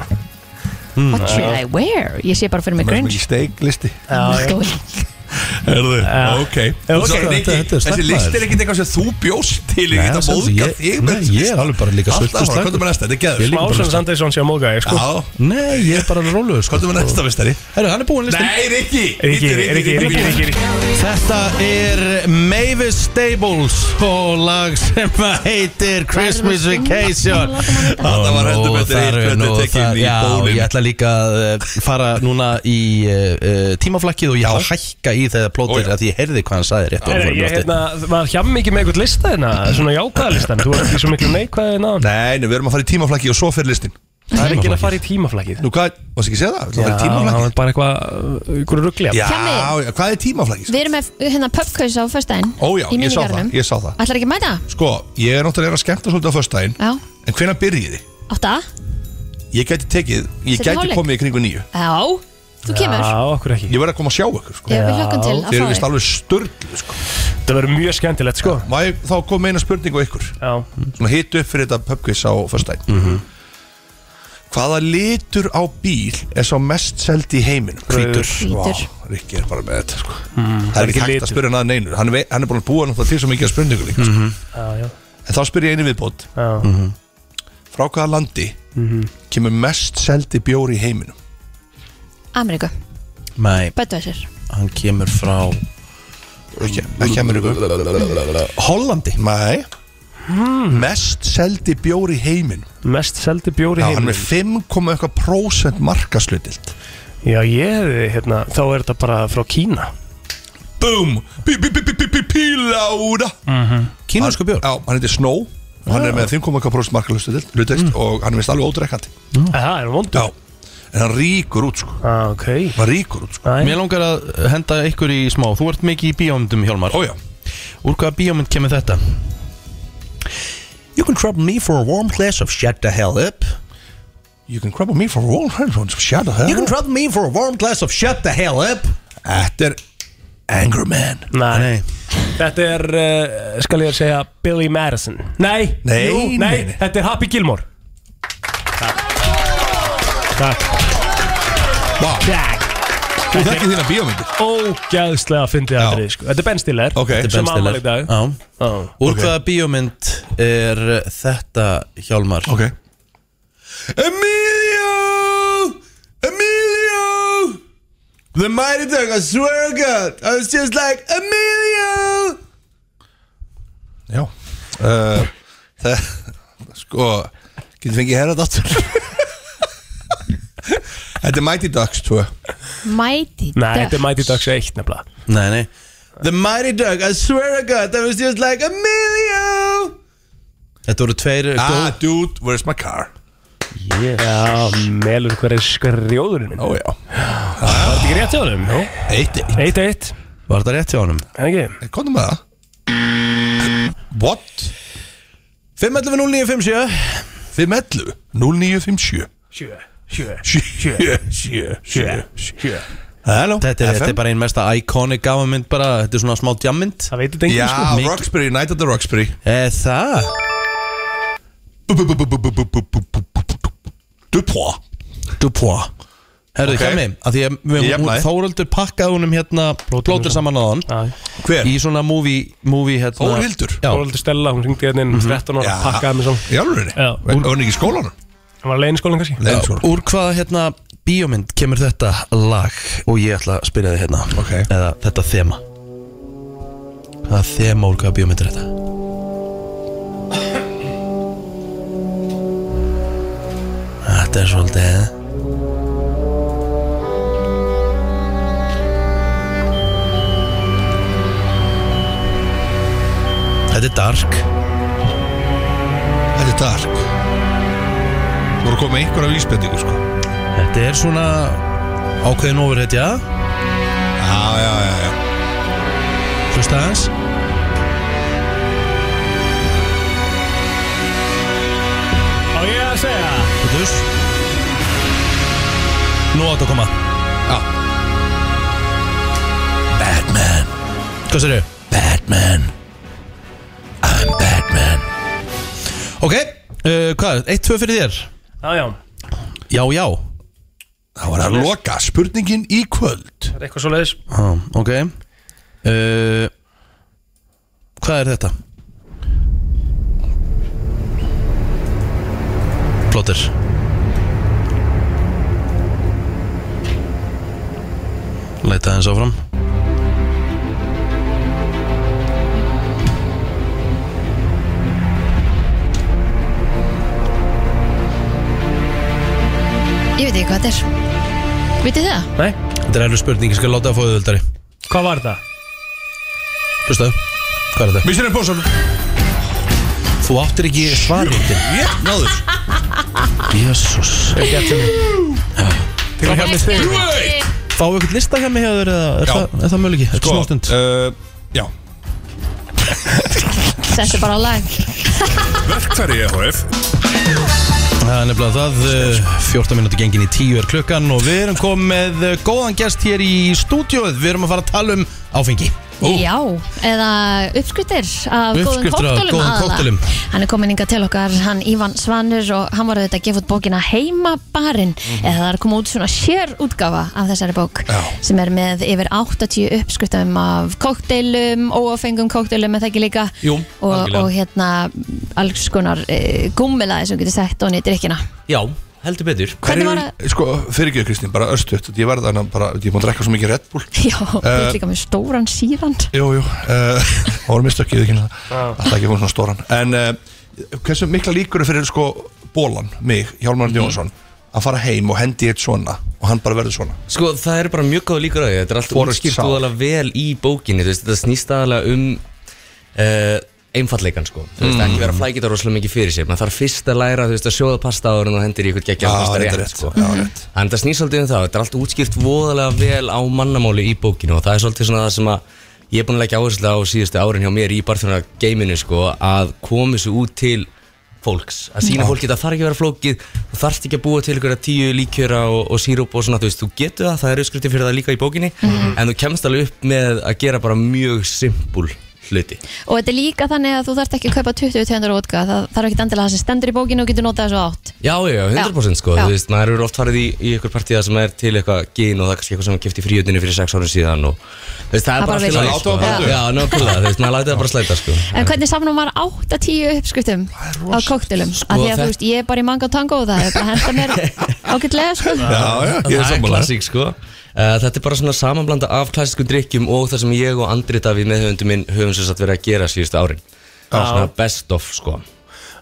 A: Hmm.
B: What should I wear? Ég sé bara fyrir mig grunge
K: Steiklisti
B: Þetta
K: Herðu, ok
A: ok.
K: Svo er
A: Þetta- þetta
K: ekki-
A: er
K: Þessi
A: snemma,
K: listi
A: þetta.
K: er ekkert eitthvað sem þú bjóst til Ég
A: Nei,
K: get að
A: sem sagt,
K: móðga
A: ég-
K: þig
A: Nei, ég er alveg bara líka
K: Alltaf
A: sultur
K: bara,
A: strákur.
K: komdu með næsta, þetta er geður
A: Ég er líka bara
C: Smásson
A: með næsta.
C: Sandersson sé að móka þig sko.
K: Já,
A: Nei, ég er bara róluð sko
K: komdu með næsta vistari
A: Herru, hann er búinn listin
K: Nei, Rikki
C: Rikki, Rikki, Rikki, Rikki
A: Þetta er Mavis Stables og lag sem að heitir Christmas Vacation
K: Þetta var heldur betur
A: þar er
K: eitt
A: nú
K: plötu tekin
A: það-
K: í
A: Já,
K: bólinn.
A: ég ætla líka að eh, fara núna í eh, eh, tímaflakkið og ég ætla að hækka í þegar
K: Ó, já.
A: plótir að ég heyrði hvað hann sagði rétt
C: Er,
A: áður
C: ég
A: fyrir
C: hérna, var hjá mikið með eitthvað lista hérna, svona jákvæða listan, þú er ekki svo miklu neikvæðið náðan.
K: Nei, nei, við erum að fara í tímaflakki og svo fyrir listin
C: Það er ekki að fara í tímaflakið.
K: Nú, hvað, varst ekki að segja það? Við ætlum að fara í
C: það
K: tímaflakki
C: er bara eitthvað, ykkur ruggli.
K: Já,
B: Kemmi.
K: já, hvað er tímaflakki?
B: Við erum með hérna pubkausa á föstudaginn
K: Ó já, ég sá það, ég sá það
B: Ætlar ekki að mæta?
K: Sko, ég er náttúrulega að skemmta svolítið á föstudaginn
B: Já,
K: En hvenær byrjið þið?
B: átta?
K: Ég gæti tekið, ég
B: Seinni
K: gæti
B: hálfleik?
K: komið í kringu nýju
B: Já, þú kemur
C: Já, okkur ekki.
K: Ég verð að koma að sjá ykkur sko.
B: Já, við hlökkum til að
K: Þið eru
B: fá
K: vist
B: þig
K: alveg sturglu sko.
C: Það verður mjög skemmtilegt, sko.
K: Má ég þá koma með eina spurningu á ykkur
C: Já. Mhm.
K: Svona hitu upp fyrir þetta pubquiz á föstudaginn Hvaða litur á bíl er sá mest seld í heiminum?
C: Hvítur.
K: Vá,
B: Hvítur.
K: Rikki er bara með þetta sko. Það er ekki hægt að
C: litur.
K: spyrja hann að neinu Hann er, vei- hann er búin að búa náttúrulega til svo mikið að spurningu líka sko.
C: Já, já.
K: En þá spyr ég einu viðbót
C: Já.
K: Mhm.
C: Mhm.
K: Frá hvaða landi kemur mest seldi bjór í heiminum?
B: Ameríku,
A: þetta Nei,
B: bættu þessir
A: hann kemur frá
K: Ekki, ekki Ameríku
A: Hollandi
K: Nei Mest seldi bjór í heiminum
C: Hmm. Mest seldi bjóri
K: Já,
C: heim.
K: hann er með 5,1% eitthvað prósent markaslutild
C: Já, ég hefði, hérna, þá er þetta bara frá Kína.
K: Búm Píláda
A: Kínarsku bjór
K: Já, hann heitir Snow Hann er með 5,1% prósent markaslutild Og hann er vist alveg ódrekkandi
C: Mm. Það er hún vondur.
K: Já En hann ríkur út sko
C: Já, ok.
K: Hann ríkur út sko
C: Æ,
A: Mér langar að henda ykkur í smá Þú ert mikið í bíómyndum Hjálmar
K: Ójá
A: Úr hvaða bíómynd kemur þetta? You can trouble me for a warm glass of shut the hell up
K: You can grab on me for a warm hand Shut the hell
A: You can
K: up.
A: trouble me for a warm glass of shut the hell up
K: Þetta er Anger Man
C: Nei. Þetta er, uh, skal ég segja, Billy Madison. Nei,
K: Nei,
C: jú, nei,
K: nei, nei.
C: þetta er Happy Gilmore. Takk.
K: Vá,
C: Takk.
K: þú þekkir þína bíómyndir
C: Ógæðslega fyndið
K: Já.
C: aðrið, sko. Þetta er Ben Stiller.
K: Ok. Þetta er
C: Sem ammali í dag. Ah.
A: Já
C: Já.
A: Úr
K: Ok.
A: hvaða bíómynd er þetta Hjálmar?
K: Ok Emilio Emilio The mighty dog, I swear to God I was just like Emilio Já uh, Það Sko Getur fengið herra dáttur Þetta er Mighty Ducks 2 Já
B: Mighty
C: Nei, þetta er
B: Ducks.
C: Mighty Ducks 1 nefnilega
A: Nei, nei The Mighty Duck, I swear to God That was just like a million Þetta voru tveir eh,
K: Ah, dude, where's my car?
C: Yes. Já, melur hver er skrjóðurinn minn
K: Ó já
C: Var þetta ekki rétt hjá honum? Jó.
K: Eitt, eitt
C: Eitt, eitt
A: Var þetta rétt hjá honum?
C: Ekki
K: Komdu með það What?
A: 511 0957
K: 511 0957
C: Sjö Sjö
K: Sjö Sjö Sjö
C: Sjö
A: Hello, þetta, er,
K: FM.
A: þetta er bara ein mesta iconic gafamynd bara, þetta er svona smá djammynd
C: Það veit
K: Já, Roxbury, Night at the Roxbury
A: Er það?
K: Dupois
A: Dupois Herðu,
K: Ok.
A: okay. kemmi, að því að
K: Ég
A: við- hún-
K: jafnaði.
A: Þóröldur pakkaði húnum hérna plótur saman á hann
K: Hver?
A: Í svona movie, movie hérna
K: Þórhildur? Mhm.
A: Já,
C: Þórhildur Stella, hún ringdi hérna inn um 13 ára,
A: Já.
C: pakkaði mig svona
K: Í alvörunni?
C: Já
K: Var hann ekki í skólanum?
C: Hann var leiðin í skólan kannski
A: Já, Úr hvaða hérna bíómynd kemur þetta lag og ég ætla að spyrja þig hérna okay. eða þetta þema hvaða þema úr hvaða bíómynd er þetta Þetta er svolítið eh? Þetta er dark
K: Þetta er dark Þú voru að koma með einhverja vísbendingu sko
A: Þetta er svona ákveðin ofurhetja
K: Já, já, já, já
A: Hlusta aðeins
C: Á ég að segja
A: Hlutus Nú átt að koma
K: Já Batman
A: Hvað sér þau?
K: Batman I'm Batman
A: Ok, uh, hvað? Eitt, tvö fyrir þér
C: Já, já
A: Já, já
K: Það var að loka spurningin í kvöld
C: Það er eitthvað svo leiðis
A: ah, Ok uh, Hvað er þetta? Plotter Leita aðeins áfram
B: Ég veit ekki hvað þetta er Vitið þið það?
C: Nei
A: Þetta er erfið spurning, ég skal láta það að fá auðvöldari
C: Hvað var það?
A: Hlustaðu, hvað er þetta?
K: Mission Impossible
A: Þú áttir ekki svarið
K: Ég, náður
A: Jésús
C: Ekki eftir mig Til að hefna stig
A: Fáu eitthvað lista hjá mig hjá þér eða er,
K: Já.
A: það, er það möguleiki? Þetta er smástund
K: uh, Já
B: Settu bara á lag
K: Verkfæri EHF
A: Það er nefnilega það, eh, 14 minúti gengin í 10 er klukkan og við erum komið með eh, góðan gest hér í stúdióið, við erum að fara að tala um áfengi.
B: Já, eða uppskriftir af
A: Uppskriftir
B: góðum
A: af
B: koktólum
A: góðum
B: aðallega.
A: koktélum.
B: Hann er komin inga til okkar, hann Ívan Svanur og hann var auðvitað að gefa út bókina Heimabarinn eða það er að koma út svona sér útgafa af þessari bók
K: Já.
B: sem er með yfir 80 uppskriftum af kokteilum, óafengum kokteilum er það ekki líka
A: Jú,
B: og,
L: algjörlega.
B: og hérna alls konar e, gummilaði sem getur sett og nýttir ekki
L: Já, heldur betur
B: Hvernig var það?
K: Sko, fyrir ekki Kristín, bara örstuðt Ég verða þannig bara, ég má drekka svo mikið Red Bull
B: Já, þú
K: Eh,
B: ert líka með stóran síðan
K: Jú, jú, uh, það voru mistökkið ekki Alltaf ekki fór svona stóran En uh, hversu mikla líkur er fyrir sko Bólan, mig,
A: Mhm.
K: Hjálmar Jónsson Að fara heim og hendi eitt svona Og hann bara verður svona
L: Sko, það eru bara mjög góð líkur á því Þetta er allt
K: Forrest
L: útskýrt
K: Sal.
L: úðalega vel í bókinni þú veist, Þetta snýst aðalega um uh, einfalleikan sko. Þú veist,
K: Mm.
L: ekki vera að flækja þetta rosalega mikið fyrir sér maður þarf fyrst að læra þú veist, að sjóða pasta áður en þú hendir í eitthvað geggja
K: Já,
L: pasta
K: þetta er
L: rétt,
K: rétt,
L: sko.
K: já,
L: Þannig
K: rétt.
L: að þetta snýst svolítið um það Þetta er allt útskýrt voðalega vel á mannamáli í bókinu og það er svolítið svona það sem að ég er búin að leggja áherslu á síðustu árin hjá mér í barþjóna geiminu sko, að komi svo út til fólks að sína fólki þetta þarf ekki að vera flókið þú þarft ekki að búa til ykkur að tíu líkjöra og, og síróp og svona, þú veist, þú getur það það er uppskrifti fyrir það líka í bókinni en þú kemst alveg upp með að gera bara mjög simpul hluti
B: Og þetta er líka þannig að þú þarft ekki að kaupa 20 tegundur útgáð, það þarf ekki endilega það sem stendur í bókinu og getur notað þessu átt.
L: Já, já, 100% sko,
B: Já.
L: þú veist, maður eru oft farið í, í ykkur partíða sem er til eitthvað gín og það er kannski eitthvað sem er keft í fríutinu fyrir sex árum síðan og þú veist, það
B: Það
L: er
B: bara
L: bara allt í
B: vill.
L: lagi,
B: Látum það bara
L: sko.
B: duga.
L: Já, nákvæmlega, þú veist, maður látið það bara slæta sko.
B: En hvernig samnum maður 8-10 uppskriftum á koktélum? Sko, að því að
L: þetta-
B: þú veist, ég er bara í manga og tango og það er bara að henda mér ágætlega sko.
L: Það er klassík sko uh, Þetta er bara svona samanblanda af klassískum drikkjum og það sem ég og Andri Davíð meðhöfundum minn höfum sem sagt verið að gera síðustu árin Svona best of sko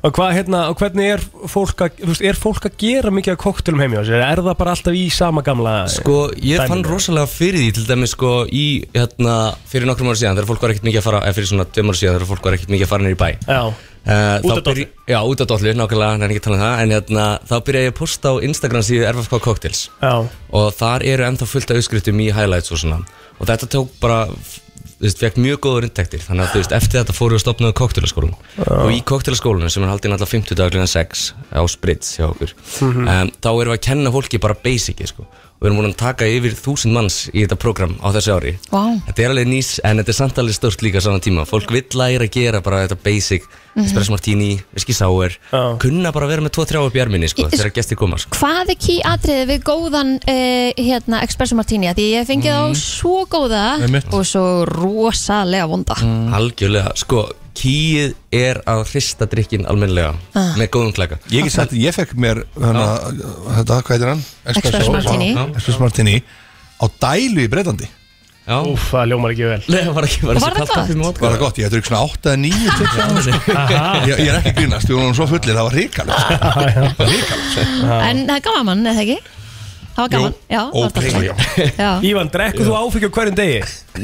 C: Og hvað, hérna, og hvernig er fólk að, þú veist, er fólk að gera mikið af koktelum heimjá sér? Er það bara alltaf í sama gamla
L: Sko, ég fann rosalega fyrir því til dæmis sko í, hérna, fyrir nokkrum ára síðan þegar fólk var ekkert mikið að fara, eða fyrir svona tveim ára síðan þegar fólk var ekkert mikið að fara nýri bæ
C: Já,
L: Uh,
C: Út af dollu.
L: Já, út af dollu, nákvæmlega, hann er ekki að tala um það En hérna, þá byrjaði ég að posta á Instagram síðu RFK Cocktails
C: Já.
L: Og þar eru ennþá fullt af uppskriftum í highlights og svona Og þetta tók bara, þú veist, fekk mjög góður inntektir Þannig að, þú veist, eftir þetta fóru við að stopnaðu koktélaskólum
C: Já.
L: Og í koktélaskólunum, sem er haldið alltaf 50 daglegan 6 á Spritz hjá okkur
C: Mhm.
L: um, Þá erum við að kenna fólki bara basicið, sko Og við erum búin að taka yfir þúsund manns í þetta program á þessu ári
B: Vá.
L: Þetta er alveg nýs en þetta er samt alveg stórt líka á saman tíma Fólk vill læra að gera bara þetta basic
B: Mhm.
L: Espresso martini, viski sour Kunna bara að vera með 2-3 upp í erminni sko,
B: Í-
L: þegar gestir koma sko.
B: Hvað er ký atriðið við góðan uh, hérna, Espresso Martini? Því ég hef fengið
L: Mm.
B: þá svo góða
L: Einmitt.
B: og svo rosalega vonda
K: Mm.
L: Algjörlega, sko, kýið er að hrista drikkin almennilega
B: Ah.
L: Með góðum klæka
K: Ég get sagt, ég fekk mér hana, þetta, hvað heitir hann?
L: Espresso Martini.
K: Já, Espresso Martini á dælu í Breitlandi
C: Úf, það ljómar ekki vel
L: Nei, það var ekki,
K: var Var þessi það kalt kaffi gott? með vodka? Var það gott? Ég drukk svona 8 eða 9 Ég, ég er ekki að grínast, við vorum svo fullir, það var ríkalegt Ríkalegt
B: En það er gaman mann, eða ekki? Það var gaman, já, það var
K: ótrúlega
B: dálítið. já.
C: Ívan, drekku þú áfengi á hverjum degi?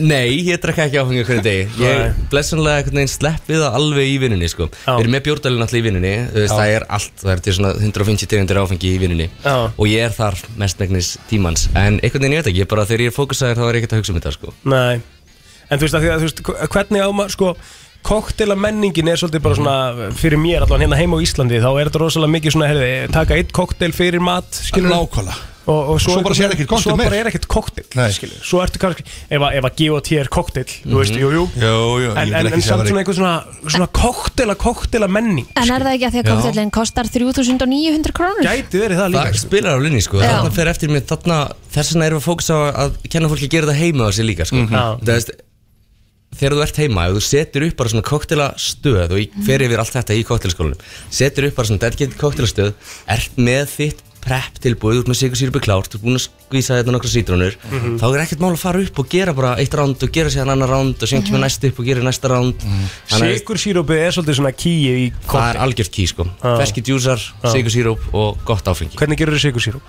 L: Nei, ég drekka ekki áfengi á hverjum degi Ég blessunlega einhvern veginn slepp við það alveg í vinnunni sko. Við erum með bjórdalinn alltaf í vinnunni þú veist,
C: Já.
L: Það er allt, það er til svona 150 tegundir áfengi í vinnunni
C: Já.
L: Og ég er þar mestmegnis tímans En einhvern veginn ég veit ekki, ég bara þegar ég er fókusaður þá er ég ekkert að hugsa um þetta sko.
C: Nei, en þú veist að því að þú veist, hvernig á maður, sko, koktela menningin er svolítið bara svona, fyrir mér allan hérna heima á Íslandi, þá er þetta rosalega mikið svona, herði, taka eitt koktel fyrir mat, skilur.
K: Nákvæmlega.
C: Og, og svo,
K: Svo bara sér ekkert kokteil
C: Svo
K: meir.
C: bara er ekkert koktel,
K: Nei.
C: skilur. Svo ertu kannski, ef, að- ef að G.O.T. er koktel, þú veist, jú, jú.
K: Mhm. Jú, jú, ég
C: En,
K: myndi
C: en,
K: ekki
C: en
K: segja
C: samt svona
K: það er-
C: einhver svona, svona koktela, koktela menning.
B: En er það ekki að því að
L: Já.
B: koktellin kostar 3900 krónur?
C: Gæti verið það
L: líka Það spilar á linni sko,
B: Já.
L: þarna fer eftir mér þarna, Þess vegna erum við að fókusa á að kenna fólki að gera þetta heima á sig líka sko.
C: Já.
L: Það veist, Þegar þú ert heima, ef þú setur upp bara svona koktela stöð og ég
C: Mhm.
L: fer yfir allt þetta í koktelaskólanum Setur upp bara svona dedicated koktela stöð Ert með þitt prep tilbúið, þú ert með sigur sýrupi klárt, þú ert búin að skvísa þetta nokkra sítrónur
C: Mhm.
L: Þá er ekkert mál að fara upp og gera bara eitt ránd og gera sér annan ránd og síðan kemur
C: Mhm.
L: næst upp og gera næsta ránd Þannig að-
C: Sigur sírópið Mhm. er svolítið svona kýi í
L: Það er algjört ký sko
C: Já.
L: Ferski djúsar,
C: Já.
L: sigursýróp og gott áfengi
C: Hvernig gerur þið sigursýróp?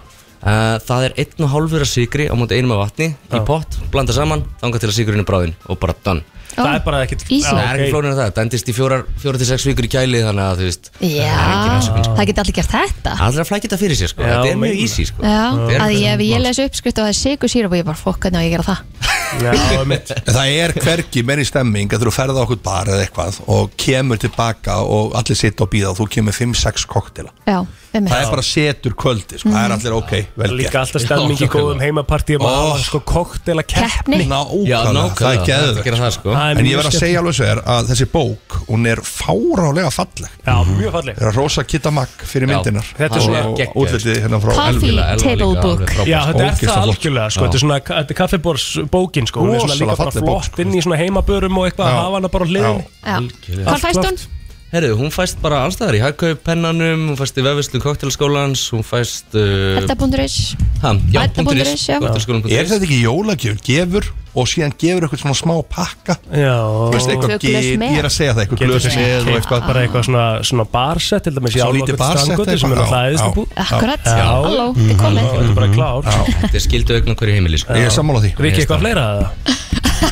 L: Uh, það er einn og hálfur af sigri á móti einum af vatni í pott, blanda saman, þanga til að sigurinn er bráðinn og bara done
C: Það er bara ekkert
B: Easy.
L: Það er ekki flónir en það, það endist í fjórar, fjórar til sex vikur í kæli þannig að þú veist
B: Já,
L: sko.
B: það geti allir gert þetta
L: Allra flækja þetta fyrir sér sko,
C: Já,
L: þetta er mjög
C: meinar.
L: easy sko
B: Já,
L: Þetta er
B: að ég,
L: mjög
B: ef ég les uppskrift og það er sigur sírup og ég bara fokk hvernig á ég að gera það
K: Það er hvergi meiri stemming að þú ferða okkur bar eða eitthvað og kemur tilbaka og allir sitja og býða og þú kemur 5-6 koktela
B: Já, um
K: Það er bara setur kvöldi, sko. það er allir ok vel gert.
C: Líka alltaf stemming í góðum heimapartíum að
K: Ó.
C: hafa sko koktela keppni
K: Nákvæmlega,
L: nákvæmlega,
K: það er
L: það er að
K: geðvegt
L: gera það, sko.
C: Það er
K: En
C: mjög
K: ég verð að
C: skemmtilegt.
K: segja alveg svo er að þessi bók, hún er fárálega falleg
C: Já, mjög falleg
K: Það er að rosa kitta makk fyrir
C: Já,
K: myndinar
C: þetta er svona
K: Og-
C: geggjað.
K: og útlitið hérna frá
C: Coffee
K: Elvu.
C: table book. Já, þetta er
K: Ógeðslega
C: það
K: flott.
C: algjörlega sko, þetta er svona, þetta er kaffibórsbókin sko, hún er svona
K: Rosalega
C: líka bara
K: falleg bók,
C: flott inn í svona heimabörum og eitthvað að hafa hana bara á hliðinni.
B: Já.
L: Algjörlega.
B: Hvað fæst hún?
L: Herru, hún fæst bara allstaðar í hagkaup pennanum, hún fæst í vefislu koktelskólans, hún fæst uh,
B: Edda.is
L: ha, já,
B: Edda
L: punktur
B: punktur
L: is,
B: is, já.
L: kokteilskólan punktur
K: Er
L: is.
K: þetta ekki jólagjöf, gefur og síðan gefur eitthvað svona smá pakka
C: Já
K: Þú veist, eitthvað
C: Tvö glös
K: gil,
C: með.
K: ég er að segja það, eitthvað
C: Getur
K: glösi
C: þú
K: með og
C: keypt
K: eitthvað
C: bara eitthvað svona, svona barsett til dæmis í
K: Svo
C: álokku
K: lítið barsett
C: strandgötu sem er á
K: eitthvað, já,
C: hlæðislu búð
K: já.
B: Akkurat,
L: Já.
B: halló, þetta er komið
C: Mm-hmm. Þetta er bara klár
L: Þetta er skildu augna hverju heimili sko.
K: Ég er sammála því.
C: Riki, eitthvað fleira að það?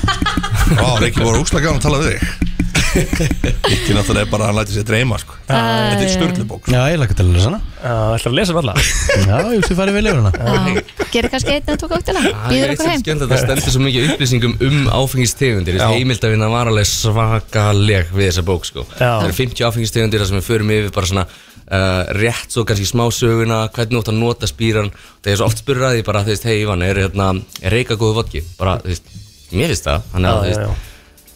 K: Vá, Riki voru úslega gæðan að tala við þig Riki náttúrulega er bara að hann læti sér dreyma sko. Þetta er störlubók
A: Já, ég lakka til að lesa hana
C: Það ætlar að lesa um hana
A: Já, ég veist þið farið vel yfir hana
B: Gerir kannski einn eða tók áttila Býður okkur heim
L: skemmt að það stendur svo mikið upplýsingum um áfengistegundir Þú veist, heimildafinna var alveg svakaleg við þessa bók sko. það eru 50 áfengistegundir þar sem við förum yfir bara svona uh, rétt svo kannski smásöguna hvernig ótt að nota spýran það er svo oft spurður að því bara þú veist hei Ivan er, hérna, er reyka góðu vodki bara þú veist mér finnst það þannig að
C: Já,
L: þú
C: já, já.
L: veist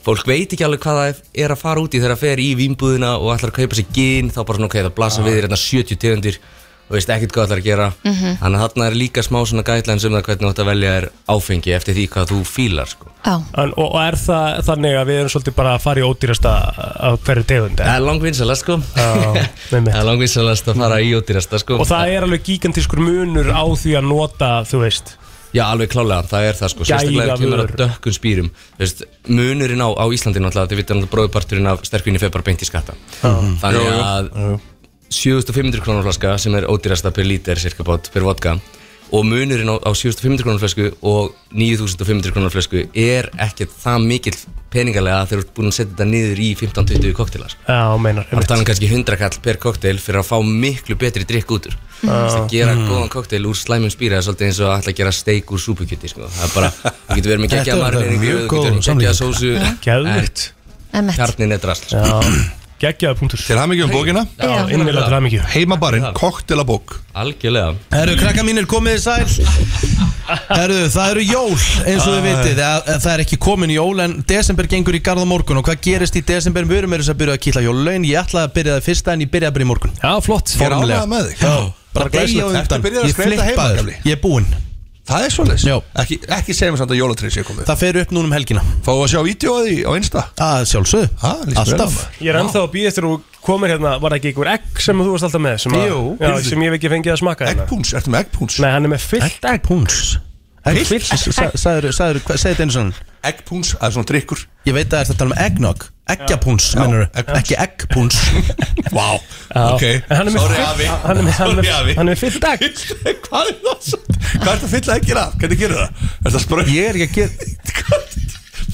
L: Fólk veit ekki alveg hvað það er að fara út í þegar það fer í vínbúðina og ætlar að kaupa sér gin þá bara svona ok, það blasa við þér hérna 70 tegundir og veist ekkert hvað það ætlar að gera
B: Mhm.
L: Þannig að þarna er líka smá svona guidelines um það hvernig þú átt að velja þér áfengi eftir því hvað þú fílar sko.
C: En, og, og er það þannig að við erum svolítið bara að fara í ódýrasta á hverju tegund
L: Það er langvinnsalast sko
C: Já,
L: Það er langvinnsalast að fara í ódýrasta sko
C: Og það er alveg gigantískur munur á því að nota, þú veist
L: Já, alveg klálega, það er það sko Sérstaklega
C: Gæða
L: þegar kemur að
C: vör.
L: dökkun spýrum Þú veist, Munurinn á, á Íslandi náttúrulega Þið vita náttúrulega bróðparturinn af sterkvinni febar beint í skatta
C: Mhm.
L: Þannig
C: Jú, jú.
L: að 7500 krónar flaska sem er ódýrasta per lítir cirka bát per vodka og munurinn á, á 7500 krónar flasku og 9500 krónar flasku er ekkert það mikill peningalega þegar þú ert búin að setja þetta niður í 15-20 kokteila sko.
C: Já, meinar
L: Það er talað um kannski 100 kall per kokteil fyrir að fá miklu betri drikk út úr
C: Mhm.
L: Þess að
C: Já.
L: gera
C: Mm.
L: góðan kokteil úr slæmum spýra er svolítið eins og að ætla að gera steik úr súpukjuti sko. það er bara, þú getur verið með
C: Þetta
L: geggja
C: var
L: margir
C: mjög
L: þú
C: góð
L: getur verið með geggja sósu
C: samlíking. Geðveikt.
L: en kjarnin er drasl
A: sko.
C: Geggjaða punktur
K: Til hamingju um bókina
L: Já, innilega til hamingju.
K: Heimabarinn, koktelabók
L: Algjörlega
A: Herru, krakka mínir, komið þið sæl Herru, það eru jól eins og þið vitið það, það er ekki komin jól en desember gengur í garð á morgun og hvað gerist í desember við erum meira þess að byrja að kýtla jólun ég ætlaði að byrja það fyrsta en ég byrjaði bara í morgun
C: Já, flott
K: Ég er ánægður með þig.
A: Já,
K: Bara
A: bara degja
K: glæsilegt.
A: og
K: Ertu
A: undan
K: byrjaður að
A: Ég
K: skreyta heima,
A: flippaður,
K: gamli?
A: ég er búinn
K: Það er svolítið ekki, ekki segjum samt að jólatrið sé komið
A: Það fer upp núna um helgina
K: Fáum við að sjá vídjóði á Insta?
A: Að sjálfsögðu Alltaf
C: Ég er ennþá að býða eftir að þú komir hérna Var það ekki einhver egg sem þú varst alltaf með sem, að,
A: Jú.
C: já, sem ég hef ekki fengið að smaka
K: Eggpúns, ertu með eggpúns?
C: Nei, hann er með fyllt
A: eggpúns Eggpúns? Sæður, sæður, segðu þetta einu svona
K: Eggpúns, það er svona drikkur
A: Ég veit að það er að tala um eggnog Eggjapúns,
K: Já,
A: mennur
K: eggpúns.
A: Ekki eggpúns
K: Vá, ok
C: En hann er með
K: Sorry,
C: fullt-
K: afi.
C: hann er með- hann er-
K: Sorry, afi.
C: hann er með fyllt egg
K: Hvað er það svo? Hvað er það fyll að ekkir af? Hvernig gerir það? Er það spröð?
A: Ég er ekki að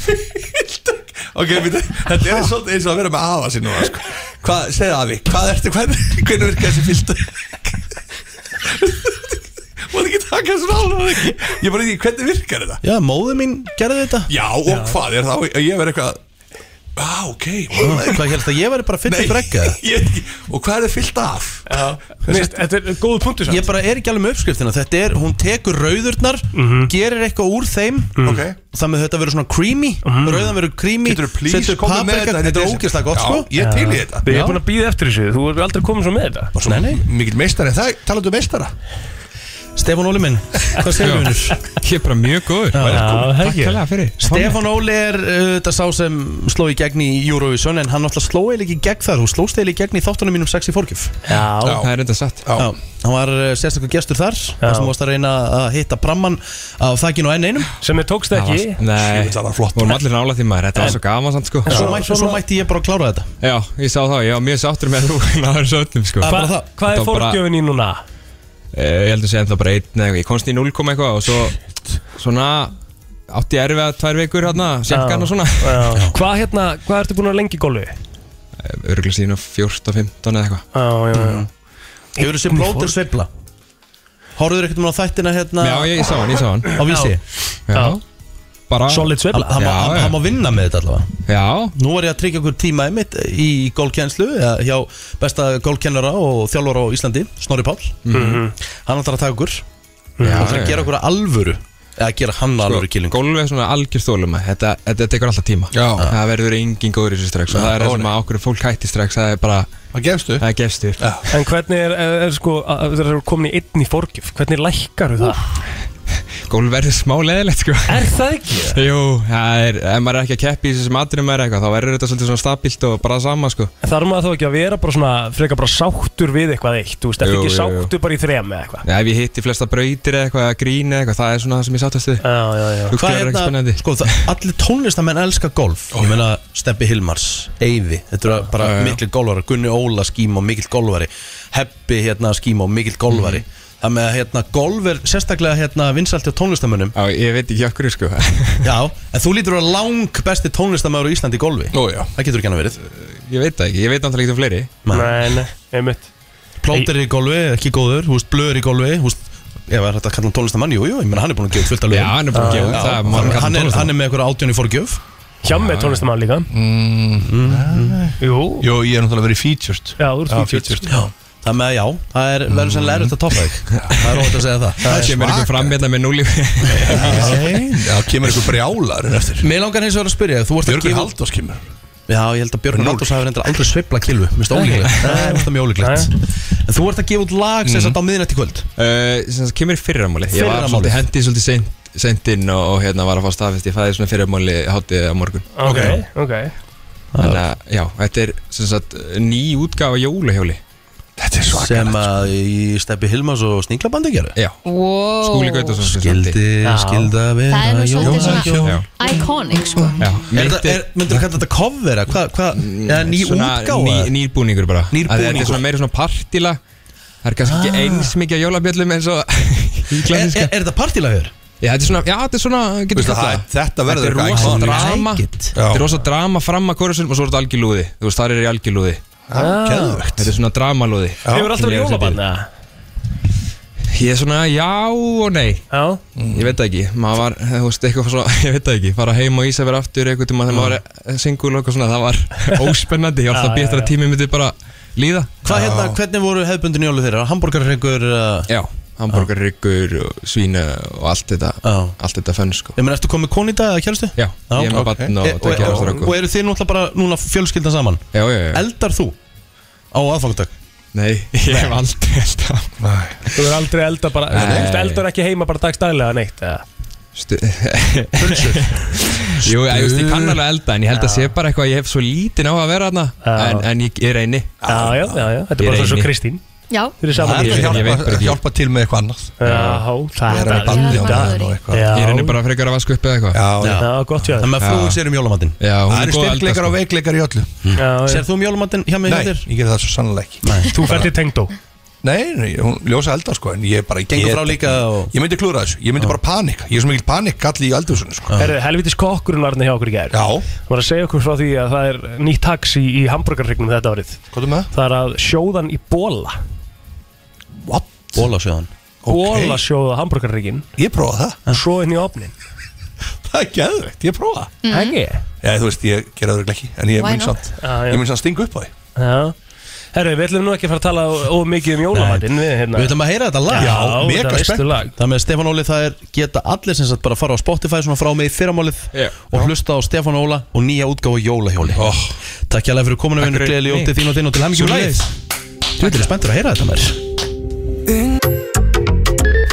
A: gera
K: Ok, við, þetta er svolítið eins og að vera með afa sér núna sko. Hvað, segðu afi, hvað ertu, hvernig, hvernig virkar þessi fyllt? Mátt ekki taka þessu alveg Ég bara ekki, hvernig virkar þetta?
A: Já, móðu mín gerði þetta
K: Já, og hvað er það? Ég verð eitthvað Vá, ok
A: Hvað helst að ég verði bara fyllt upp regga
K: ég, Og hvað er það fyllt af?
C: Mist, Þetta er góð punktur samt.
A: Ég bara er ekki alveg með uppskriftina Þetta er, hún tekur rauðurnar
C: Mhm.
A: Gerir eitthvað úr þeim mm
K: Ok.
A: Það með þetta verður svona creamy
C: Mhm.
A: Rauðan verður creamy
K: Geturðu please komið með þetta
A: paprika-
K: í
A: Þetta er
K: desember?
A: ógeðslega gott
K: Já,
A: sko
K: ég er til í þetta.
C: Ég
A: Já.
C: er búin að býða eftir þessu Þú er aldrei komið svo með þetta
A: Nei, nei
K: Mikið meistari, það talaðu um meistara
A: Stefán Óli minn, hvað segir við hennur?
M: Ég er bara mjög góður
C: Já,
M: Takk
C: hegja
M: hérlega fyrir
A: Stefán Óli er uh, þetta sá sem sló í gegn í Eurovision En hann náttúrulega sló eiginlega ekki í gegn þar Hún slóst eiginlega í gegn í þáttunum mínum 6 í fórgjöf
C: Já,
M: Það er enda satt
A: Já, hann var uh, sérstakur gestur þar þar sem þú varst að reyna að hitta pramman á þakkinu á enn einum
C: sem við tókst
M: Það
C: ekki
M: var- Nei,
K: Sjöfull, það var flott.
M: vorum allir nála því maður Þetta var svo gaman samt sko
A: En svo, mætti, svo mætti ég bara að klára þetta
M: Já, ég sá það, ég var mjög sáttur með að þú náður þessu öllum sko
A: Bara
C: Hva, Hvað
A: það.
C: er
M: Þetta var bara-
C: fórgjöfin í núna?
M: Eh, Ég heldur að segja ennþá bara einn eða eitthvað Ég komst í 0, eitthvað og svo svona átti ég erfið að tvær vikur hérna Sjekkan og svona
C: Já. Hvað hérna, hvað ertu búin að vera lengi í golfi?
M: Örgulega Eh, síðan á 14, 15 eða eitthvað Mhm.
C: Já, já, já
A: Hefur þessi blótur sveifla Horfður ekkert um á þættina hérna
M: Já, ég, ég sá hann, ég sá hann
A: á vísi
M: Já Bara
C: Solid sveifla
A: Hann- Hann má-
M: Já, já.
A: hann- hann má vinna með þetta allavega
M: Já,
A: Nú var ég að tryggja okkur tíma einmitt í gólkjenslu hjá besta gólkennara og þjálfara á Íslandi, Snorri Pál Hann ætlar að taka okkur
M: Mhm. já,
A: Hann ætlar að
M: já.
A: gera okkur að alvöru eða gera hann að alvöru killing
M: Gólfið Sko, er svona algjör þólum Þetta, þetta tekur alltaf tíma
K: Já.
M: Það verður engin góður í þessu strax og Það er það sem að okkur fólk hætti strax Það er bara,
K: Það gefstu
M: það gefst upp
C: En hvernig er, er, er sko, að- þegar þú er komin í einn í fórgjöf, hvernig lækkar það?
M: Gólfið verður smá leðilegt sko
C: Er það ekki?
M: Jú, það er, ef maður er ekki að keppi í þessum atriðum maður eitthvað Þá verður þetta svolítið svona stabilt og bara sama sko
C: Þarf maður þá ekki að vera bara svona, frekar bara sáttur við eitthvað eitt, þú veist,
M: Jú,
C: er ekki
M: jú, jú.
C: sáttur bara í þrem eða eitthvað?
M: Já, Ef ég hitti flesta brautir eða eitthvað, eða grín eða eitthvað Það er svona það sem ég sáttast við
C: Já, já, já.
M: Fuglar
A: Hvað
M: eru
A: er
M: ekki
A: það,
M: spennandi
A: sko, það, allir tónlistamenn elska golf Ég meina Steppi Hilmars, Eyvi Þetta eru bara
M: Já, já.
A: miklir golfari Gunni Óla skím og mikill golfari Heppi hérna skím og mikill golfari
M: Mhm.
A: Það með að hérna, golf er sérstaklega hérna, vinsælt hjá tónlistamönnum
M: Já, ég veit ekki okkur sko
A: Já, en þú lítur að vera lang besti tónlistamöður á Íslandi í golfi
K: Nú já
A: Það getur ekki hann að verið
M: Ég veit það ekki, ég veit náttúrulega ekki um fleiri
C: Nei, nei, einmitt.
A: Plóter í golfi, ekki góður, húst blöður í golfi húst, Ef það er hægt að kalla hann tónlistamann, jú, jú, ég meina hann er búin að gefa út fullt að
M: Já, hann er
A: lögum
M: búin að gefa út,
A: Já,
M: það er-
A: hann,
M: má hann kalla
A: hann, er,
M: tónlistamann.
A: hann er með eitthvað átjón í fórgjöf
C: Hjammi er tónlistamann líka. Mm. Jú,
K: Jó, ég er náttúrulega verið featured
C: já, þú ert
K: Já, sko.
C: featured.
K: featured.
A: Já, það með að já, það er verður sennilega erfitt að toppa þig Það er óvægt að segja það
M: Það kemur einhver fram hérna með núli
K: Já, kemur einhver brjálar en eftir
A: Mér langar hins vegar að spyrja, þú vorst að
K: Björgur
A: gefa
K: Haldós kemur
A: Já, ég held að Björgun
K: Núll.
A: Halldórs hafi reyndar aldrei sveifla kilvu Mér finnst það ólíklegt Nei, mér finnst það mjög ólíklegt En þú vorst að gefa út lag sem sagt á miðinett í kvöld
M: Uh, Mhm. sem sagt, kemur í fyrramáli Ég var
A: Fyrramálið.
M: svolítið hendið svolítið seint, seint inn og, og hérna var að fá staðfest Ég fæði svona fyrramáli hátið á morgun
C: Ok, ok.
M: Þannig að, já, þetta er sem sagt ný eh, útgáfa jóluhjóli
K: Þetta er svo
A: sem að í Steppi Hilmas og Sninglabandi gerðu
M: Já
B: wow.
A: Skildi,
M: Já.
A: skilda vera
B: Það er nú svolítið
A: Jóhann Hjó.
B: svona iconic sko
A: Er þetta- er- Myndirðu kalla þetta cover? eða Hvað, hvað, eða ný útgáfa?
M: Mm, ný, Nýrbúningur bara
A: Nýr
M: Að Þetta er
A: búningur.
M: svona meira svona partila Það er kannski
A: Ah.
M: ekki eins mikið að jólabjöllum eins og Er,
A: er, er þetta partílagur?
M: Já, þetta er svona, já, þetta er svona, getur
K: Veistu,
M: kallað
K: það- þetta
M: Þetta
K: verður
M: er
K: eitthvað
M: rosa
K: iconic.
M: drama
K: Like it.
M: Þetta er rosa drama fram að kórusunum og svo er þetta algjörlúði Þú veist, það er í algjörlúði
C: Ah. geðveikt.
M: Þetta er svona dramalúði
C: Hefur alltaf verið jólabarn eða?
M: Ég er svona já og nei
C: Já
M: Ég veit það ekki, maður var, þú veist, eitthvað svo, ég veit það ekki Fara heim og Ísafir aftur eitthvað tíma þegar maður
A: Ah.
M: var singul og eitthvað svona Það var óspennandi, ég var alltaf
A: Já, já,
M: betra
A: já.
M: tími myndi bara líða
A: Hvað hérna, hvernig voru hefðbundin jólu þeirra? Hamburgarrengur? Uh...
M: Já, hamburgarryggur og svína og allt þetta, allt þetta fönn sko
A: Ég menn, ertu komið koni í dag eða kjærstu?
M: Já, ég er með
A: ok.
M: barn og
A: E-
M: tveggja ára
A: og,
M: stráku.
A: og eru þið náttúrulega bara núna fjölskyldan saman?
M: Já, já, já
A: Eldar þú á aðfangadag?
M: Nei, ég hef aldrei eldað
C: Þú er aldrei elda bara
M: Nei.
C: Þú veist, eldar ekki heima bara dagstæðilega neitt eða?
M: Pulsur Jú, ég, veist, ég kann alveg elda en ég held að sé bara eitthvað að ég hef svo lítinn á að vera þarna en, en ég er eini
C: Já, já, já, já. Þetta er bara svo Kristín
B: Já
C: Þið eru saman
K: Það
C: í-
K: er
M: Ég veit bara
K: að
M: ekki.
K: hjálpa til með eitthvað annað
C: Já, það
K: Vera með
C: það-
K: bandi á
C: Já.
K: meðan og eitthvað.
C: Já.
M: Ég er einu bara frekar að vasku upp eða eitthvað
K: Já,
C: Já, gott hjá þér.
A: Þannig að frúin sér um jólamatinn
M: Já, hún
A: Það
M: er
A: eru
M: góð að elda,
A: styrkleikar
M: sko.
A: og veikleikar í öllu
C: Já, já.
A: Sér þú um jólamatinn hjá mig hjá
K: Nei,
A: þér?
K: ég gerði það svo sannlega ekki
C: Þú ferð til tengdó
K: Nei, nei, hún ljósa eldar sko En ég bara ég
A: Gengur
K: get-
A: frá líka og-
K: Ég myndi klúra þessu, ég myndi bara panika Ég er svo mikil panik í eldursunni sko
C: Herðu, helvitis kokkurinn var hérna hjá okkur í gær
K: Já.
C: Hann var að segja okkur frá því að það er nýtt tax í, í hambúrgarregnum þetta árið
K: Hvað er með?
C: Það er að sjóðan í bóla
K: What?
A: Bólasjóðan
C: Bóla sjóða hambúrgarregin
K: Ég prófa það
C: Og svo inn í ofnin
K: Það er geðveikt, ég prófa
C: Mhm. Ekki?
K: Já, þú veist, ég gera það ekki En ég
C: Why
K: mun
C: not?
K: samt
C: Já, já.
K: Ég mun samt stinga upp á því
C: Já Herru, við ætlum nú ekki að fara að tala ó- of mikið um jólamatinn við, hérna.
A: Við ætlum að heyra þetta lag
C: Já, þetta er veistu lag
A: Það með Stefán Óli það er geta allir sem sagt bara að fara á Spotify svona frá mig í fyrramálið
M: Já.
A: og hlusta á Stefán Óla og nýja útgáfa Jólahjóli oh. Takk hjá fyrir kominu
M: Takk
A: vinnu,
M: fyrir
A: gleðileg
M: mig.
A: jótið þín og þín og til hemmingum
M: Svo
A: leið
M: leið.
A: Þú veitir spenntur að heyra þetta mér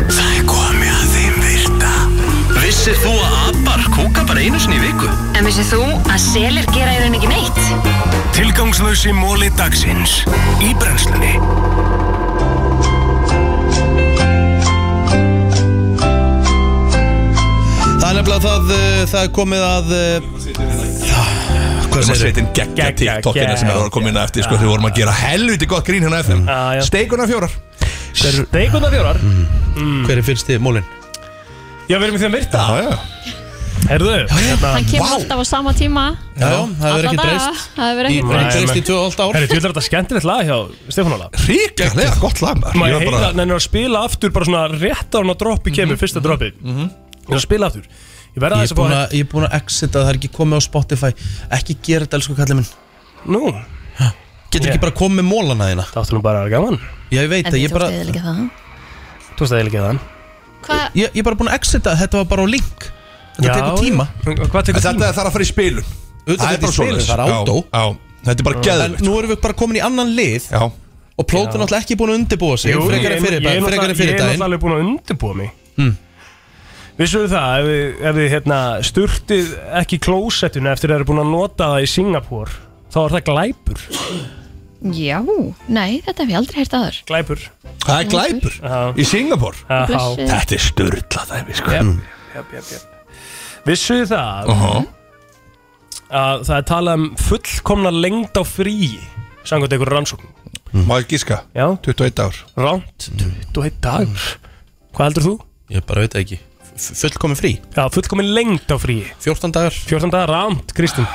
D: Það er komið að þeim virta Vissir þú að abar kúka bara einu sinni í viku?
N: En vissið þú að selir gera í rauninni ekki neitt?
E: Tilgangslösi móli dagsins Í brennslunni
A: Það er nefnilega það, uh, það er komið að eh,
K: Hvað
A: segirðu?
K: segir sveitin geggja
A: Geggja,
K: TikTokina sem
A: geggja.
K: er komin inn eftir sko, Þau vorum að gera helviti gott grín hérna á FM
C: já.
K: Steikuna fjórar
C: Steikundar fjórar
A: Mm.
C: Mm.
A: Hver er fyrsti mólin?
C: Já, við erum í þeim virta
K: Já, já
C: Herðu hérna-
B: Hann kemur alltaf á sama tíma
C: Já, já, það
B: Alla daga. Það hefur ekki
C: Nei,
B: breyst
C: menn- Herri, þú ætlar þetta skemmtilegt lag hjá Stefán Óla
K: Ríkarlega gott lag maður.
C: Maður
K: Ég var
C: heila,
K: bara-
C: bara... nennir að spila aftur bara svona rétt á hann að droppi kemur, fyrsta droppi Ég er að spila aftur Ég verða
A: Ég
C: þess
A: er
C: að
A: búin
C: fá
A: að, ég er búin að exita, það er ekki komið á Spotify Ekki gera þetta, elsku kallið minn
C: Nú
A: Getur ekki bara komið með mólana þína
C: Það áttum bara að vera gaman
A: Já, ég veit
B: En
A: að
B: þú
A: ég bara
B: tókst eða líka það
C: Þú veist að ég líka þann
B: Hvað?
A: Ég ég er bara búin að exita, þetta var bara á link Þetta
K: Já,
A: tekur tíma
C: Hvað tekur
K: Þetta þarf að fara í spilun Það er
A: Auðvitað þetta
K: bara
A: í spilun,
K: svoleiðis.
A: það er átó.
K: Já, já. Þetta er bara
A: En
K: geðvikt
A: nú erum við bara komin í annan lið
K: Já
A: Og
C: Já.
A: plótur náttúrulega ekki búin að undirbúa sig
C: Jú,
A: Frekar en fyrir,
C: ég er
A: frekar en
C: náttúrulega- Ég
A: fyrir
C: er
A: daginn
C: náttúrulega alveg búin að undirbúa mig
A: Mm.
C: Vissuðu það, ef við, ef við hérna, sturtið ekki klósettuna eftir að það eru búin að nota það í Singapur þá er það glæpur
B: Já, nei, þetta hef ég aldrei heyrt aður
C: Glæpur
K: Það er glæpur Í Singapur
C: Já. Blessuð.
K: Þetta er störla dæmi sko
C: Jep, jep, jep, jep. Vissuðu það
K: Aha.
C: að það er talað um fullkomna lengd á fríi samkvæmt einhverju rannsókn
K: Mm. Má ég gíska?
C: Já
K: 21 ár
C: Ránt, 21 dagur Hvað heldur þú?
A: Ég bara veit það ekki F- Fullkomin frí
C: Já, fullkomin lengd á fríi
A: 14 dagar
C: 14 dagar ránt, Kristinn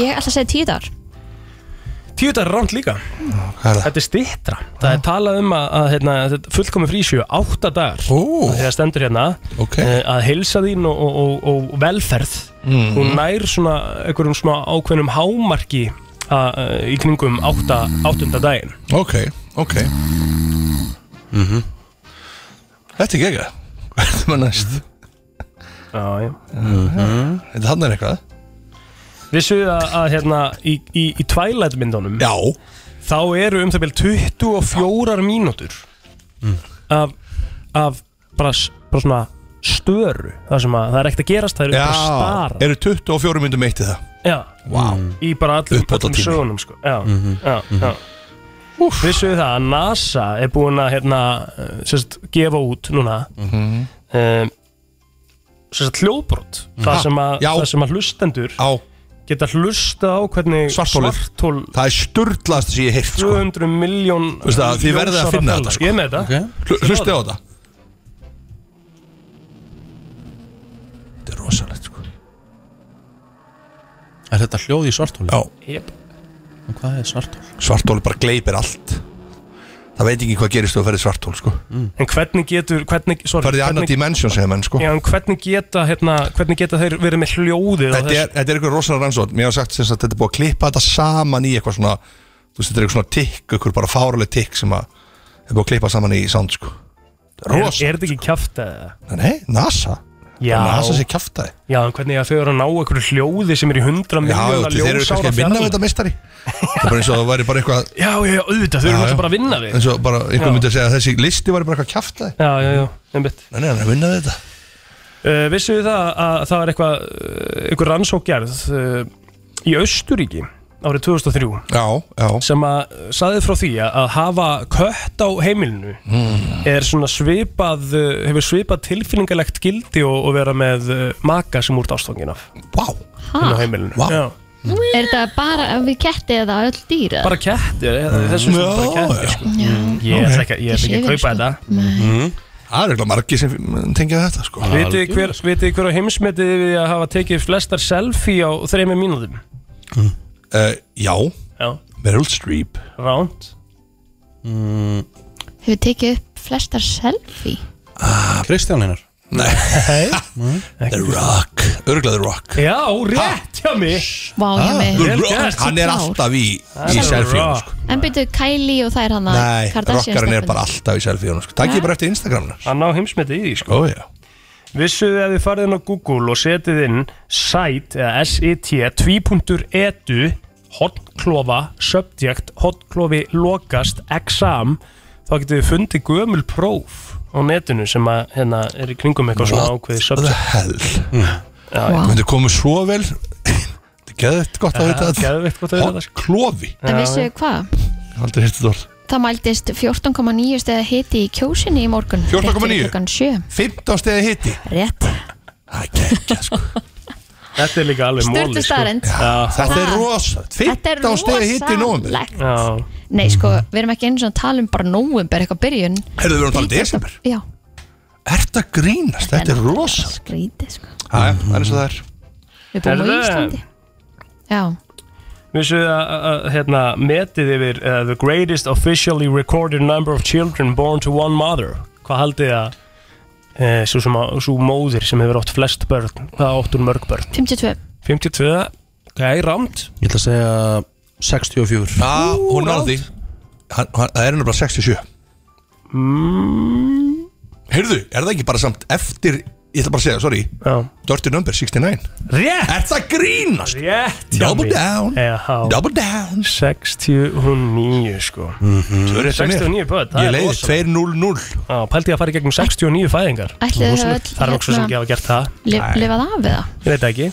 B: Ég ætla að segja tíu dagar
C: 10 dagar ránt líka
K: Hvað er
C: Þetta er stittra Það er talað um að, að hérna, þetta fullkomi frísjö átta dagar
K: Ó.
C: þegar stendur hérna okay. að heilsa þín og, og, og, og velferð
K: Mm.
C: hún nær svona einhverjum svona ákveðnum hámarki a, eh, í kringum átta, áttunda daginn
K: Ok, ok -hmm. Þetta er gegga Hvað er maður næst?
C: Já, já
K: Mhm. Þetta hann er eitthvað
C: Vissu að, að hérna í, í, í Twilight myndunum
K: Já
C: Þá eru um það bil 24 mínútur
K: Mm.
C: af, af bara, s- bara svona störu það sem að það er ekkert að gerast það eru bara stara
K: Eru 24 myndum eitt í það
C: Já,
K: Vá
C: Mm.
K: Mhm.
C: í bara allum,
K: Uppbótartími.
C: allum sögunum sko. já, já, já. Vissu við það að NASA er búin að hérna, eh, sem sagt, gefa út núna
K: Mm-hmm.
D: Mhm.
C: um, sérst, hljóðbrot
K: Mm.
D: Ha,
C: það sem, að,
D: já.
C: það sem að hlustendur á. geta hlusta á hvernig
K: Svartholið.
C: svartól
K: Það er sturglast sem ég heilt sko
C: 200 miljón
K: Veistu það, þið verðið að finna þetta, sko.
C: Ég er með þetta
K: Hlu- Hlustið á þetta
A: Þetta er rosalegt sko Er þetta hljóð í svartóli?
K: Já
C: Jep.
A: En hvað er svartóli?
K: Svartól bara gleipir allt Það veit ekki hvað gerist þú að ferði svartól sko
C: En hvernig getur hvernig, sorry,
K: Farið í annað
C: hvernig-
K: dimension, segja menn, sko.
C: Já, en hvernig geta, hérna, hvernig geta þeir verið með hljóðið á
K: Þetta
C: þessu?
K: er, þetta er eitthvað rosalega rannsótt Mér hafa sagt sem sagt, þetta er búið að klippa þetta saman í eitthvað svona Þú veist, þetta er eitthvað svona tikk Eitthvað bara fáraleg tikk sem að er búið að klippa saman í sound sko
C: er,
K: Rosa,
C: er þetta ekki kjæft eða?
K: nei, NASA
C: Já.
K: NASA sé kjaftaði
C: Já, en hvernig að þau eru að ná einhverju hljóði sem er í 100
K: Já,
C: miljóna
K: þeir eru kannski
C: ljósára
K: að vinna við þetta mistari Það er bara eins og það væri bara eitthvað
C: Já, já, já, auðvitað, þau eru
K: Já,
C: náttúrulega
K: já.
C: bara að vinna við
K: eins og bara einhver
C: Já.
K: myndi að segja að þessi listi var bara eitthvað kjaftaði
C: Já, já, já, einmitt
K: Nei, nei, hann er að vinna við þetta
C: uh, Vissuðu það að það er eitthvað uh, einhver rannsókjarð uh, í Austuríki árið 2003
K: já, já.
C: sem að uh, sagði frá því að að hafa kött á heimilinu
K: Hmm.
C: er svona svipað uh, hefur svipað tilfinningalegt gildi og, og vera með uh, maka sem úr dástóngin af
K: Vá
C: inn á heimilinu
K: Vá.
C: Já,
B: Er þetta bara við ketti eða öll dýr? eða?
C: bara kettir, eh, þessu sem bara kettir sko. Ég ætla ekki, ég ætla ekki að kaupa þetta
K: Mhm. Það eru eitthvað margi sem tengja þetta sko
C: Mm. Vitið þið hver, vitið þið hver á heimsmetið við að hafa tekið flestar selfie á þreymir mínúðum?
K: Uh, já,
C: Já.
K: Meryl Streep
C: Ránt
A: mm,
B: Hefur tekið upp flestar selfie?
A: Kristján hennar
K: Nei Ah, The Rock Örglaði Rock Ah.
C: Já, rétt hjá mig
B: Vá, hjá mig.
K: The
B: Vel
K: Rock,
B: gert.
K: Hann er alltaf í, í
B: The
K: selfie sko.
B: En byrju Kylie og það er hann að
K: Nei, rockarinn er
B: stelpunni.
K: bara alltaf í selfie sko.
C: Ja.
K: Takk ég bara eftir Instagramna
C: Hann á heimsmetið í því sko
K: Ó, já.
C: Vissuðu að þið farið inn á Google og setið inn site eða SIT 2.edu hotklofa subject hotklofi lokast exam þá getur þið fundið gömul próf á netinu sem að hérna er í kringum eitthvað svona ákveði
K: The
C: subject
K: hell
C: Já,
K: Það myndi komið svo vel Þetta er geðveikt gott að
C: Ja,
K: vita þetta
C: geðveikt gott að vita þetta, sko.
K: þetta Klofi
B: En vissu hvað?
K: Aldrei hérstu þetta orð
B: Það mældist 14,9 steða hiti í kjósinni í morgun
K: 14,9?
B: Rétt fyrir klukkan 7
K: 15 steði hitti
B: Rétt
C: Þetta er líka alveg sko.
B: Sturlu
C: móli
B: staðreynd.
K: Þetta er
B: Ha.
K: rosalegt
B: Þetta er
K: 15 steði hitti í nómur
B: rosalegt. Nei sko, við erum ekki eins og að tala um bara nóvumber eitthvað byrjun
K: Herðu, við erum að tala um desember
B: Já,
K: Þetta grínast, þetta er rosalegt
B: grítið sko
K: Það er eins og það er
B: Við búum á
C: Herðu.
B: Íslandi Já,
C: Vissu að, að- að hérna, metið yfir uh, The greatest officially recorded number of children born to one mother Hvað haldið þið að uh, svo, sem að, svo móðir sem hefur átt flest börn Hvað átt hún mörg börn?
B: 52
C: 52, ok, rámt
A: Ég ætla að segja 64
K: Já, hún er á því Hann- hann- Það er hennar bara 67
C: mm.
K: Heyrðu, er það ekki bara samt eftir Ég ætla bara að segja, sorry
C: Já.
K: Dirty number, 69
C: Rétt
K: Er það grínast?
C: Rétt hjá
K: Double
C: mér.
K: down
C: Eha,
K: Double down
C: 69 sko
K: Tvö rétt hjá mér.
C: 69 börn, það
K: Ég
C: er
K: leiði
C: rosalegt.
K: 2-0-0
C: Já, pældi ég að fara í gegnum 69 fæðingar
B: Ætli þau hafi öll,
C: Það er nokkuð sem
B: hérna,
C: ekki hafa gert það
B: lif, lifað af eða
C: Ég veit það ekki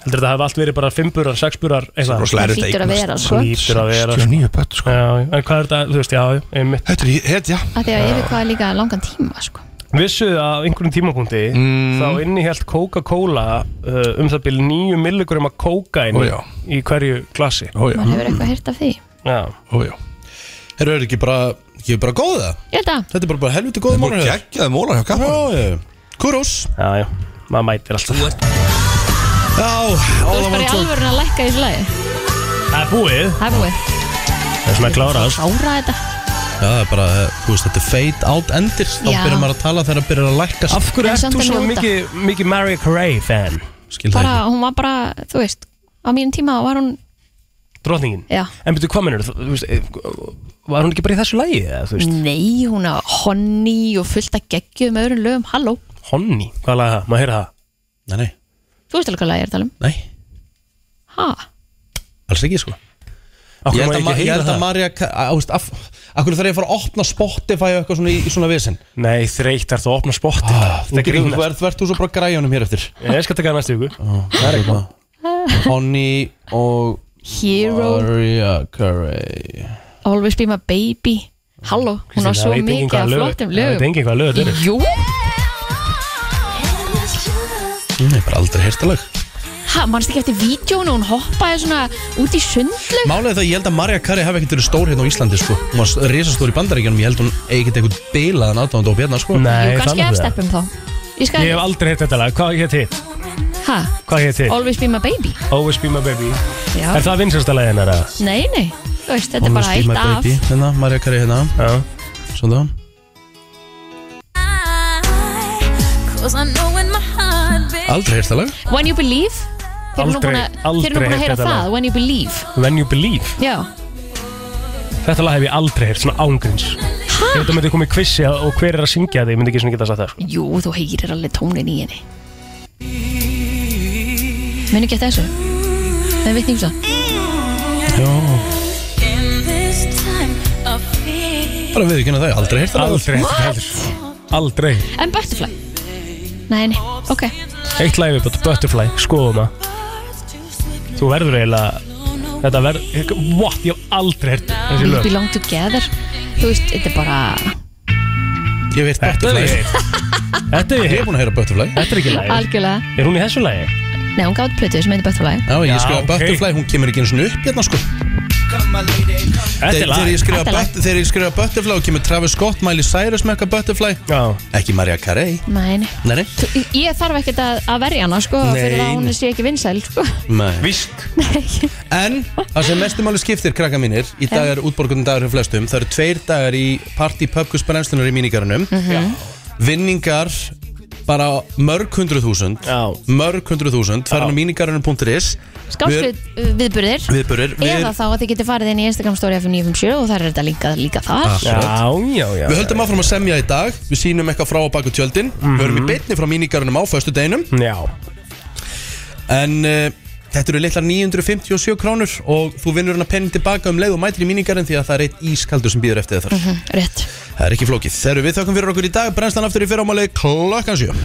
C: Heldur þetta hafa allt verið bara fimmburar, sexburar eitthvað
K: rosalega erfitt að
B: Það hlýtur að eignast. vera, sko.
C: Lítur að vera
K: 69 börn sko
C: Já, já. en hvað er þetta, þú veist, já, já, einmitt
K: Þetta er, þetta, já
B: Að því að yfir hvað líka langan tíma sko
C: Vissuðu að á einhverjum tímapunkti þá innihjælt Coca-Cola uh, um það byrjum 9 milligram að kókain
A: Ó, já.
C: í hverju glasi
K: Ó,
B: Man hefur eitthvað hýrt af því
C: Já
K: Ójá
A: Herru, er ekki bara, ekki bara góða?
B: Ég held að
A: Þetta er bara, bara helviti góða
K: voru
A: málur
K: geggjaði mólar hjá kappan
A: Já, já Kúrós
C: Já, já, maður mætir alltaf
A: Já,
B: Þú
A: all
B: ert
A: I
B: bara í
A: want to
B: alvörun að lækka í þessu lagi
C: Það er búið
B: Það er búið
C: Það er svona að klára þess
B: Ára þetta
A: Já, það er bara, eh, þú veist, þetta er fade out endir Þá
B: Já.
A: byrjar maður að tala þegar það byrjar að lækka
C: Af hverju
B: En samt
C: ert þú
B: að
C: svona
B: njóta.
C: mikið, mikið Mariah Carey fan?
A: Skil
B: Bara, hún var bara, þú veist Á mínum tíma var hún,
C: Drottningin
B: já
C: En betur hvað mennur, þú veist, eh, var hún ekki bara í þessu lagi? eða, Þú veist,
B: Nei, hún á honni og fullt að geggju með öðrum lögum, halló
C: Honni, hvað laga það, maður heyra það
A: Mm. Nei, nei,
B: Þú veist alveg hvað lagi er að tala um?
A: Nei.
B: Ha?
A: alls ekki, sko
C: Af
A: Ég
C: hverju má
A: held að,
C: ég
A: ma-
C: ekki
A: ég
C: heyra
A: held að
C: það?
A: Marja Akkur þarf ég að fara að opna Spotify og eitthvað svona í, í svona vesen Ah,
C: Nei, þreytt er þú að opna spottið
A: Þú getur- þú ert- verður þú svo bara græjunum hér eftir
C: Ég skal taka það næstu ykkur
A: Það er eitthvað Honey og
B: Hero
A: Mariah Carey
B: Always Be My Baby Halló, hún á
C: Kristín,
B: svo
C: það veit enginn
B: mikið
C: hvaða
B: af
C: lög-
B: flottum
C: það
B: lögum
C: veit enginn hvaða lög þetta eru.
B: Jú,
C: Hm,
A: Ég hef bara aldrei heyrt að lag
B: ha, mannst ekki eftir vídjónu hún hoppaði svona út í sundlu
A: Málega það, ég held að Marja Kari hafi ekkert verið stór hérna á Íslandi sko. Hún var risastór í bandaríkjanum Ég held hún eigi ekkert eitthvað bilaðan aðdóðan og björna sko.
C: Nei,
B: Jú, kannski efsteppum þá Ég skal
C: Ég hef aldrei heitt þetta lag, hvað hétt hitt?
B: Ha,
C: Hvað hétt hitt?
B: Always Be My Baby
C: Always Be My Baby
B: Já.
C: Er það vinsast að lagið hennar að?
B: Nei, nei, þú veist, þetta er bara eitt af
A: baby, hérna, Marja Kari hérna
C: Já
A: Svona hérna. Aldrei heyrt að lag
B: When You Believe Þeir eru nú
C: Aldrei-
B: búin að- þeir eru nú búin
C: aldrei
B: að
C: heyrt
B: heyra
C: þetta
B: það
C: lag.
B: When You Believe
C: When You Believe
B: Já,
C: Þetta lag hef ég aldrei heyrt, svona ángrins Hæ? Þetta myndi komið kvissi og hver er að syngja þig, myndi ekki svona geta sagt það sko.
B: jú, þú heyrir alveg tónin í henni Meni ekki eftir þessu Með vitningu svo
A: Já Bara við ekki hennar það, ég hef aldrei heyrt að lag
C: Aldrei heyrt þetta heldur Aldrei
B: En Butterfly Nei, nei, ok
C: Eitt lag við bætt Butterfly, skoðum það Þú verður eiginlega Þetta verður, what, ég hef aldrei heyrt þessi
B: We
C: lög
B: belong together Þú veist, þetta er bara
A: Ég veit
C: Þetta er
A: Butterfly.
C: ég Þetta er ég
A: Ég er búin að heyra Butterfly
C: Þetta er ekki lagið
B: Algjörlega
C: Er hún í þessu lagi?
B: Nei, hún gáði plötu sem heitir Butterfly
A: Já, ég
C: Já,
A: skrifa
C: ok.
A: Butterfly, hún kemur ekki einu svona upp hérna sko
C: Þetta er
A: Þegar
C: lag
A: ég skrifa
B: Þetta er lag.
A: but- þegar ég skrifa Butterfly og kemur Travis Scott, Miley Cyrus með eitthvað Butterfly
C: Já.
A: Ekki Marja Carey
B: Nei, nei
A: Nei, nei.
B: Þú- Ég þarf ekkert að, að verja hana, sko
A: Nei,
B: Fyrir að hún
A: nei.
B: sé ekki vinsæl, sko
A: nei.
C: Víst
A: En það sem mestumáli skiptir krakka mínir Í dag er útborgunum dagur hjá flestum Það eru tveir dagar í Party Pubkus brennslunar í mínigarunum
B: Mhm.
A: Vinningar bara mörg hundruð þúsund Mörg hundruð þúsund Farin á mínigarunum.is
B: Skáfslut uh, viðburðir
A: Viðburðir Við-
B: Eða þá að þið getið farið inn í Instagram story F957 og þar er þetta linkað líka þar
A: Akkurat.
C: já, já
A: Við höldum áfram að semja í dag Við sýnum eitthvað frá og baku tjöldin Við höfum í beinni frá mínigarunum á föstu deginum
C: Mhm. Já
A: En uh, þetta eru litla 957 krónur Og þú vinnur hana penning tilbaka um leið og mætir í mínigarun Því að það er eitt ískaldur sem býður eftir þér þar
B: Mhm, Rétt
A: Það er ekki flókið Þegar við þökkum fyrir okkur í dag Brennslan aftur í fyrramáli klokkan 7